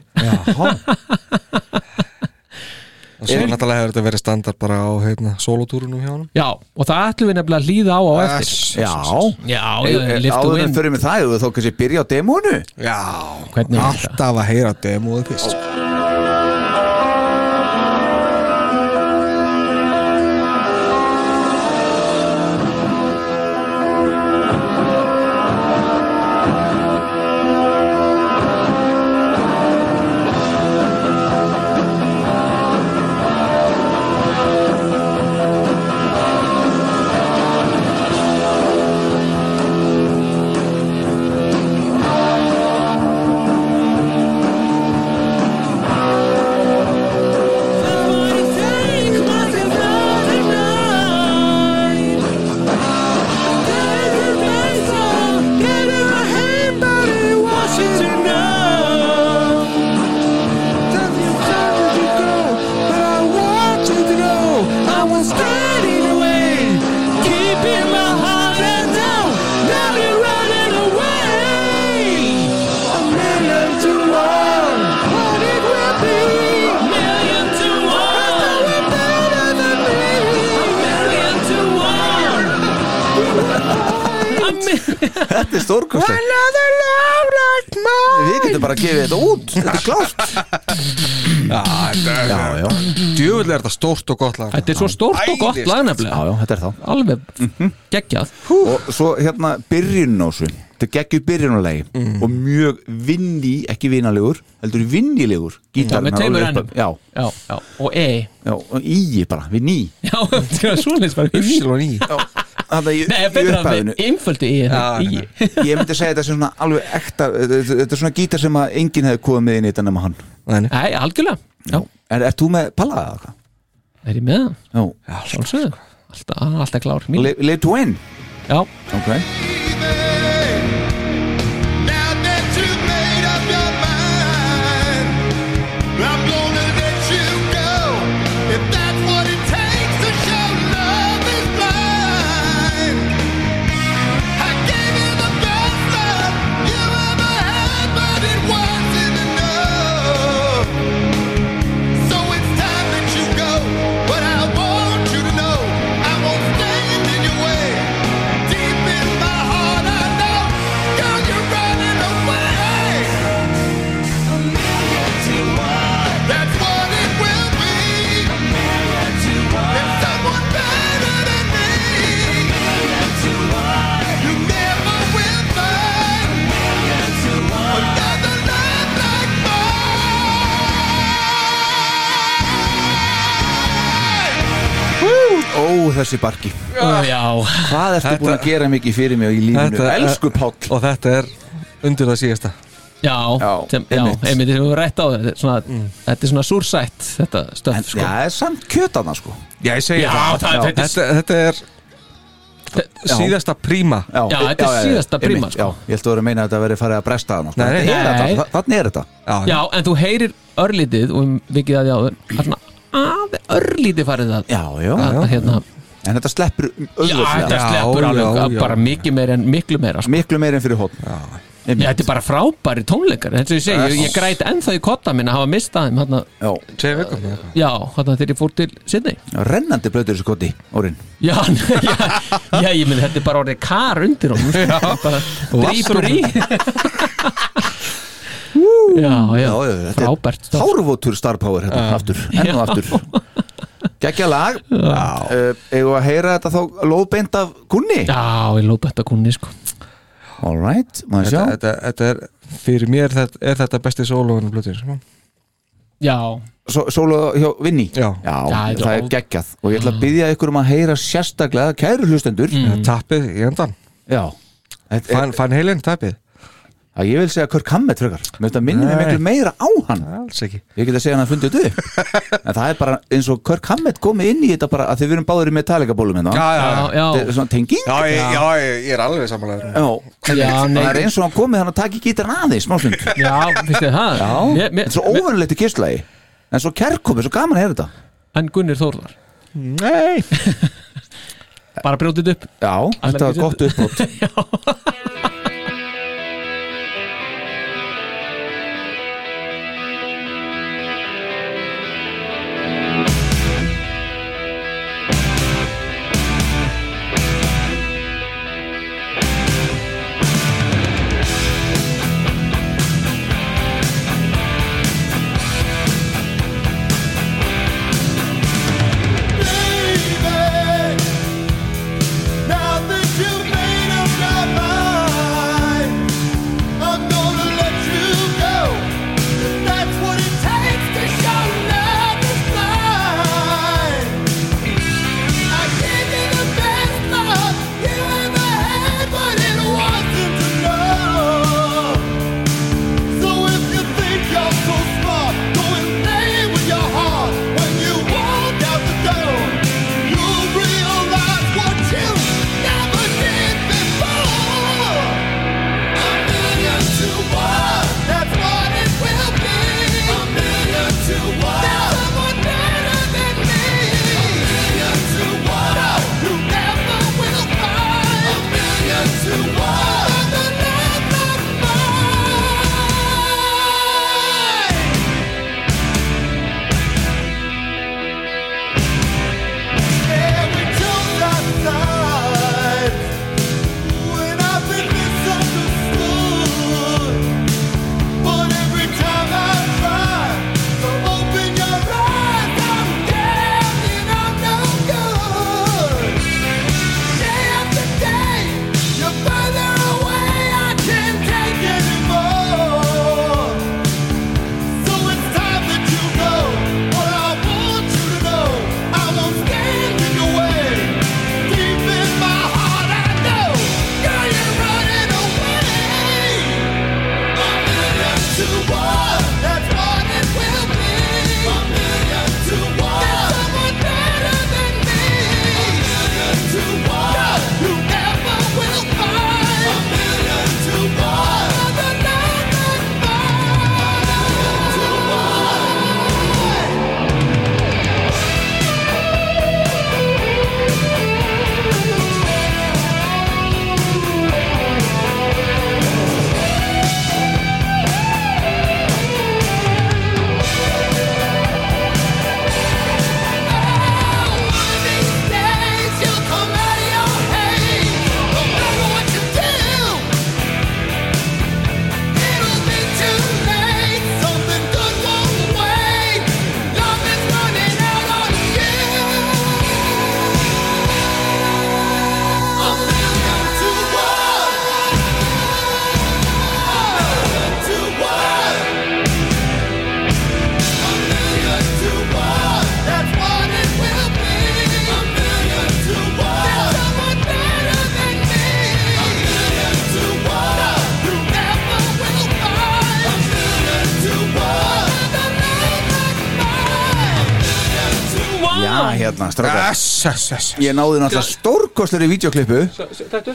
D: og svo náttúrulega hefur þetta verið standard bara á heitna, solotúrunum hjá hann
E: já, og það ætlum við nefnilega að líða á á eftir
C: já,
E: já,
C: Ég-
E: já,
C: ég-
E: lift to
C: áður en
E: win
C: fyrir mig það ef þú þá kannski byrja á demónu
D: já,
E: Hvernig er þetta?
D: alltaf að heyra demóðu fyrst
C: þetta er stórkostlegt við getum bara að gefa þetta út þetta er klárt já, já,
D: djúvill er þetta stórt og gott lag
E: Þetta er svo stórt og gott
D: Æðislegt.
E: lag
C: já,
E: nefnilega Mhm.
C: já, þetta er þá
E: alveg geggjað
C: og svo hérna byrjunin á þessu þetta geggjur byrjunulegi mm. og mjög vinni, ekki vinalegur heldur vinnilegur
E: Já, með
C: gítarinn
E: tveimur
C: alveg upp-
E: ennum.
C: já,
E: já, já, og E. ei
C: já, og íi bara, við ný
E: já, þetta er svona bara í
D: Ypsilon í
C: Þarna í,
E: Nei,
C: í
E: betra að
C: upphæðinu
E: við einföldu E. í
D: Já, nei, nei.
C: ég myndi segja þetta sem svona alveg ekta þetta þetta er svona gítar sem að enginn hefði komið með inn í þetta nema hann
D: Nei, nei.
E: Nei, algjörlega Já,
C: en ert þú með Palla eða hvað?
E: er ég með það?
C: Já,
E: Sjálfsögðu Alltaf, hann er alltaf klár mín
C: Live live to win
E: Já,
C: ok,
A: Now that you've made up your mind, I'm gonna let you go. If that's what it takes to show love is blind. I gave you the best love you ever had, but it wasn't enough. So it's time that you go. But I want you to know I won't stand in your way. Deep in my
C: Ó, þessi barki
E: já,
C: Hvað ertu
D: Þetta-
C: búin að gera mikið fyrir mig í lífinu?
D: Þetta-
C: Elsku Páll
D: og þetta er undir það síðasta
E: já,
C: Já,
E: sem, já
C: einmitt.
E: einmitt, við höfum rætt á það þetta er svona, þetta er svona súrsætt þetta
C: En,
E: stöf,
C: Já,
E: sko
C: það er samt kjötana sko
D: Já, ég segi
E: Já,
D: það,
E: það- þetta er-
D: þetta, þetta er síðasta príma
E: Já, þetta er síðasta
C: einmitt,
E: príma, sko.
C: Já, ég held að vera að meina að þetta verið farið að bresta hana sko.
D: Nei,
C: Þetta er
D: nei.
C: þetta,
E: Nei.
C: þa- Þannig er þetta
E: já, en þú heyrir örlítið og um- vikið að já, að svona að örlítið farið að,
C: Já, já,
E: að hérna,
C: En þetta sleppur
E: já, þetta
C: auðvöldlega
E: sleppur
D: Já,
E: alveg
D: já,
E: að
D: já.
E: bara mikið meira en miklu meira sko.
C: Miklu meir en fyrir hótt
E: já, þetta er bara frábæri tónleikar eins og ég segi, ég, ég græt ennþá í kotta minna að hafa mistað þeim, hérna,
C: Já,
D: Tvei vikum eða eitthvað.
E: já, hérna þegar ég fór til Sydney
C: rennandi blöður þessu koti, Órin
E: já, nei, já, já, ég minn þetta er bara orðið kar undir honum sko, bara drýpur í já,
C: Já,
E: já,
C: já, þetta er
E: frábært stöf.
C: Hárvótur star power hérna, aftur, enn og aftur Gekja lag uh, Eigum við að heyra þetta þá lóðbeint af kunni
E: já, ég lópa þetta kunni sko
C: All right, maður sjá
D: þetta, þetta, þetta er, fyrir mér þetta, er þetta besti sko. sólóðunum blöðir
E: já,
C: Só- Sólo hjá Vinni
D: Já.
E: Já,
C: það er
E: ó-
C: geggjað og ég ætla að byggja ykkur um að heyra sérstaklega kæru hlustendur
E: Mm.
D: Mm. Tappið í endan,
C: Já Þetta er-
D: fann, fann heilin tappið
C: að Ég vil segja Kirk Hammett frekar Mér þetta minnir mig
D: Nei.
C: miklu meira á hann
D: Alls ekki
C: Ég get að segja hann að fundið þetta upp En það er bara eins og Kirk Hammett komið inn í þetta bara að þið verum báður í Metallica-bólum hérna
D: Já, já,
E: já, já,
C: Þetta er svona tenging
D: já, ég, já, ég, ég er alveg samanlega
C: Já,
E: Já,
C: en
E: nei.
C: það er eins og hann komið hann að taka í gítarn aðeins smáslund Já,
E: Já, finnst þið það? Mér-
C: þetta
E: mér-
C: er svo óvanulegt í kistlagi En svo kærkomið, svo gaman að heyra þetta
E: En Gunnir Þórðar
D: Nei
E: Bara brjótið upp
C: Já,
E: Ætlar
C: þetta var
E: ekki
C: gott uppbót
A: Baby, now that you've made up your mind.
C: lag hérna, strákar
D: Ass, ass, ass, ass.
C: Ég náði náttúrulega stórkostur í videoklippu
E: Þetta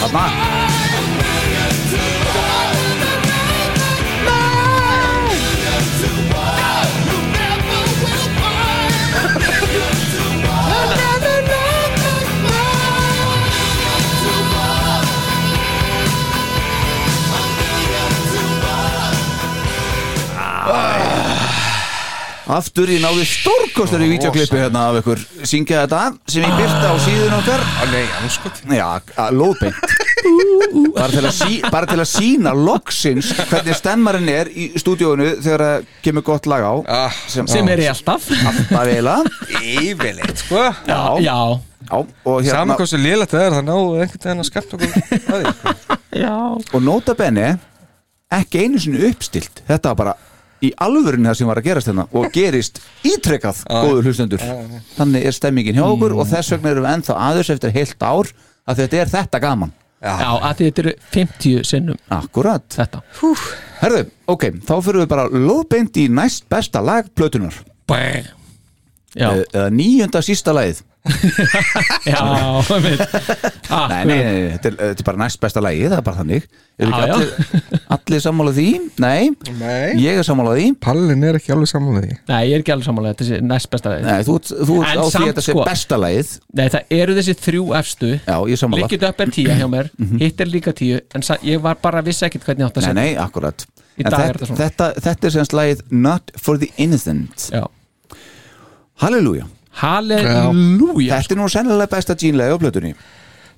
C: Þarna Aftur ég náði stórkostur í videoklippu hérna af ykkur Syngja þetta af, sem ég byrta á síðun okkar
D: Á, Nei, anskot
C: Já, að- lóðbeint bara til, að sí, bara til að sína loksins hvernig stemmarinn er í stúdíóinu þegar það kemur gott lag á
D: Ah,
E: sem er ég alltaf
C: alltaf eiginlega
D: Yfirleitt, sko
C: Já.
E: Já,
C: Já, og,
D: Saman
C: hérna,
D: hvað sem lélætt það er, það náðu einhvern veginn að skapta okkur að því, sko.
E: já
C: og nota bene ekki einu sinni uppstilt þetta var bara í alvörinu það sem var að gerast hérna og gerist ítrekkað góður hlustendur þannig er stemmingin hjá okkur
E: Mm.
C: og þess vegna erum við ennþá aðeins eftir heilt ár að þetta er þetta gaman
E: Já, að því þetta eru 50 sinnum
C: Akkurat
E: þetta
C: Herðu, ok, þá fyrir við bara lóðbeint í næst besta lag plötunar
E: Bæ. Já,
C: Eh, eða nýjunda sísta lagið
E: já, einmitt Ah,
C: Nei, nei, nei, nei, þetta er, eh, þetta er bara næst besta lagið, það er bara þannig Eru
E: Já,
C: ekki allir, allir sammála því? Nei,
D: Nei.
C: ég er sammála því
D: Pallin er ekki alveg saman með því
E: Nei, ég er ekki alveg samanlega, þetta er næst besta leið
C: Nei, þú, ert- þú ert
E: En
C: á því
E: samt,
C: að þetta sé
E: sko.
C: besta lagið
E: Nei, það eru þessi þrjú efstu
C: Já, ég sammála Mhm.
E: Likkið upp er tíu hjá mér, hitt er líka tíu En sa- ég var bara vissi ekkit hvernig átt að
C: Nei,
E: segja
C: nei, akkurat
E: Í
C: En
E: dag er
C: þetta,
E: þetta svona.
C: þetta, þetta er semst lagið Not for the Innocent
E: Já,
C: Halleluja
E: halleluja
C: Þetta er nú sennilega besta jeanlega á plötunni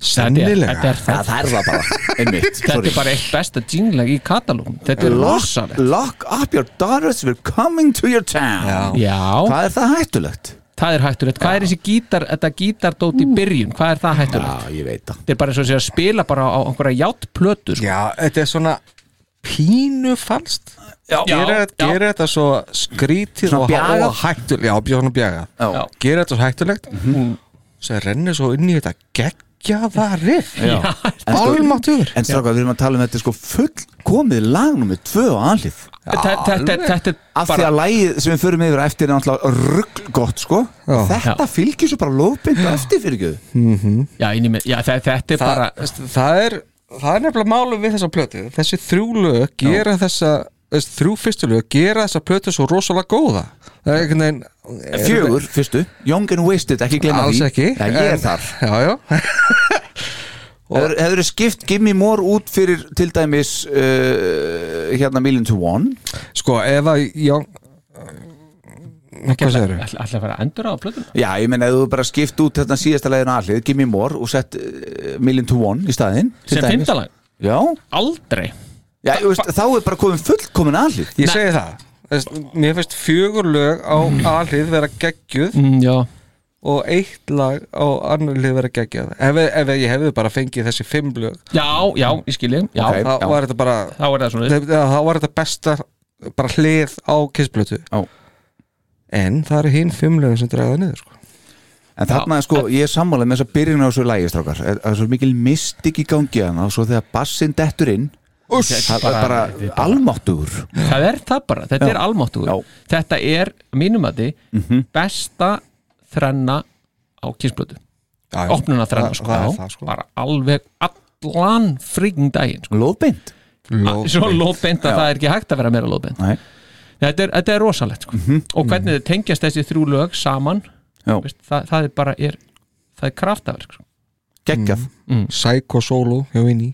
D: Sennilega.
E: Þetta er það
C: Það er það bara, einmitt
E: Þetta er bara eitt besta jinglag í katalógum Þetta er
C: Lock,
E: rosalegt
C: lock up your daughters We're coming to your town
E: Já,
C: Hvað er það hættulegt?
E: það er hættulegt Hvað er þessi gítar, þetta gítardót í byrjun Hvað er það hættulegt?
C: Mm. Já, ég veit það
E: Þetta er bara eins og sé að spila bara á einhverja játplötu sko.
D: Já, þetta er svona pínu falskt
E: já,
D: Gerir
E: já.
D: gerir þetta svo skrítið
C: Svona
D: og,
C: bjagað?
D: og hættulegt Já, bjóðan og bjaga
C: Já. Mhm.
D: Gerir þetta svo hættulegt Svo rennir svo inn í þetta geggjaða riff Almáttur
C: En stráka, við erum að tala um þetta er sko fullkomið lag nummið tvö á anlið
E: Þetta þetta-
D: alveg.
E: þetta er
C: Af því
E: bara
C: að lagið sem við förum yfir á eftir er náttúrulega rugg gott sko
D: Já.
C: Þetta fylgir svo bara lóðbind á eftir fyrir ekki
E: Já, inn í mig, já, þe- þetta er
D: það,
E: bara
D: veistu, það er það er nefnilega málum við þessa plötu þessi þrjú lög gera þessa þessi þrjú fyrstu lög gera þessa plötu svo rosalega góða það er einhvern veginn
E: Eh,
D: er
C: Fjögur, fyrstu, Young and Wasted, ekki
D: þetta-
C: glemma
D: alls
C: því
D: ekki
C: Já, ég er
D: en-
C: þar
D: já, já.
C: Hefur- Hefur þið skipt Gimme More út fyrir til dæmis uh, hérna Million to One
D: sko ef að já, hvað segir þau
E: Ætla ætla að fara að endur á plötuna
C: Já, ég menna, ef þú bara skipt út þetta síðasta lagið á anlið, Gimme More og sett uh, Million to One í staðinn til
E: Sem
C: dæmis.
E: fimmtalag,
C: Já,
E: aldrei
C: já ég veist, þá er bara komin fullkomin anlið
D: ég segi það Þessi, mér finnst fjögur lög á aðlið vera geggjuð
E: mm, Já,
D: og eitt lag á annar lið vera geggjuð ef, ef ég hefði bara fengið þessi fimm lög
E: já, já, ég skilji Já,
C: Ok.
D: þá
C: Já.
D: var þetta bara
E: þá er það svona
D: Nei, það það var þetta besta bara hlið á kissblötu
C: Já.
D: en það eru hinn fimmlegin sem draga það niður sko.
C: En þarna, sko, ég er sammála með þess að byrjun á þessu lægi, strákar Er- Það er svo mikil mystik í gangi hana og svo þegar bassinn dettur inn Uss, það er bara almáttugur
E: Það er það bara, þetta er
C: Já.
E: almáttugur Þetta er, mínum að
D: Mhm.
E: því Besta þrenna á kísblötu
D: já,
E: Opnuna þrenna,
D: Það-
E: sko,
D: það er
E: Já,
D: það, sko.
E: Bara alveg allan friggin daginn sko.
C: Lóðbeint
D: Lóðbeint.
E: Svo lóðbeint að það er ekki hægt að vera meira lóðbeint
C: Nei,
E: þetta, er- þetta er rosalegt sko.
D: Mhm.
E: Og hvernig þið tengjast þessi þrjú lög saman
C: Já.
E: veist, það, það er bara er, Það er kraftaverk sko.
C: geggjað
D: Psycho Solo hjá inni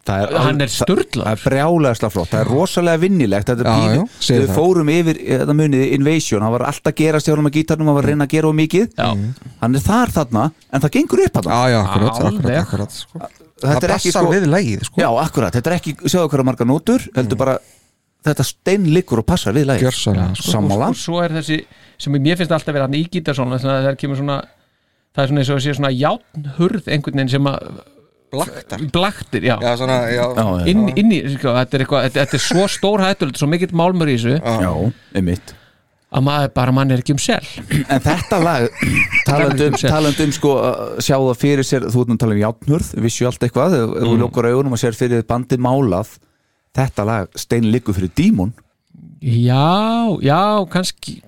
C: Það er,
E: Hann er
C: það-
E: sturlaður.
C: Það er brjálæðislega flott, það er rosalega vinnilegt Þetta er
D: Já,
C: pínu,
D: já, segir
C: við
D: það.
C: fórum yfir eh, Þetta munið, Invasion, hann var alltaf að gera stjórnum að gítarnum, hann var að reyna að gera og mikið
E: Já.
D: Mm.
C: Hann er þar þarna, en það gengur upp hann
D: já, já, akkurat,
E: Alveg.
D: akkurat, akkurat sko.
C: Þetta
D: það
C: er ekki
D: passar
C: sko
D: við Mm. lægið sko.
C: Já, akkurat, þetta er ekki, sjáðu hverja marga nótur heldur bara, þetta stein liggur og passar við lagið
D: gjörsanlega sko.
C: Sammála
E: og svo er þessi sem mér finnst alltaf vera hann í gítarsónu það er kemur svona það er svona eins og sé svona játnhurð einhvern veginn sem að
D: blaktar
E: blaktir, já,
D: já, svona, já,
C: Já, já,
E: inn, inn í sko, þetta, er eitthvað, þetta, þetta er svo stór hættulegt svo mikill málmur í þessu
C: já, einmitt
E: að maður bara mann er ekki um sel
C: En þetta lag, talandum, talandum sko, að sjá það fyrir sér þú ert nú að tala um játnhurð, vissu allt eitthvað ef ef þú lókar augunum og sér fyrir bandið málað þetta lag stein liggur fyrir dímon
E: Já, já, kannski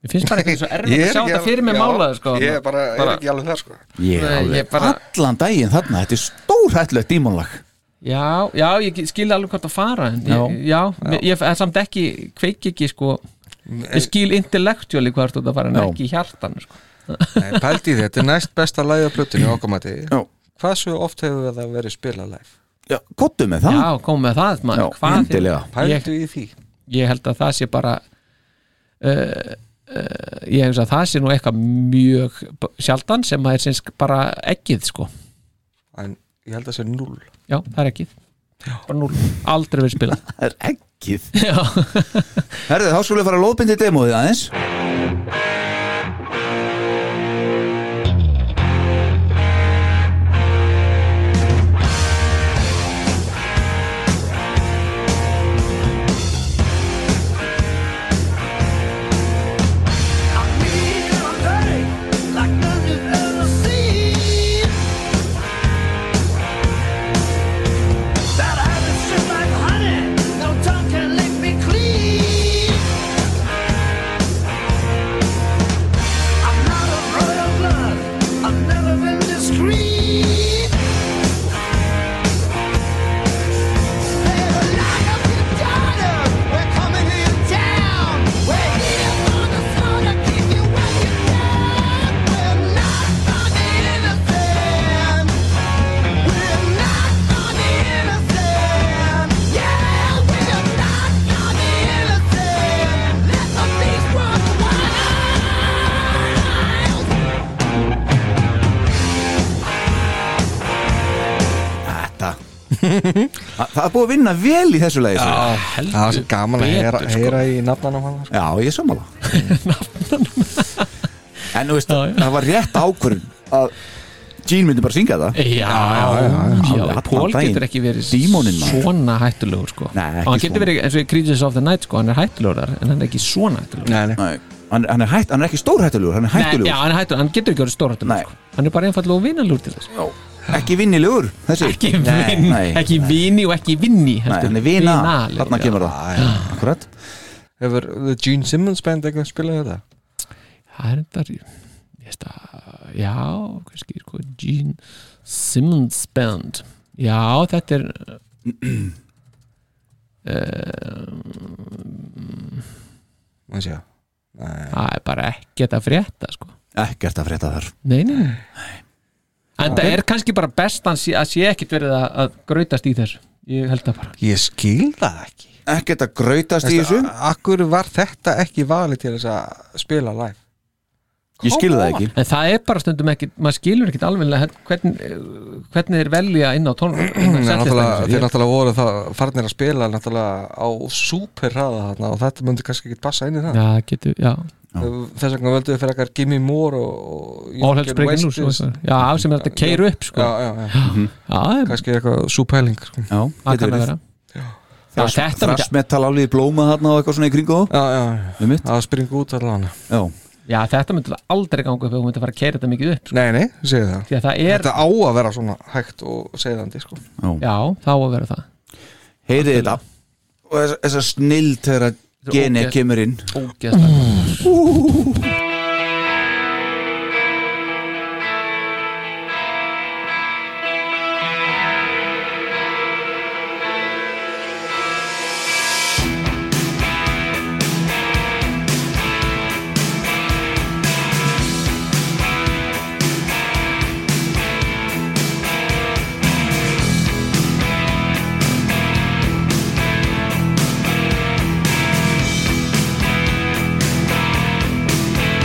E: Mér finnst bara ekki svo erfitt að sjá þetta fyrir mig málaði sko.
D: Ég er bara, er ekki alveg það sko
C: Ég,
E: Nei,
C: alveg,
E: ég bara-
C: Allan daginn þarna, þetta er stórhættulegt dímonlag
E: Já, já, ég skil alveg hvort að fara en ég, já, já, ég er samt ekki kveik ekki sko Ég skil intellectually hvað þú ert að fara en
C: Já.
E: ekki í hjartan sko.
D: Nei, pældi í því, þetta er næst besta lagið af plötunni okkamati
C: Já.
D: Hvað svo oft hefur það verið spilað live?
C: Já, gottu með það
E: Já, kom með það
C: Já,
E: maður, hvað þið-
C: endilega.
D: Pældu í því
E: Ég held að það sé bara uh, uh, Ég hef að það sé nú eitthvað mjög b- sjaldan sem að er sinns bara ekkið sko
D: En ég held að það sé null
E: Já, það er ekkið Bara núl, aldrei verið spilað
C: Það er ekkið
E: Já,
C: Herðu, þá skulum við fara að lóðbindi demóið aðeins Þetta Þa- Það er búið að vinna vel í þessu leið Já,
D: Það var svo gaman að
E: betur,
D: heyra,
E: sko.
D: heyra í nafnanum hann sko.
C: Já, ég er sammála En þú veist,
E: Já, já.
C: það var rétt ákvörðin að Gene myndi bara syngja það
E: já, já, já,
C: alveg allan
E: Pól
C: daginn.
E: getur ekki verið
C: Dímoninn, maður.
E: svona hættulegur sko.
C: Nei, ekki
E: og hann getur
C: svona.
E: verið eins og í Creatures of the Night sko, hann er hættulegur þar, en hann er ekki svona hættulegur
D: Nei, nei
C: Nei, hann, hann, er hætt, hann er ekki stórhættulegur, hann er hættulegur
E: já, hann, er hættulegur, hann getur ekki verið
C: Nei.
E: stór hættulegur sko. hann er bara einfallega vinalur til þess
C: Ekki vinnilegur, þessi
E: ekki,
C: Nei,
E: vin,
C: nei,
E: ekki vini og ekki vinni
C: nei,
E: heldur,
C: hann er vina,
E: vinalegur,
C: þarna
E: já.
C: kemur það Akkurat
D: Hefur The Gene Simmons Band eitthvað spilað þetta?
E: það er þetta ég veist að já, kannski sko Gene Simmons Band já, þetta er
D: Má ég sjá Nei,
E: það er bara ekkert að frétta sko
C: Ekkert að frétta þar
E: Nei, nei, nei. En það er kannski bara best að sé, að sé ekkit verið að, að grautast í þessu Ég held það bara
D: Ég skil það ekki
C: Ekkert að grautast í þessu
D: Akkur var þetta ekki valið til þess að spila live?
C: Ég skil það ekki
E: En það er bara stundum ekkit, maður skilur ekkit alveg hvernig, hvernig er velja inn á tónlum
D: Þeir náttúrulega, þeir náttúrulega voru það farnir að spila náttúrulega á super hraða þarna og þetta myndi kannski ekki passa inn í það
E: Já, getur, já
D: þess vegna völdu við fyrir eitthvað Gimme More og, og
E: All Hells Breaking Loose og
D: já,
E: eitthvað. Já, sem er þetta keir upp sko. Já,
D: já, já,
E: það er-
D: kannski eitthvað súpæling sko.
C: Já,
E: það
C: getur
E: kann að
C: verið
E: vera Já, þetta er ekki-
C: Þrassmetall álið blóma þarna og eitthvað svona í kringu þá
D: já, já, já,
C: Einmitt.
D: það springa út allavega
C: Já,
E: já, þetta myndi aldrei ganga upp ef þú myndi fara að keira þetta mikið upp sko.
D: nei, nei, segið það
E: Því að það er,
D: þetta á að vera svona hægt og segðandi sko.
E: já, þá að vera það
C: heyrið þetta Og þess- þessa snill þegar að
E: Þetta er
C: genið
E: ógeð-
C: kemur inn
E: Ógeðslega
G: Thank
B: Oh,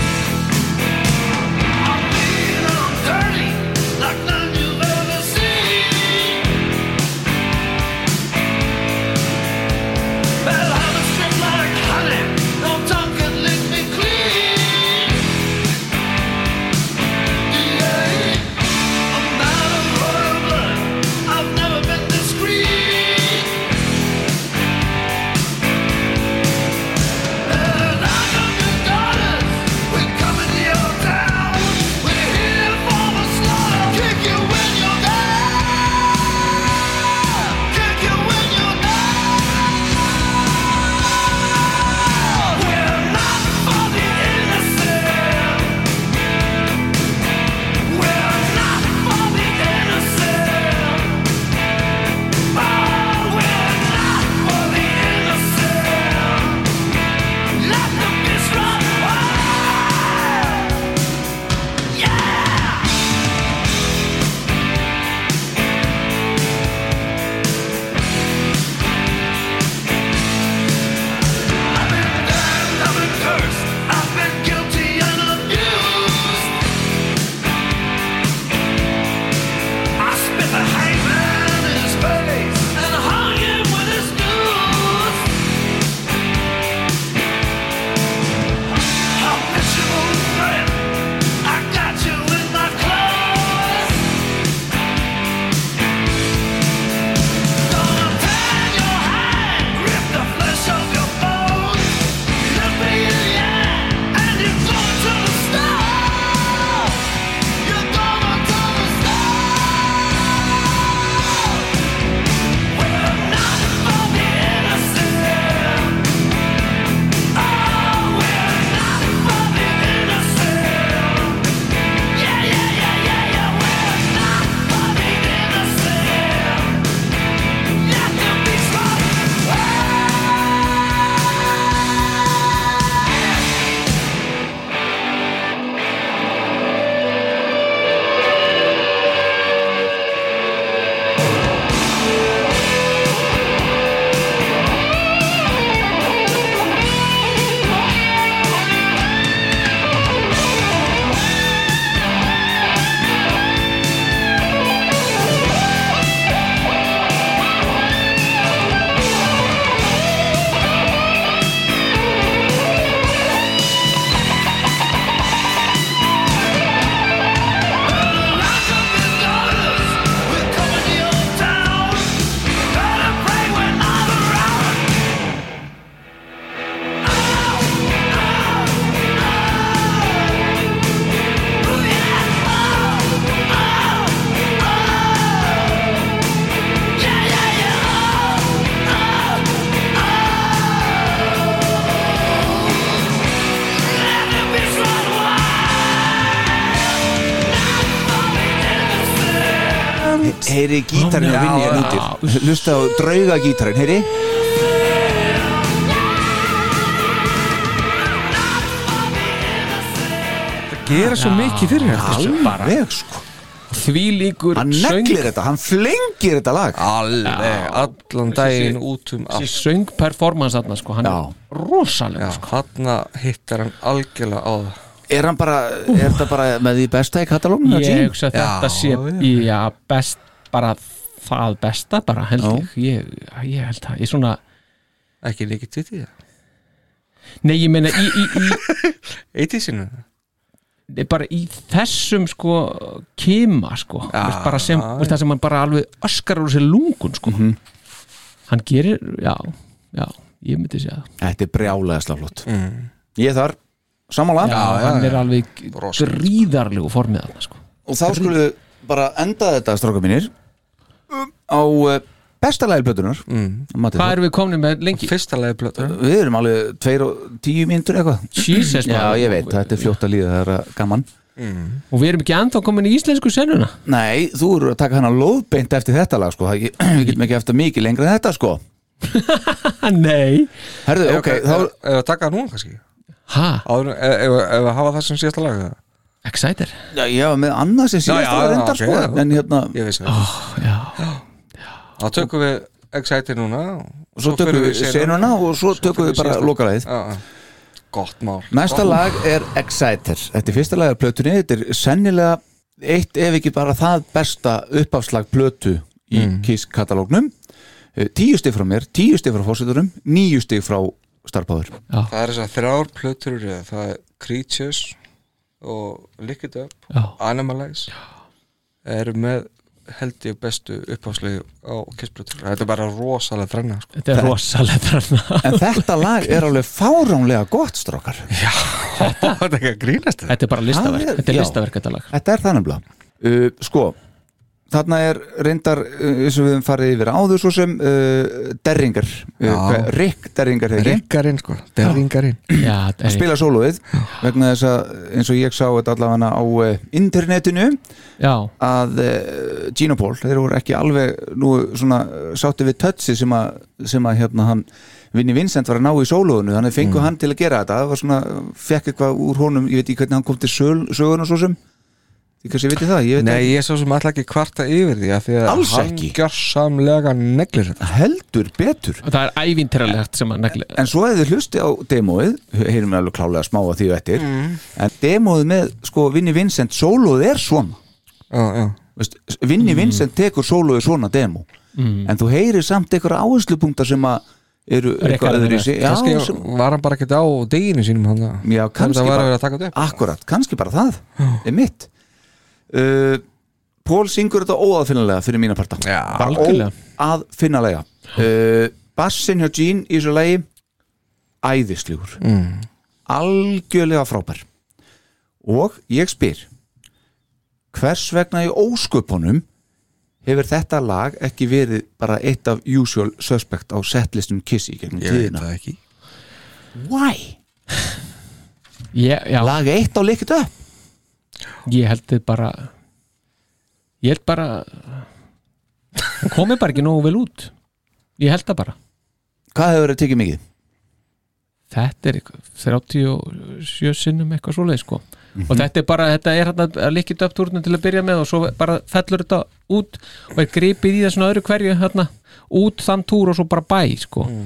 C: heyri gítarinn er að vinja lítið hlusta á drauga gítarinn, heyri
D: gera svo mikið fyrir þetta
C: alveg sko
D: því líkur
C: hann neglir þetta, hann flengir þetta lag
D: alveg, allan daginn út um allt
E: þessi söngperformance þarna sko, hann
C: Já.
E: er rosalega
D: já,
E: sko.
D: hann hittar hann algjörlega á það
C: er hann bara, er þetta bara með því besta í katalónu
E: ég hugsa að þetta sé já, best, bara það besta bara held ég, ég, ég held það, ég svona
D: ekki líkið til því það
E: nei, ég meina í, í,
D: eitt í sinu
E: í, bara í þessum sko kima sko,
D: Já.
E: veist, bara sem, veist, það sem hann bara alveg öskar úr sér lungun sko hann gerir, já, já ég myndi segja það,
C: þetta er brjálega slaflott ég þar, samanlega
E: Mm. já, hann er alveg
D: Rosalegt, sko.
E: gríðarlegu formið þarna sko
C: og þá skulum við bara enda þetta stráka mínir um, á uh, besta lægilblötunar mm.
E: hvað erum við komin með lengi?
D: fyrsta leiði plötu
C: við erum alveg tveir og tíu mínútur eitthvað
E: Jesus,
C: já
E: maður.
C: ég veit, þetta er fljótt að líða það er að gaman
E: og við erum ekki ennþá komin í íslensku senuna
C: nei, þú eru að taka hana lóðbeint eftir þetta lag sko, Það- ég- við getum ekki eftir mikið lengra en þetta sko
E: ha, nei,
C: herðu, ok, þá
D: ef að taka það núna kannski
E: ha,
D: áður, en- ef, ef, ef að hafa það sem síðasta lag eða?
E: exciter
C: já, ég var með annað sem
D: Já, já,
C: síðast að
D: já,
C: reynda
D: ok,
C: sko
D: já.
C: en hérna,
D: ég veist það
E: já
D: þá tökum við Excite núna og
C: svo tökum
D: förum
C: við senuna og svo tökum við bara
D: síðasta.
C: lokalæðið
D: Já, já. gott mál
C: Næsta
D: Gott
C: lag er Exciter Þetta er fyrsta lag af plötunni Þetta er sennilega eitt ef ekki bara það besta uppafslag plötu í Kiss katalógnum Eh, Tíu stig frá mér, tíu stig frá fósiturum Níu stig frá starfbáður
D: mál. það er þess að þrjár plötur eru það er Creatures og Lick It Up
E: Já.
D: Animalize eru með held ég bestu uppháslegu á kissplötur þetta er bara rosalega þrenna sko.
E: Þetta er rosalega þarna
C: En þetta lag er alveg fáránlega gott strókar
D: þetta er ekki að grínast
E: Þetta er bara listaverk,
C: Það er-
E: þetta er
C: já.
E: listaverk þetta lag
C: Þetta er þannig blá uh, Sko, þarna er reyndar uh, eins og við höfum farið yfir áður svo sem uh, Derringer uh, hvað- Rick Derringer heiti
D: Ringarinn sko, það er ringarinn
E: Já, þetta er-
C: spila sólóið vegna þess að eins og ég sá þetta allavega á eh, internetinu
E: já,
C: að eh, Gino Paul, þeir voru ekki alveg nú svona eh, sátti við tötsi sem að, sem að hérna hann Vinni Vincent var að ná í sólóðinu, þannig fengu hann til að gera þetta, það var svona, fekk eitthvað úr honum, ég veit ekki hvernig hann kom til söl, söguna svo sem, ég kannski viti það ég veit
D: Nei, ég er svo sem alltaf ekki kvarta yfir því að því að
C: Alls
D: hann
C: ekki.
D: gjörsamlega neglir þetta
C: ekki, heldur betur
E: það er ævintýralegt sem að negli
C: en svo hefði hlusti á demóið heyrum við alveg klálega smá að því og eftir en demóið með, sko, Vinni Vincent sólóð er svona
D: Já, já
C: Veist, Vinni Vincent tekur sólóið svona demo en þú heyrir samt einhverja áherslupunktar sem að eru
E: Rekkar
C: eitthvað öðru í sig já,
D: kannski
C: sem,
D: var hann bara ekki á deginu sínum hann að-
C: já, kannski
D: það var að
C: bara
D: vera að taka þetta upp
C: akkurat, kannski bara það er mitt uh, Pól syngur þetta óaðfinnilega fyrir mína parta
D: Já,
E: algjörlega.
C: bara óaðfinnilega uh, Bassin hjá Jean í þessu lagi æðisljúr
D: mm.
C: algjörlega frábær og ég spyr hvers vegna í ósköpunum hefur þetta lag ekki verið bara eitt af usual suspect á setlistum Kiss í gegnum
D: ég veit
C: tíðina
D: það ekki
C: Why?
E: ég, Já,
C: Lag eitt á likit upp
E: ég held þið bara Ég held bara Það komið bara ekki nógu vel út Ég held það bara
C: Hvað hefur verið tekið mikið?
E: Þetta er eitthvað, 37 sinnum eitthvað svoleið sko og þetta er bara, þetta er hérna að líkja upp túrnum til að byrja með og svo bara fellur þetta út og er gripið í það svona öðru hverju hérna, út þann túr og svo bara bæ sko mm.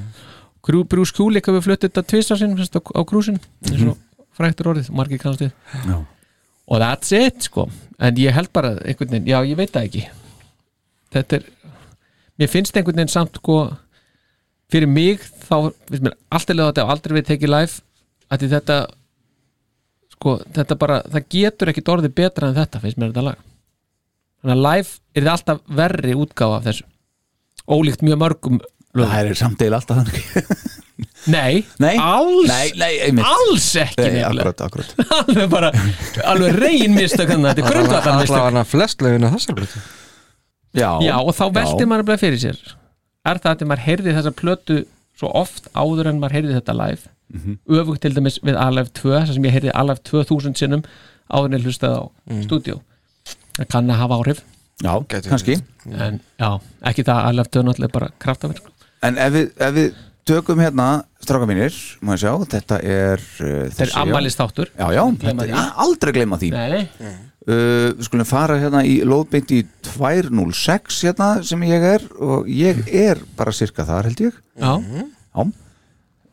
E: Krú, Brú skjúli eitthvað við fluttir þetta tvisa sinnum semst, á, á krúsin, eins og fræktur orðið margir kannast við
C: Já.
E: og that's it sko, en ég held bara einhvern veginn, já ég veit það ekki þetta er, mér finnst einhvern veginn samt sko fyrir mig þá, við mér, allt er leið að þetta hafi aldrei við tekið live að því þetta sko, þetta bara, það getur ekkit orðið betra en þetta, finnst mér þetta lag þannig að live er þetta alltaf verri útgáfa af þessu ólíkt mjög mörgum lögum
C: Það er samt deil alltaf þannig
E: nei,
C: Nei.
E: alls,
C: Nei, nei, einmitt
E: alls ekki
C: Nei,
E: nefnilega.
C: akkurat, akkurat
E: alveg bara, alveg reyn mistök þannig þetta er grundvallar
D: alltaf
E: mistök
D: hann að flest lögina þessar blötu
C: Já,
E: já, og þá velti
C: Já.
E: maður bara fyrir sér er það að maður heyrði þessa plötu svo oft áður en maður heyrði þetta live
C: Mhm.
E: öfugt til dæmis við Alive 2 þar sem ég heyrði Alive 2000 sinnum áður en ég hlustaði á mm. stúdíó það kann að hafa áhrif
C: Já,
D: Gæti
C: kannski
E: en já, ekki það að leftu náttúrulega bara kraftaverk
C: En ef við, ef við tökum hérna stráka mínir, má ég sjá, þetta er uh,
E: þetta er ammælist þáttur
C: Já, já, þetta,
E: því.
C: ja, aldrei gleyma því uh,
E: nei,
C: Við skulum fara hérna í lóðbeint í 206 hérna sem ég er og ég er bara sirka þar held ég
E: já,
C: Já,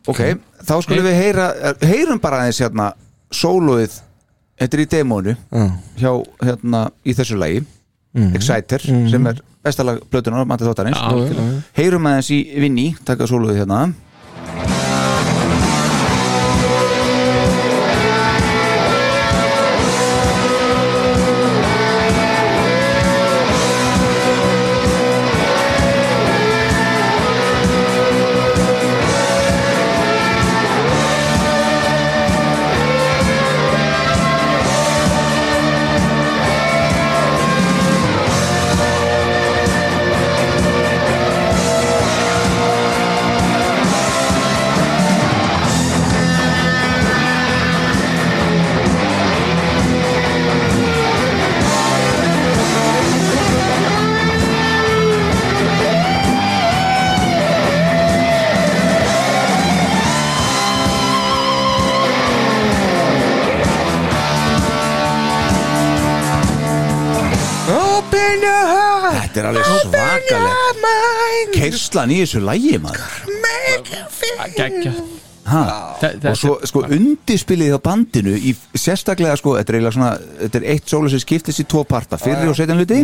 C: ok, þá skulum við heyra eh, heyrum bara aðeins hérna sóluðið, þetta er í demónu hjá hérna í þessu lagi Mhm. Exciter, sem er bestalag blötunar, mati þáttarins
E: Já, algjörlega.
C: heyrum aðeins í Vinni, taka sóluðið hérna
D: Open your heart
C: Þetta er alveg svakaleg
D: mind
C: Kerslan í þessu lagi maður
D: Make you feel
E: geggja
C: ha.
E: Þe-
C: Og svo sko undirspilið hjá bandinu í sérstaklega sko, þetta er eiginlega svona þetta er eitt sólu sem skiptist í tvo parta fyrri og setjan hluti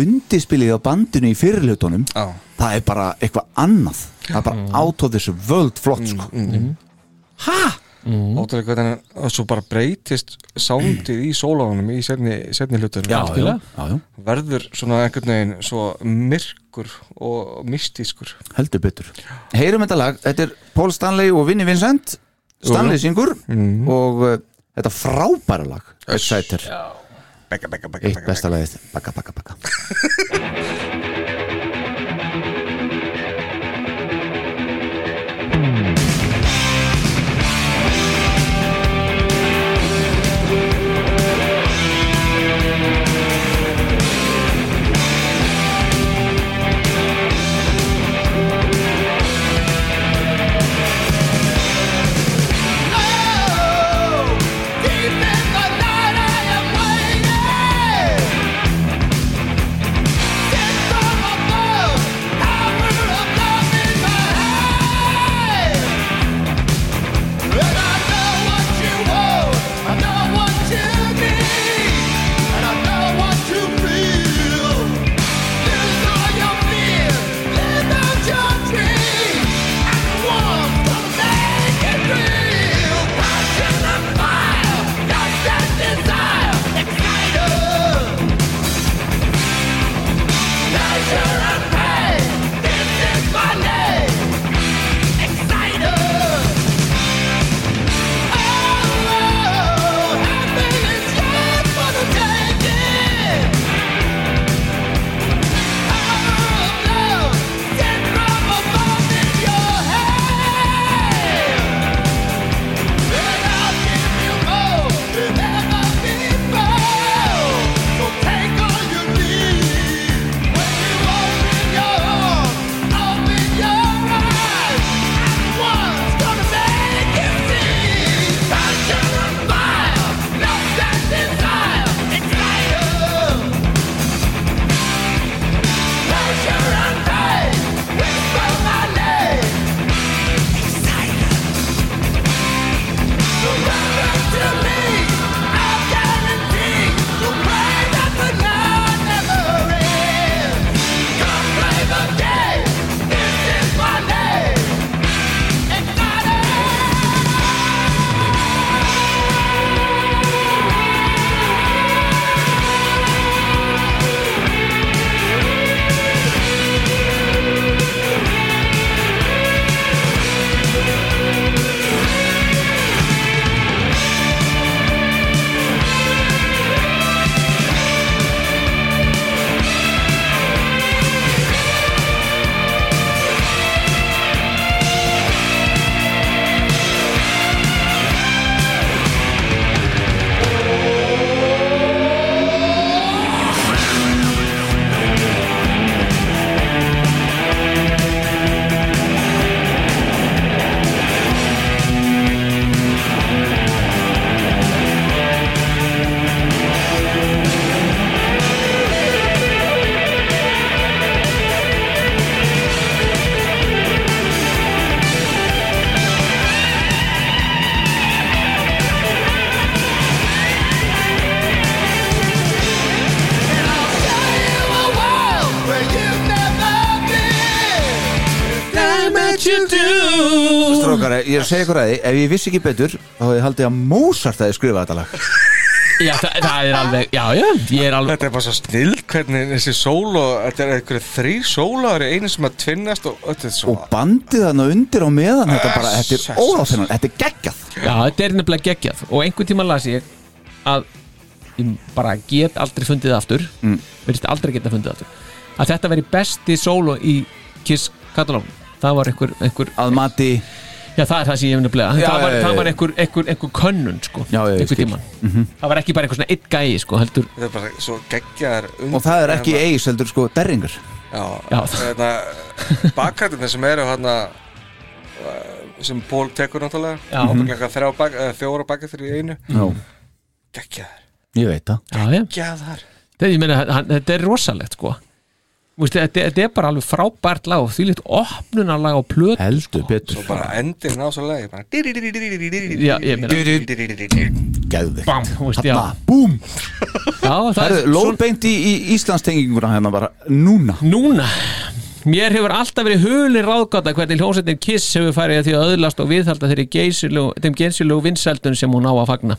C: undirspilið hjá bandinu í fyrri hlutunum
D: Já.
C: það er bara eitthvað annað það er bara out of this world flott sko
D: Ótrúlega hvernig hann- og svo bara breytist sándið í sóláðunum í setni, setni hlutunum
C: Já, já,
E: Algjörlega.
C: já, já,
D: verður svona einhvern veginn svo myrkur og mystískur
C: heldur betur Heyrum þetta lag, þetta er Paul Stanley og Vinnie Vincent Stanley syngur
D: Mm.
C: og uh, þetta frábæra lag Exciter,
D: Begga, begga, begga,
C: eitt besta lagið Bakka, bakka, bakka
G: I am waiting. It's the
A: Oh,
E: what you do
C: Strókar, ég er að segja ykkur að því, ef ég vissi ekki betur þá hefði haldið að Mozart hefði skrifað þetta lag
E: Já, það, það er alveg, já, já, ég er alveg
D: Þetta er bara svo snild hvernig þessi sólo Þetta er einhverju þrý sólar Einu sem að tvinnast og þetta er svo
C: og bandið hann undir og meðan þetta bara,
E: Ah,
C: þetta
D: Jesus.
C: er óráþennan, þetta er geggjað
E: Já, þetta er nefnilega geggjað og einhvern tíma las ég að ég bara get aldrei fundið það aftur mm. verðist aldrei geta fundið það aftur að þetta veri besti solo í Kiss Katalón það var einhver, einhver
C: að mati,
E: já það er það sem ég hef nefnilega
C: Já,
E: það var,
C: já, já,
E: það var
C: já.
E: einhver, einhver, einhver könnun sko,
C: Já, já, ég
E: einhver
C: skil. Mhm.
E: tíman það var ekki bara einhver svona eitt gæi sko, heldur
D: Þetta er bara svo geggjaðar um-
C: og það er ekki eis heldur sko derringur
D: Já,
E: Já.
D: þetta Bakkartinni sem eru hann sem Pól tekur náttúrulega
E: Já. Mhm.
D: Ábygglega eitthvað þrjá bak, eða fjóra bakkartir í einu
C: Já,
D: Geggjaðar
C: Mm. ég veit það
E: já, já.
D: Geggjaðar
E: Þetta, meina, hann, þetta er rosalegt sko Þú veist, þetta, þetta er bara alveg frábært lag og því líkt opnunarlag og plöt
C: heldur
D: Svo
C: betur,
D: bara endin á svo lagi bara
E: Já, ég meina-
C: gæðvikt
E: Bam, þú veist, já,
C: þarna, búm,
E: já, það
C: það
E: er
C: eru
E: svona-
C: lóðbeint í, í Íslandstenginguna hérna bara, núna
E: Núna Mér hefur alltaf verið hulin ráðgáta hvernig hljómsveitin Kiss hefur farið að því að öðlast og viðhalda þeirri geysilegu- þeim geysilegu vinsældun sem hún á að fagna.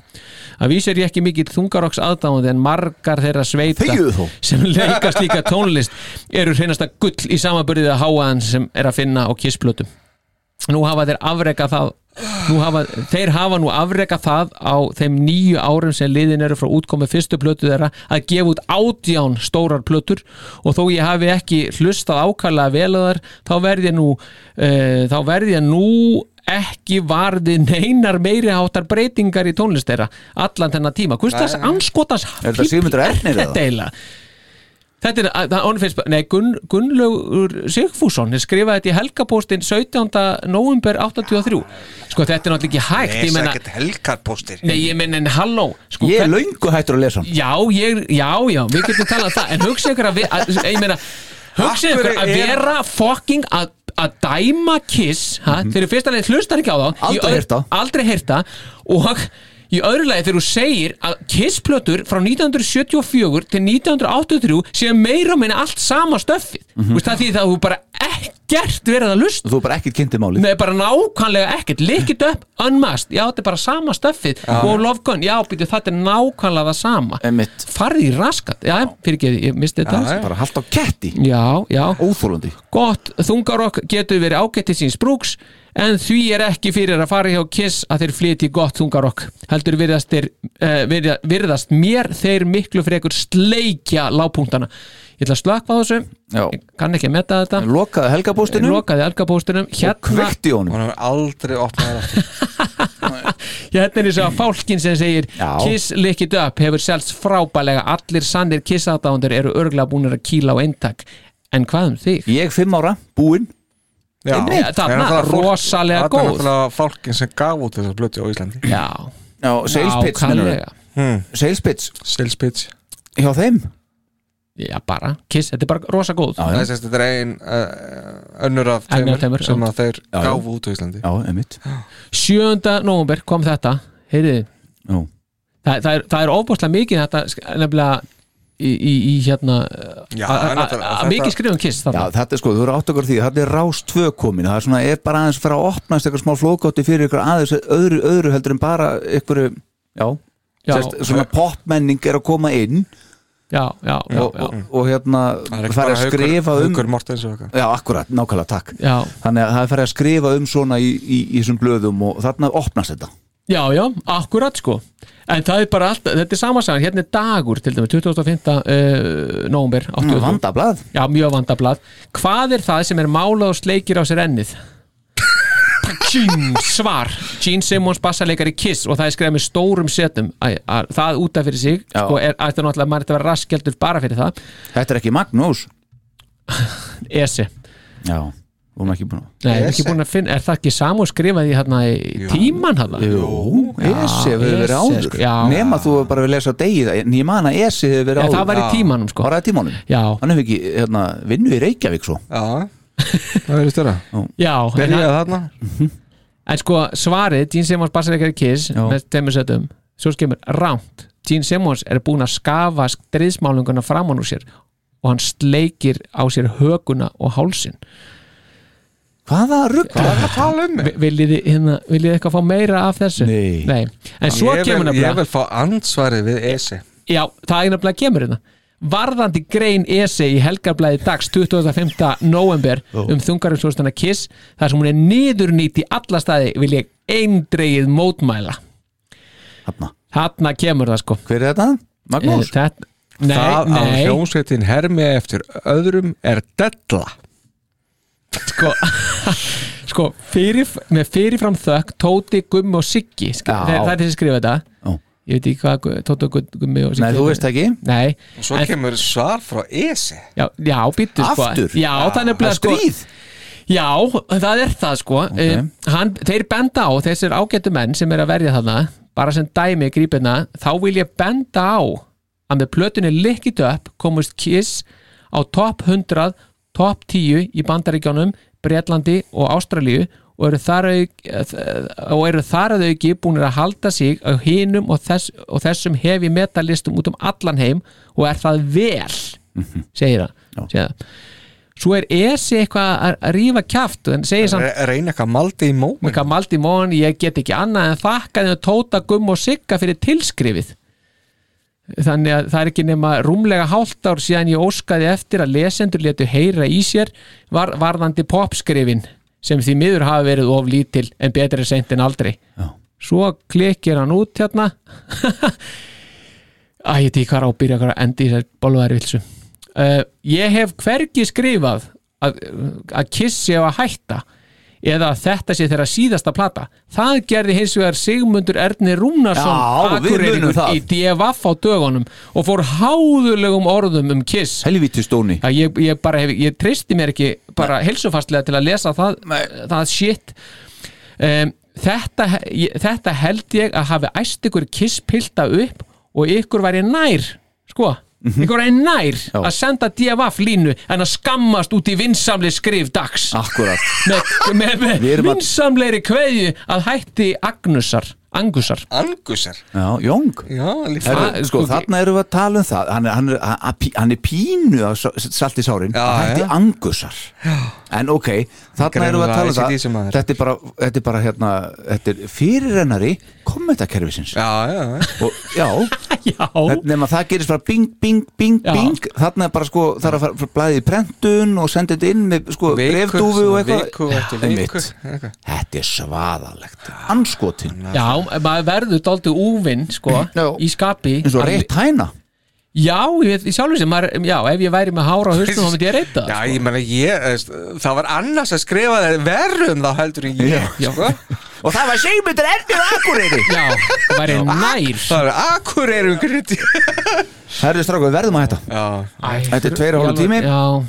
E: Að vísi er ég ekki mikill þungarokks aðdáðandi en margar þeirra sveita
C: Þegiðu þú.
E: sem leika slíka tónlist eru hreinasta gull í samaburðið að háaðan sem er að finna á Kiss-plötum. Nú hafa þeir afreka það nú hafa, þeir hafa nú afreka það á þeim nýju árum sem liðin eru frá útkomi fyrstu plötu þeirra að gefa út átján stórar plötur og þó ég hafi ekki hlustað ákvæðlega vel að þar þá verð ég nú uh, þá verð ég nú ekki varði neinar meiri háttar breytingar í tónlist þeirra allan þennan tíma, hvers þess anskotans
C: Er þetta Sigmundur Ernir eða?
E: þetta eiginlega Þetta er, að- það ánfins, nei, Gunn, Gunnlaugur Sigfússon er skrifaði þetta í helgapóstin 17. november 83 Sko þetta er náttúrulega ekki hægt, ég
D: Lesa
E: menna
D: ekkert helgarpóstir
E: Nei, ég menna, en halló sko,
C: ég er
E: hvern-
C: löngu hættur að lesa hann
E: Já, ég, já, já, við getum talað um það En hugsa ykkur að, vi, að ég meina Hugsa
D: Af
E: ykkur
D: hverju
E: að
D: er-
E: vera fucking að að dæma Kiss ha, fyrir fyrsta leið hlustar ekki á þá
C: Aldrei
E: Í öðru-
C: heyrt þá.
E: aldrei heyrta og í öðru lagi þegar þú segir að Kiss-plötur frá 1974 til 1983 séu meira og minna allt sama stöffið mm -hmm. það því það að þú bara ekkert verið að lusta
C: þú er bara ekkert kynntið málið
E: Nei, bara nákvæmlega ekkert Likkit upp, unmasked, já, þetta er bara sama stöffið Og Love Gun, já, býtu, þetta er nákvæmlega það sama
C: Einmitt.
E: Farði í raskat, já, fyrir ekki, ég misti þetta
C: bara haldt á ketti,
E: Já, já,
C: óþólandi
E: gott, þungarokk getur verið ágætti síns brúks En því er ekki fyrir að fara hjá Kiss að þeir flytja í gott þungarokk Heldur virðast, þeir, uh, virða, virðast mér þeir miklu frekur sleikja lágpunktana Ég ætla að slökva á þessu,
C: Já.
E: ég kann ekki að metta þetta Hérna
C: lokaði helgabóstinu
E: Lokaði algabóstunum
C: og kveikti í honum
D: Hún hefur aldrei opnað það
E: Hérna er þess að fálkin sem segir
C: Já.
E: Kiss Lick It Up hefur selst frábælega allir sannir Kiss aðdándir eru örglega búinir að kýla á eintak en hvað um þig?
C: ég fimm ára, búinn
D: Já,
E: Einmitt, þarna, rosalega
D: Það er
E: góð.
D: náttúrulega fólkin sem gaf út þessar blötu á Íslandi
E: Já,
C: Já, sales pitch, mennur
E: nákvæmlega
C: Sales pitch,
D: Sales pitch
C: hjá þeim
E: Já, bara, Kiss, þetta er bara rosa góð
C: Já,
D: Það
C: já,
D: er sérst þetta er ein uh, önnur af
E: Önnur af
D: teimur
E: tveimur,
D: sem
E: já.
D: að þeir
C: já.
D: gafu út á Íslandi
C: já einmitt
E: 7. november kom þetta heyrið,
C: Já,
E: það, það er, það er ofbúslega mikið þetta sk- nefnilega í, í, í hérna
D: Já,
E: að- að-
D: náttúrulega,
E: að-
D: þetta-
E: mikið skrifum Kiss
C: já
E: þarna
C: þetta er sko, þú eru átt okkur á því Þetta er rás tvö komin, það er svona er bara aðeins fyrir að opnast eitthvað smá flókátti fyrir ykkur aðeins öðru, öðru heldur en bara ykkur Já,
E: Já,
C: Sérst, svona popmenning er að koma inn
E: já, já, já,
C: og, og, og hérna
D: Það er
C: farið
D: ekki bara
C: að skrifa
D: haukur,
C: um
D: haukur Mortens og eitthvað
C: Já, akkurat, nákvæmlega, takk
E: já,
C: Þannig að það er farið að skrifa um svona í, í, í þessum blöðum og þarna opnast þetta
E: Já, já, akkurat sko En það er bara alltaf, þetta er samansagan Hérna er dagur til dæmis, 25. Uh, nómber
C: Vandablað
E: Já, mjög vandablað Hvað er það sem er málað og sleikir á sér ennið? Tjím, svar Gene Simmons bassarleikari Kiss og það er skrifað með stórum setum Æ, að- það út af fyrir sig
C: Já.
E: sko, er, ætti náttúrulega að maður ætti að vera raskjaldur bara fyrir það
C: Þetta er ekki Magnús
E: Esi,
C: Já, við erum ekki búin að
E: Nei, er, ekki búin að finna, er það ekki samu skrifaði hérna í tíman hana?
C: Jú, Esi hefur verið
E: Esi,
C: áður
E: sko, já.
C: Nema þú hefur bara við lesa degið En ég man að Esi hefur verið
E: Já,
C: áður
E: það var í tímanum, sko.
C: Var það í tímanum?
E: Já,
C: Hann hefur ekki hérna, vinnu í Reykjavík svo
D: Já, það verður störa
E: já en hann-
D: Byrjaði þarna
E: En sko svarið, Gene Simmons bassarleikari Kiss
C: Já.
E: með þeimur settum, svo skemur rámt, Gene Simmons er búin að skafa stríðsmálunguna framan úr sér og hann sleikir á sér höguna og hálsin
C: Hvaða rugg?
D: Hvað er það að tala um mig?
E: Vi- viljið þið hérna, viljið þið eitthvað fá meira af þessu
C: Nei.
E: en svo
D: ég,
E: kemur
D: vil, ég
E: nefnilega
D: vil fá ansvarið við ESI
E: já, það er nefnilega kemur hérna varðandi grein ESE í helgarblæði dags 25. november um þungarumslóstana Kiss þar sem hún er niðurnýtt í alla staði vil ég eindreið mótmæla
C: Þarna.
E: þarna kemur það sko
C: Hver er þetta?
E: Eh,
C: Magnús?
E: þetta, nei,
D: Það að
E: nei
D: hljómsveitin hermi eftir öðrum er della
E: sko, sko fyrir, með fyrirfram þökk Tóti, Gummi og Siggi sk-
C: Já.
E: það það er þessi skrifa þetta
C: Já.
E: ég veit ekki hvað Gu- Tóti, og Gu- Gummi og Siggi
C: Nei, þú veist ekki
E: Nei,
D: Svo
E: en-
D: kemur svar frá ESI
E: já, já býttu sko
C: Aftur?
E: Já, það er
C: Það
E: nefnilega
C: er
E: sko
C: stríð
E: Já, það er það sko okay. hann, Þeir benda á þessir ágættu menn sem er að verja þarna bara sem dæmi grípina þá vil ég benda á að með plötunni Lick It Up komust Kiss á top 100 top 10 í bandaríkjónum Bretlandi og Ástralíu og eru þar, auk, og eru þar að auki búinir að halda sig á hinum og, þess, og þessum hefi metalistum út um allan heim og er það vel segir það, segir það svo er ESI eitthvað að- að rífa kjaft en segir samt
D: Re- Reyna eitthvað maldi í mómin
E: Mika Maldi Món, ég get ekki annað en þakka þeim Tóta, Gumm og Sigga fyrir tilskrifið þannig að það er ekki nema rúmlega hálft ár síðan ég óskaði eftir að lesendur letu heyra í sér var, varðandi popskrifin sem því miður hafa verið of lítil en betri seint en aldrei
C: Já.
E: svo klikir hann út hérna að ég veit ekki hvað er á að byrja hvað er að enda í þessar bolværi vilsu uh, ég hef hvergi skrifað að, að kissi á að hætta eða að þetta sé þeirra síðasta plata það gerði hins vegar Sigmundur Erni Rúnarsson
C: Já, við munum
E: Akureyringur
C: það.
E: í DFF á dögunum og fór háðulegum orðum um Kiss
C: Helvíti stóni
E: að ég, ég bara hef, ég treysti mér ekki bara heilsufastlega til að lesa það, það shit um, þetta, ég, þetta held ég að hafi æst ykkur kisspilta upp og ykkur væri nær sko,
C: Mhm.
E: ykkur væri nær að senda DFF línu en að skammast út í vinsamli skrif dags
C: Akkurat
E: með, með,
C: Ah. Við
E: með
C: erum að-
E: vinsamleiri kveðju að hætti Agnusar Angusar
D: Angusar
C: Já, Jónk
D: Já, líka
C: Herru,
E: Það-
C: sko,
E: sko,
C: þarna erum við að tala um það hann, er- hann, er- hann, pí- hann er pínu af sa- salti sárin,
D: Já,
C: hann hætti
D: já.
C: angusar en ok, þarna erum við að
D: Greinilega
C: tala um
D: ACDC
C: það
D: maður.
C: þetta er bara, þetta er bara hérna, þetta er fyrirrennari kommentakerfisins
D: Já, já, já
C: og já,
E: Já,
C: þetta- nema það gerist bara bing, bing, bing,
E: Já.
C: bing þarna er bara sko, það er að fara- fara blæðið í prentun og senda þetta inn með sko brefdúfu og
D: Viku
C: eitthvað
D: eftir
C: Einmitt.
D: viku eitthvað.
C: þetta er svaðalegt, anskotin
E: já, maður verður dálítið úvinn sko,
C: Já.
E: í skapi
C: eins og
E: að-
C: rétt hæna
E: Já, ég, ég sjálfur sem maður, já, ef ég væri með hára á hausnum þá myndi ég reyta sko.
D: Já, ég meina ég eh, Það var annars að skrifa um það verrum þá heldur en
C: Já.
D: ég sko.
C: og það var Sigmundur Ernir Akureyri
E: Já, það væri nær
D: Það var akureyrum grundi
C: Herri stráku, við verðum að hætta
D: Já,
C: Þetta er tveir og hálfur tími
E: Já,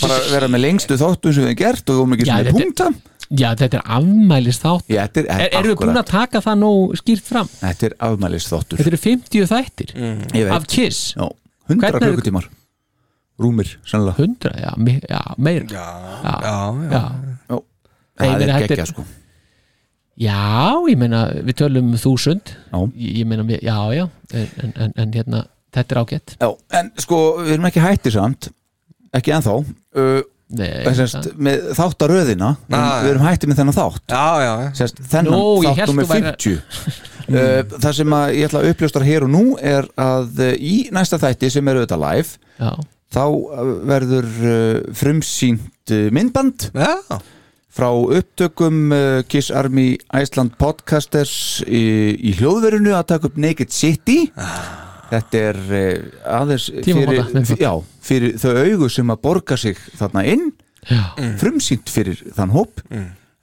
C: Bara vera með lengstu þáttu sem við hefum gert og við erum ekki
E: Já,
C: sem við
E: þetta-
C: punkta
E: já, þetta er afmælis þátt
C: Já, þetta er,
E: er, Erum við búin
C: akkúrat.
E: að taka það nóg skýrt fram?
C: Þetta er afmælis þáttur
E: Þetta eru 50 þættir
C: Ég
E: af
C: veit,
E: Kiss
C: Mm. já, 100
E: Hvernig er-
C: klukkutímar Rúmir, sannlega
E: 100, já, mi- já meir Já, já,
D: já,
E: já.
C: Já, Það er
E: Nei, ég meina, þetta er-
C: geggja sko
E: ég meina, við tölum um 1000
C: Já.
E: Ég ég meina, við- já, já en, en, en, en hérna, þetta er ágætt
C: Já, en sko, við erum ekki hætti samt Ekki ennþá uh,
E: Nei,
C: semst,
E: það-
C: Með þáttaröðina en
D: Já, já.
C: Við erum hætti með þennan þátt
D: já, já.
C: Sérst, þennan
E: Nú, ég hélt
C: þáttum
E: þú
C: með
E: væri-
C: 50 uh, Það sem að ég ætla að uppljóstra hér og nú er að uh, í næsta þætti sem er auðvitað live
E: já,
C: þá uh, verður uh, frumsýnt uh, myndband
D: já.
C: frá upptökum uh, Kiss Army Iceland Podcasters í, í hljóðverinu að taka upp Naked City þetta er uh, aðeins fyrir,
E: Tímamóta, myndband.
C: já, fyrir þau augu sem að borga sig þarna inn
E: já,
C: Mm. frumsýnt fyrir þann hóp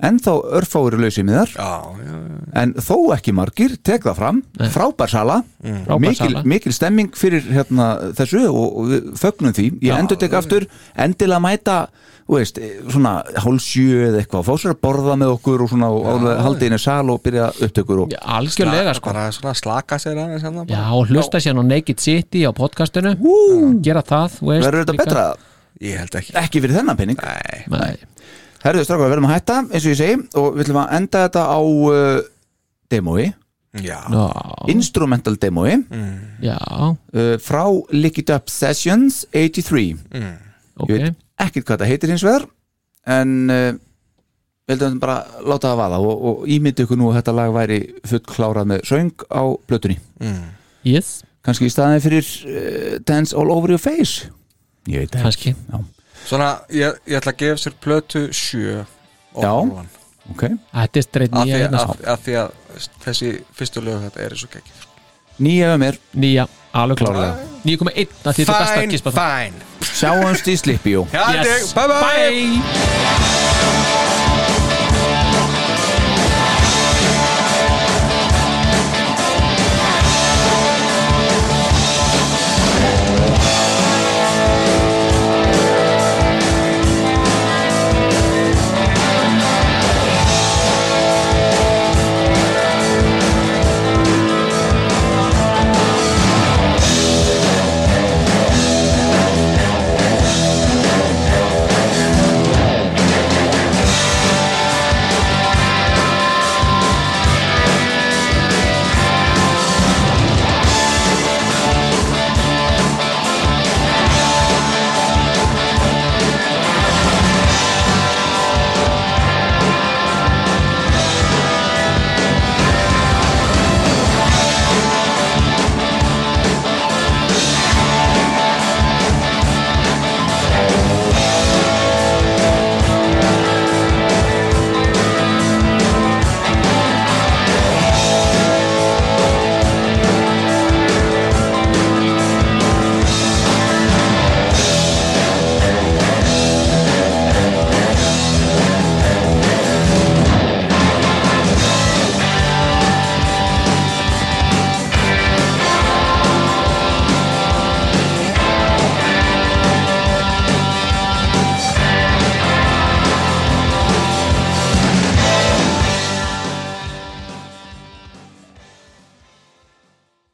C: en þá örfáir lausið miðar
D: já, já.
C: en þó ekki margir, tek það fram frábær sala,
E: Frábær
C: mikil,
E: sala.
C: mikil stemming fyrir hérna, þessu og, og við fögnum því, ég endur tek aftur endilega mæta þú veist, eh, svona hálsjö eða eitthvað fá sér að borða með okkur og svona og alveg haldið inn í sal og byrja upptökur og
E: Já, algjörlega sko
D: Bara svona slaka sér aðeins hérna bara.
E: Já, og hlusta sér á Naked City á podcastinu gera það, þú veist
C: verður þetta
E: líka.
C: betra?
D: Ég held ekki
C: Ekki fyrir þennan penning
D: Nei,
E: Nei.
C: Herðu strákar, við verðum að hætta, eins og ég segi og við ætlum að enda þetta á uh, demói,
D: já,
E: Já, Mm.
C: instrumental demói
E: já,
C: uh, frá Lick It Up Sessions 83 Ég
E: ok
C: veit ekkert hvað það heitir hins vegar en uh, held að bara láta það vaða og, og ímyndi ykkur nú að þetta lag væri fullklárað með söng á plötunni
E: yes,
C: kannski í staðin fyrir uh, Dance All Over Your Face ég veit það
E: kannski
C: Já,
D: Svona, ég, ég ætla að gefa sér plötu sjö og
C: Já.
D: hálfan.
C: ok
E: þetta er streit
D: Af því
E: nýja
D: að,
E: hérna
D: að, að því að þessi fyrstu lög þetta er svo gekkir
C: Nýja um er
E: nýja, alveg
C: Klárlega.
E: klárlega 9,1 að því þetta er besta að gispa það
D: fine
C: Sjáumst í Slippjó
D: Já,
E: Yes.
D: bye bye,
E: bye.